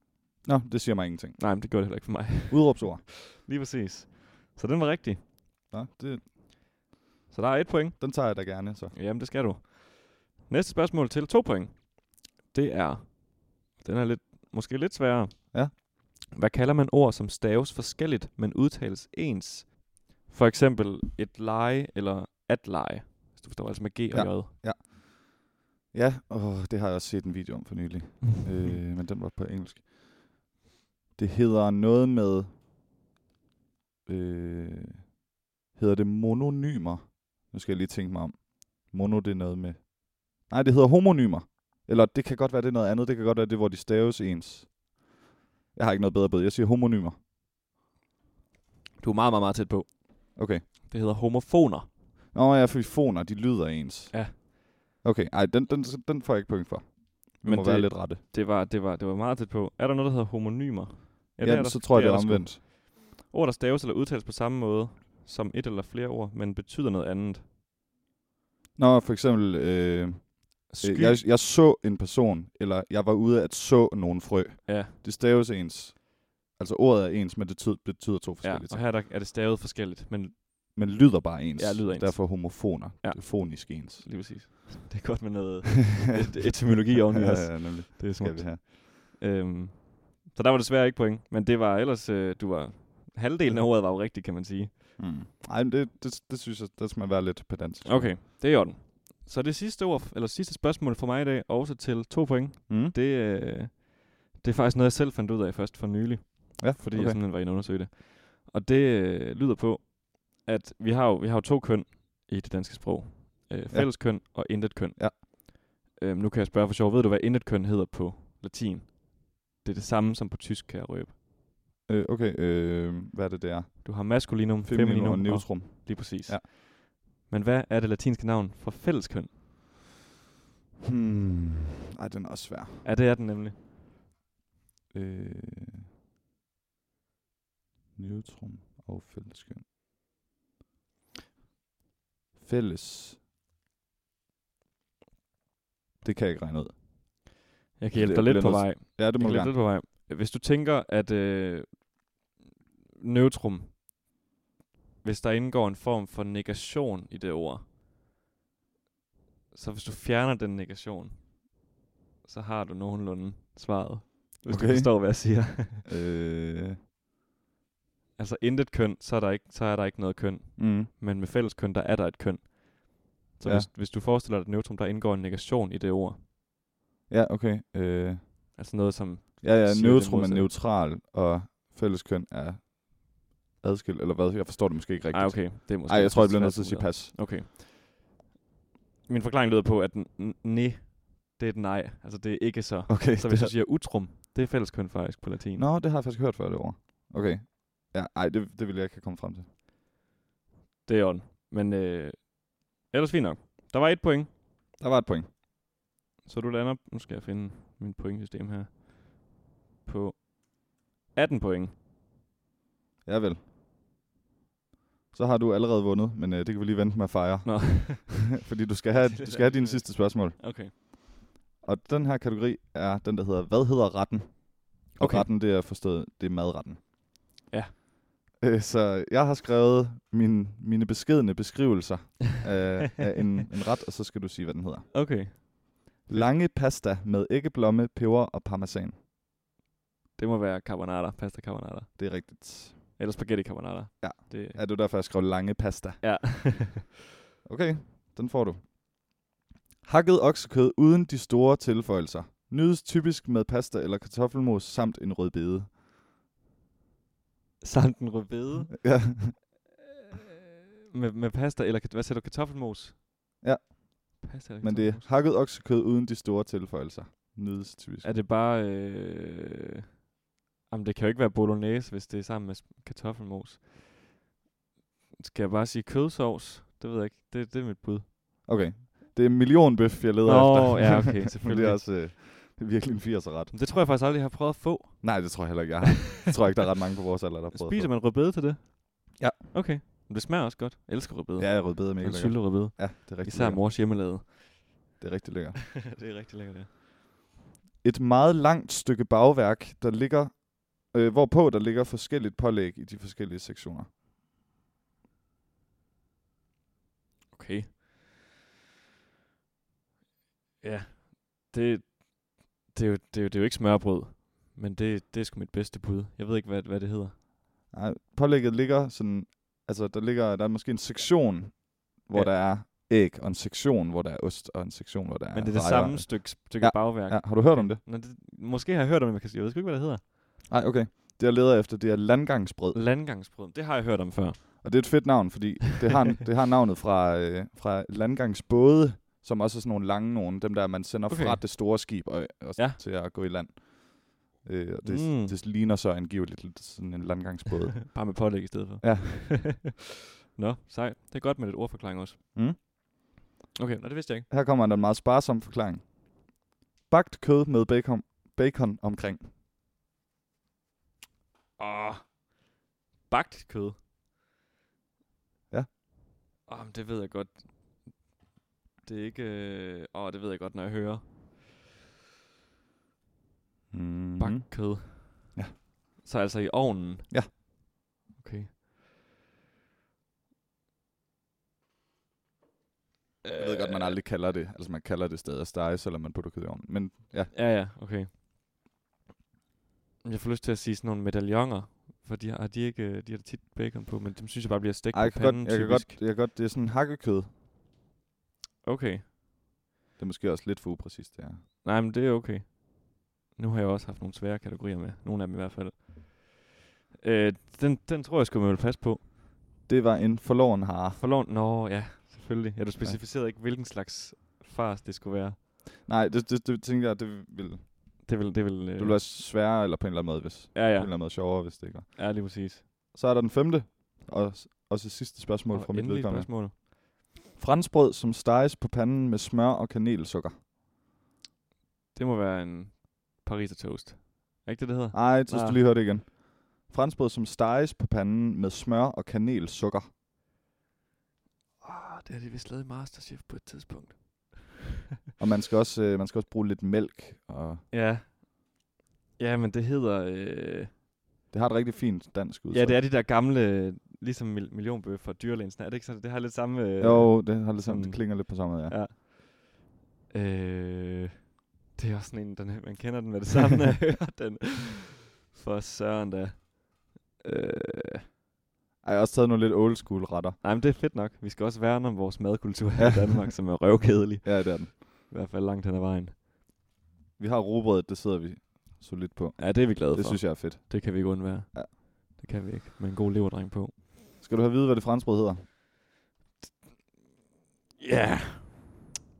Speaker 1: Nå, det siger mig ingenting.
Speaker 2: Nej, men det gjorde det heller ikke for mig.
Speaker 1: Udråbsord.
Speaker 2: lige præcis. Så den var rigtig.
Speaker 1: Nå, det,
Speaker 2: Så der er et point.
Speaker 1: den tager jeg da gerne, så.
Speaker 2: Jamen, det skal du. Næste spørgsmål til to point. Det er... Den er lidt, måske lidt sværere.
Speaker 1: Ja.
Speaker 2: Hvad kalder man ord, som staves forskelligt, men udtales ens? For eksempel et lege eller at lege. Hvis du forstår, altså med G og
Speaker 1: Ja.
Speaker 2: J.
Speaker 1: Ja, åh, det har jeg også set en video om for nylig. øh, men den var på engelsk. Det hedder noget med... Øh, hedder det mononymer? Nu skal jeg lige tænke mig om. Mono, det er noget med... Nej, det hedder homonymer. Eller det kan godt være, det er noget andet. Det kan godt være, det er, hvor de staves ens. Jeg har ikke noget bedre bud. Jeg siger homonymer.
Speaker 2: Du er meget, meget, meget tæt på.
Speaker 1: Okay.
Speaker 2: Det hedder homofoner.
Speaker 1: Nå, jeg er foner. De lyder ens.
Speaker 2: Ja.
Speaker 1: Okay, ej, den, den, den får jeg ikke point for. Vi
Speaker 2: Men
Speaker 1: må
Speaker 2: det-
Speaker 1: være lidt rette.
Speaker 2: Det var, det, var, det var meget tæt på. Er der noget, der hedder homonymer?
Speaker 1: Ja,
Speaker 2: det
Speaker 1: Jamen,
Speaker 2: der-
Speaker 1: så tror jeg, det er
Speaker 2: der sgu.
Speaker 1: omvendt.
Speaker 2: Ord, der staves eller udtales på samme måde som et eller flere ord, men betyder noget andet.
Speaker 1: Nå, for eksempel... Øh,
Speaker 2: Sky.
Speaker 1: Øh, Jeg, jeg så en person, eller jeg var ude at så nogle frø.
Speaker 2: Ja.
Speaker 1: Det staves ens. Altså ordet er ens, men det ty- betyder to
Speaker 2: Ja,
Speaker 1: forskellige
Speaker 2: og
Speaker 1: ting.
Speaker 2: her er, der, er det stavet forskelligt, men
Speaker 1: Men lyder bare ens.
Speaker 2: Ja, lyder ens.
Speaker 1: Derfor homofoner.
Speaker 2: Ja.
Speaker 1: Det er fonisk ens.
Speaker 2: lige præcis. Det er godt med noget et, etymologi oveni
Speaker 1: ja,
Speaker 2: også.
Speaker 1: ja, nemlig.
Speaker 2: Det er
Speaker 1: Skal vi
Speaker 2: smukt.
Speaker 1: have.
Speaker 2: Øhm, så der var desværre ikke point, men det var ellers, øh, du var... Halvdelen af ordet var jo rigtigt, kan man sige.
Speaker 1: Mm. Ej, men det, det, det synes jeg, der skal man være lidt pedantisk.
Speaker 2: Okay, det er i orden. Så det sidste ord, eller sidste spørgsmål for mig i dag, også til to point,
Speaker 1: Mm?
Speaker 2: det, øh, det er faktisk noget, jeg selv fandt ud af først for nylig.
Speaker 1: Ja,
Speaker 2: fordi
Speaker 1: okay.
Speaker 2: jeg simpelthen var inde og undersøge det. Og det øh, lyder på, at vi har, jo, vi har jo to køn i det danske sprog. Øh, fælles køn og intet køn.
Speaker 1: Ja.
Speaker 2: Øhm, nu kan jeg spørge for sjov, ved du, hvad intet køn hedder på latin? Det er det samme som på tysk, kan jeg røbe.
Speaker 1: Øh, okay, øh, hvad er det, det er?
Speaker 2: Du har maskulinum,
Speaker 1: Feminum,
Speaker 2: femininum
Speaker 1: og neutrum.
Speaker 2: lige præcis.
Speaker 1: Ja.
Speaker 2: Men hvad er det latinske navn for fælles køn?
Speaker 1: Hmm. Ej, den er også svær.
Speaker 2: Ja, det er den nemlig.
Speaker 1: Øh, neutrum og fælleskøn. Fælles. Det kan jeg ikke regne ud.
Speaker 2: Jeg kan hjælpe
Speaker 1: Det
Speaker 2: dig lidt
Speaker 1: bliver
Speaker 2: på
Speaker 1: nødt-
Speaker 2: vej.
Speaker 1: Ja, det må
Speaker 2: Jeg
Speaker 1: du
Speaker 2: kan hjælpe
Speaker 1: gerne.
Speaker 2: lidt på vej. Hvis du tænker, at øh, neutrum, hvis der indgår en form for negation i det ord, så hvis du fjerner den negation, så har du nogenlunde svaret. Hvis okay. du
Speaker 1: Okay.
Speaker 2: forstår, hvad jeg siger.
Speaker 1: Øh,
Speaker 2: altså intet køn, så er, der ikke, så er der ikke noget køn.
Speaker 1: mm,
Speaker 2: Men med fælles køn, der er der et køn. Så
Speaker 1: Ja.
Speaker 2: ja. hvis, hvis du forestiller dig et neutrum, der indgår en negation i det ord,
Speaker 1: ja, okay. Øh,
Speaker 2: altså noget som
Speaker 1: ja, ja,
Speaker 2: Siger det
Speaker 1: neutrum er
Speaker 2: modsatte.
Speaker 1: neutral, og fælleskøn er adskilt, eller hvad? Jeg forstår det måske ikke rigtigt.
Speaker 2: Ej, okay. Det er måske
Speaker 1: Ej, jeg
Speaker 2: lidt
Speaker 1: tror, jeg bliver
Speaker 2: svært
Speaker 1: nødt til at sige
Speaker 2: formuleret.
Speaker 1: pas.
Speaker 2: Okay. Min forklaring lyder på, at n- n- ne, det er et nej. Altså, det er ikke så.
Speaker 1: Okay.
Speaker 2: Så hvis du
Speaker 1: det,
Speaker 2: siger utrum, det er fælleskøn faktisk på latin.
Speaker 1: Nå, det har jeg faktisk hørt før det ord. Okay. Ja, ej, det, det vil jeg ikke have kommet frem til.
Speaker 2: Det er on. Men øh, ellers fint nok. Der var et point,
Speaker 1: Der var et point.
Speaker 2: så du lander... Nu skal jeg finde min pointsystem her. På 18 point.
Speaker 1: Ja vel. Så har du allerede vundet, men øh, det kan vi lige vente med at fejre.
Speaker 2: Nå,
Speaker 1: Fordi du skal have, du skal have dine sidste spørgsmål.
Speaker 2: okay.
Speaker 1: Og den her kategori er den, der hedder, hvad hedder retten? Og
Speaker 2: Okay.
Speaker 1: okay. retten, det er forstået, det er madretten.
Speaker 2: Ja.
Speaker 1: Øh, så jeg har skrevet min, mine beskedende beskrivelser af, af en, en ret, og så skal du sige, hvad den hedder.
Speaker 2: Okay.
Speaker 1: Lange pasta med æggeblomme, peber og parmesan.
Speaker 2: Det må være carbonara, pasta carbonara.
Speaker 1: Det er rigtigt.
Speaker 2: Eller spaghetti carbonara.
Speaker 1: Ja.
Speaker 2: Det,
Speaker 1: Er du derfor, jeg skrev lange pasta?
Speaker 2: ja.
Speaker 1: Okay, den får du. Hakket oksekød uden de store tilføjelser. Nydes typisk med pasta eller kartoffelmos samt en rød bede.
Speaker 2: Samt en rødbede.
Speaker 1: Ja.
Speaker 2: Med, med pasta eller... kat- Hvad sagde du? Kartoffelmos?
Speaker 1: Mhm. Ja.
Speaker 2: Pasta eller
Speaker 1: Men det er
Speaker 2: kartoffelmos?
Speaker 1: hakket oksekød uden de store tilføjelser. Nydes typisk.
Speaker 2: Er det bare... Øh, Jamen, det kan jo ikke være bolognese, hvis det er sammen med s- kartoffelmos. Skal jeg bare sige kødsovs? Det ved jeg ikke. Det, det er mit bud.
Speaker 1: Okay. Det er millionbøf, jeg leder
Speaker 2: Nå,
Speaker 1: efter.
Speaker 2: ja, okay,
Speaker 1: Men det
Speaker 2: selvfølgelig.
Speaker 1: er også øh, det er virkelig en 80'er ret.
Speaker 2: Men Det tror jeg faktisk aldrig, jeg har prøvet at få.
Speaker 1: Nej, det tror jeg heller ikke, jeg har. Jeg tror ikke, der er ret mange på vores alder, der har prøvet
Speaker 2: Spiser man rødbede til det?
Speaker 1: Ja.
Speaker 2: Okay. Men det smager også godt. Jeg elsker rødbede.
Speaker 1: Ja, rødbede er mega
Speaker 2: En
Speaker 1: lækker.
Speaker 2: syltet rødbede.
Speaker 1: Ja, det er rigtig
Speaker 2: Især
Speaker 1: lækkert.
Speaker 2: mors hjemmelavede.
Speaker 1: Det er rigtig lækker.
Speaker 2: det er rigtig lækkert, ja.
Speaker 1: Et meget langt stykke bagværk, der ligger, øh, hvorpå der ligger forskelligt pålæg i de forskellige sektioner.
Speaker 2: Okay. Ja. Det, det, er jo, det, er jo, det er jo ikke smørbrød. Men det, det er sgu mit bedste bud. Jeg ved ikke, hvad, hvad det hedder.
Speaker 1: Nej, pålægget ligger sådan, altså der ligger, der er måske en sektion, hvor ja.
Speaker 2: Ja.
Speaker 1: der er æg, og en sektion, hvor der er ost, og en sektion, hvor der er
Speaker 2: Men det er det
Speaker 1: drejvarer.
Speaker 2: samme stykke, stykke
Speaker 1: Ja,
Speaker 2: bagværk.
Speaker 1: Ja, har du hørt om det?
Speaker 2: Nå, det, måske har jeg hørt om det, men jeg kan- jeg ved sgu ikke, hvad det hedder.
Speaker 1: Nej, okay. Det jeg leder efter, det er landgangsbrød.
Speaker 2: Landgangsbrød. Det har jeg hørt om før.
Speaker 1: Og det er et fedt navn, fordi det har, det har navnet fra, øh, fra landgangsbåde, som også er sådan nogle lange nogen, dem der man sender
Speaker 2: Okay.
Speaker 1: okay. fra det store skib og, og
Speaker 2: Ja.
Speaker 1: ja. til at gå i land. Øh, og det,
Speaker 2: Mm.
Speaker 1: mm. det ligner så angiveligt lidt sådan en landgangsbåde.
Speaker 2: Bare med pålæg i stedet for.
Speaker 1: Ja.
Speaker 2: Nå, sejt. Det er godt med lidt ordforklaring også.
Speaker 1: Mm.
Speaker 2: Okay, nå, det vidste jeg ikke.
Speaker 1: Her kommer der en meget sparsom forklaring. Bagt kød med bacon, bacon omkring.
Speaker 2: Åh. Bagt kød.
Speaker 1: Ja.
Speaker 2: Åh, men det ved jeg godt. Det er ikke... øh, Åh, det ved jeg godt, når jeg hører.
Speaker 1: Mm.
Speaker 2: Bagt kød.
Speaker 1: Ja.
Speaker 2: Så altså i ovnen?
Speaker 1: Ja.
Speaker 2: Okay. Jeg
Speaker 1: Jeg ved godt, man aldrig kalder det. Altså, man kalder det stadig at stege, selvom man putter kød i ovnen. Men ja,
Speaker 2: Ja, ja, okay. Jeg får lyst til at sige sådan nogle medaljoner, for de har, de ikke, øh, de har da tit bacon på, men dem synes jeg bare bliver stegt
Speaker 1: Ej,
Speaker 2: på
Speaker 1: jeg, kan
Speaker 2: panden,
Speaker 1: godt, jeg, kan
Speaker 2: typisk.
Speaker 1: godt, jeg kan godt, det er sådan hakkekød.
Speaker 2: Okay.
Speaker 1: Det er måske også lidt for upræcist, det her.
Speaker 2: Nej, men det er okay. Nu har jeg også haft nogle svære kategorier med. Nogle af dem i hvert fald. Øh, den, den tror jeg sgu, man vil passe på.
Speaker 1: Det var en forloren hare.
Speaker 2: Forlån? Nå, ja, selvfølgelig. Ja, du specificerede ikke, hvilken slags fars det skulle være.
Speaker 1: Nej, det, det, det tænker jeg, det vil, det
Speaker 2: Det vil... Det vil, øh,
Speaker 1: vil være sværere, eller på en eller anden måde, hvis,
Speaker 2: ja,
Speaker 1: ja. på en
Speaker 2: ja,
Speaker 1: eller anden måde sjovere, hvis det ikke var.
Speaker 2: ja, lige præcis.
Speaker 1: Så er der den femte, og s- også sidste spørgsmål
Speaker 2: Og
Speaker 1: fra mit
Speaker 2: endelig et
Speaker 1: vedkommende.
Speaker 2: spørgsmål.
Speaker 1: Franskbrød, som steges på panden med smør og kanelsukker.
Speaker 2: Det må være en pariser toast. Er ikke det, det hedder?
Speaker 1: Ej, så skal
Speaker 2: Ah.
Speaker 1: du lige høre det igen. Franskbrød, som steges på panden med smør og kanelsukker.
Speaker 2: Ah, det har de vist lavet i Masterchef på et tidspunkt.
Speaker 1: Og man skal også, øh, man skal også bruge lidt mælk. Og
Speaker 2: Ja. Ja, men det hedder... Øh,
Speaker 1: det har et rigtig fint dansk udtryk.
Speaker 2: ja, det er de der gamle, ligesom mil- millionbøf fra dyrlænsen. Er det ikke sådan? Det har lidt samme... Øh,
Speaker 1: Jo, det, har lidt sammen,
Speaker 2: sådan-
Speaker 1: det klinger lidt på samme måde, ja.
Speaker 2: Ja. Øh, det er også sådan en, den, man kender den med det samme, når jeg hører den. For søren da. Øh,
Speaker 1: Ej, Jeg har også taget nogle lidt old school retter.
Speaker 2: nej, men det er fedt nok. Vi skal også værne om vores madkultur her i Danmark, som er røvkedelig.
Speaker 1: Ja, det er den.
Speaker 2: I hvert fald langt hen ad vejen.
Speaker 1: Vi har robrødet, det sidder vi solidt på.
Speaker 2: Ja, det er vi glade
Speaker 1: Det
Speaker 2: for.
Speaker 1: synes jeg er fedt.
Speaker 2: Det kan vi ikke undvære.
Speaker 1: Ja.
Speaker 2: Det kan vi ikke. Med en god leverdreng på.
Speaker 1: Skal du have at vide, hvad det franskbrød hedder?
Speaker 2: Ja. Yeah.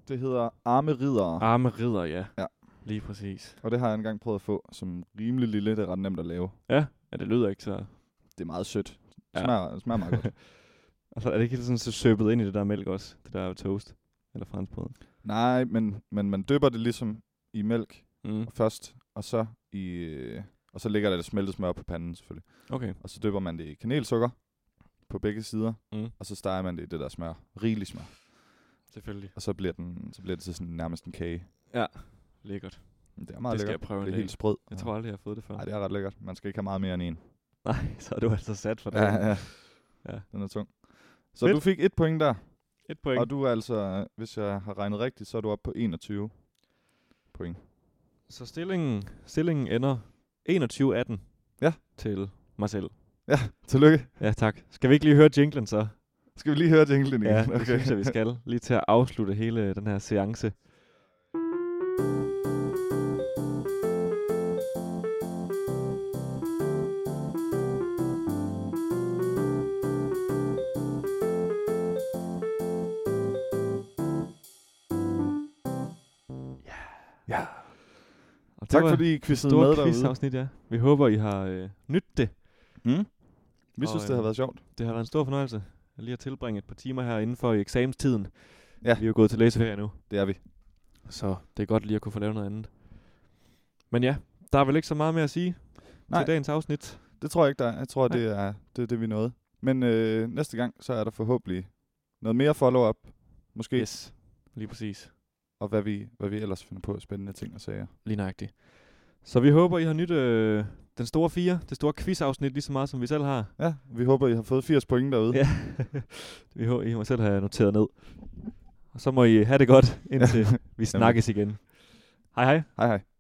Speaker 1: Det hedder arme ridere, ah.
Speaker 2: Arme ridder, ja.
Speaker 1: Ja.
Speaker 2: Lige præcis.
Speaker 1: og det har jeg engang prøvet at få som rimelig lille. Det er ret nemt at lave.
Speaker 2: Ja, det lyder ikke så...
Speaker 1: Det er meget sødt. Det
Speaker 2: Ja.
Speaker 1: smager, ja. smager meget godt.
Speaker 2: Og så Altså, er det ikke helt sådan så søbet ind i det der mælk også? Det der toast? Eller franskbrød?
Speaker 1: Nej, men, men man døber det ligesom i mælk
Speaker 2: Mm.
Speaker 1: først, og så i... øh, Og så ligger der det smeltet smør på panden selvfølgelig.
Speaker 2: Okay.
Speaker 1: Og så døber man det i kanelsukker på begge sider,
Speaker 2: Mm.
Speaker 1: og så steger man det i det der smør. Rigelig smør.
Speaker 2: Selvfølgelig.
Speaker 1: Og så bliver, den, så bliver det til sådan nærmest en kage.
Speaker 2: Lækkert.
Speaker 1: Det er meget
Speaker 2: det skal
Speaker 1: lækkert.
Speaker 2: jeg prøve
Speaker 1: det
Speaker 2: en
Speaker 1: er
Speaker 2: dag.
Speaker 1: helt sprød.
Speaker 2: Jeg tror aldrig, jeg har fået det før.
Speaker 1: Nej, det er ret lækkert. Man skal ikke have meget mere end en.
Speaker 2: Nej, så er du altså sat for det.
Speaker 1: Ja, ja.
Speaker 2: Ja.
Speaker 1: ja. Den er tung. Så
Speaker 2: Fedt.
Speaker 1: du fik et point der,
Speaker 2: Et point.
Speaker 1: og du er altså, øh, hvis jeg har regnet rigtigt, så er du oppe på 21 point.
Speaker 2: Så stillingen, stillingen ender 21-18
Speaker 1: Ja.
Speaker 2: til mig selv.
Speaker 1: Tillykke.
Speaker 2: Ja, tak. Skal vi ikke lige høre jinglen så?
Speaker 1: Skal vi lige høre jinglen igen?
Speaker 2: Ja, det synes jeg, vi skal. Lige til at afslutte hele den her seance.
Speaker 1: Ja.
Speaker 2: Og det
Speaker 1: Tak
Speaker 2: var
Speaker 1: fordi I quizzede med
Speaker 2: store
Speaker 1: derude.
Speaker 2: quizafsnit, ja. Vi håber, I har øh, nydt det.
Speaker 1: Mm? Vi
Speaker 2: Og,
Speaker 1: synes, det har
Speaker 2: øhm,
Speaker 1: været sjovt.
Speaker 2: Det har været en stor fornøjelse lige at tilbringe et par timer her indenfor i eksamenstiden.
Speaker 1: Ja.
Speaker 2: Vi er jo gået til læseferie nu,
Speaker 1: Det er vi.
Speaker 2: så det er godt lige at kunne få lavet noget andet. Men ja, der er vel ikke så meget mere at sige
Speaker 1: Nej.
Speaker 2: til dagens afsnit.
Speaker 1: Det tror jeg ikke, der er. Jeg tror,
Speaker 2: Nej.
Speaker 1: det er, det er det, vi nåede. Men øh, næste gang, så er der forhåbentlig noget mere follow-up, måske, yes.
Speaker 2: Yes, lige præcis.
Speaker 1: og hvad vi, hvad vi ellers finder på af spændende ting og sager.
Speaker 2: Lige nøjagtigt. Så vi håber, I har nyt øh, den store fire, det store quizafsnit lige så meget, som vi selv har.
Speaker 1: Ja, vi håber, I har fået 80 point derude.
Speaker 2: Ja. vi håber, I må selv have noteret ned. Og så må I have det godt, indtil vi snakkes igen. Hej hej.
Speaker 1: Hej hej.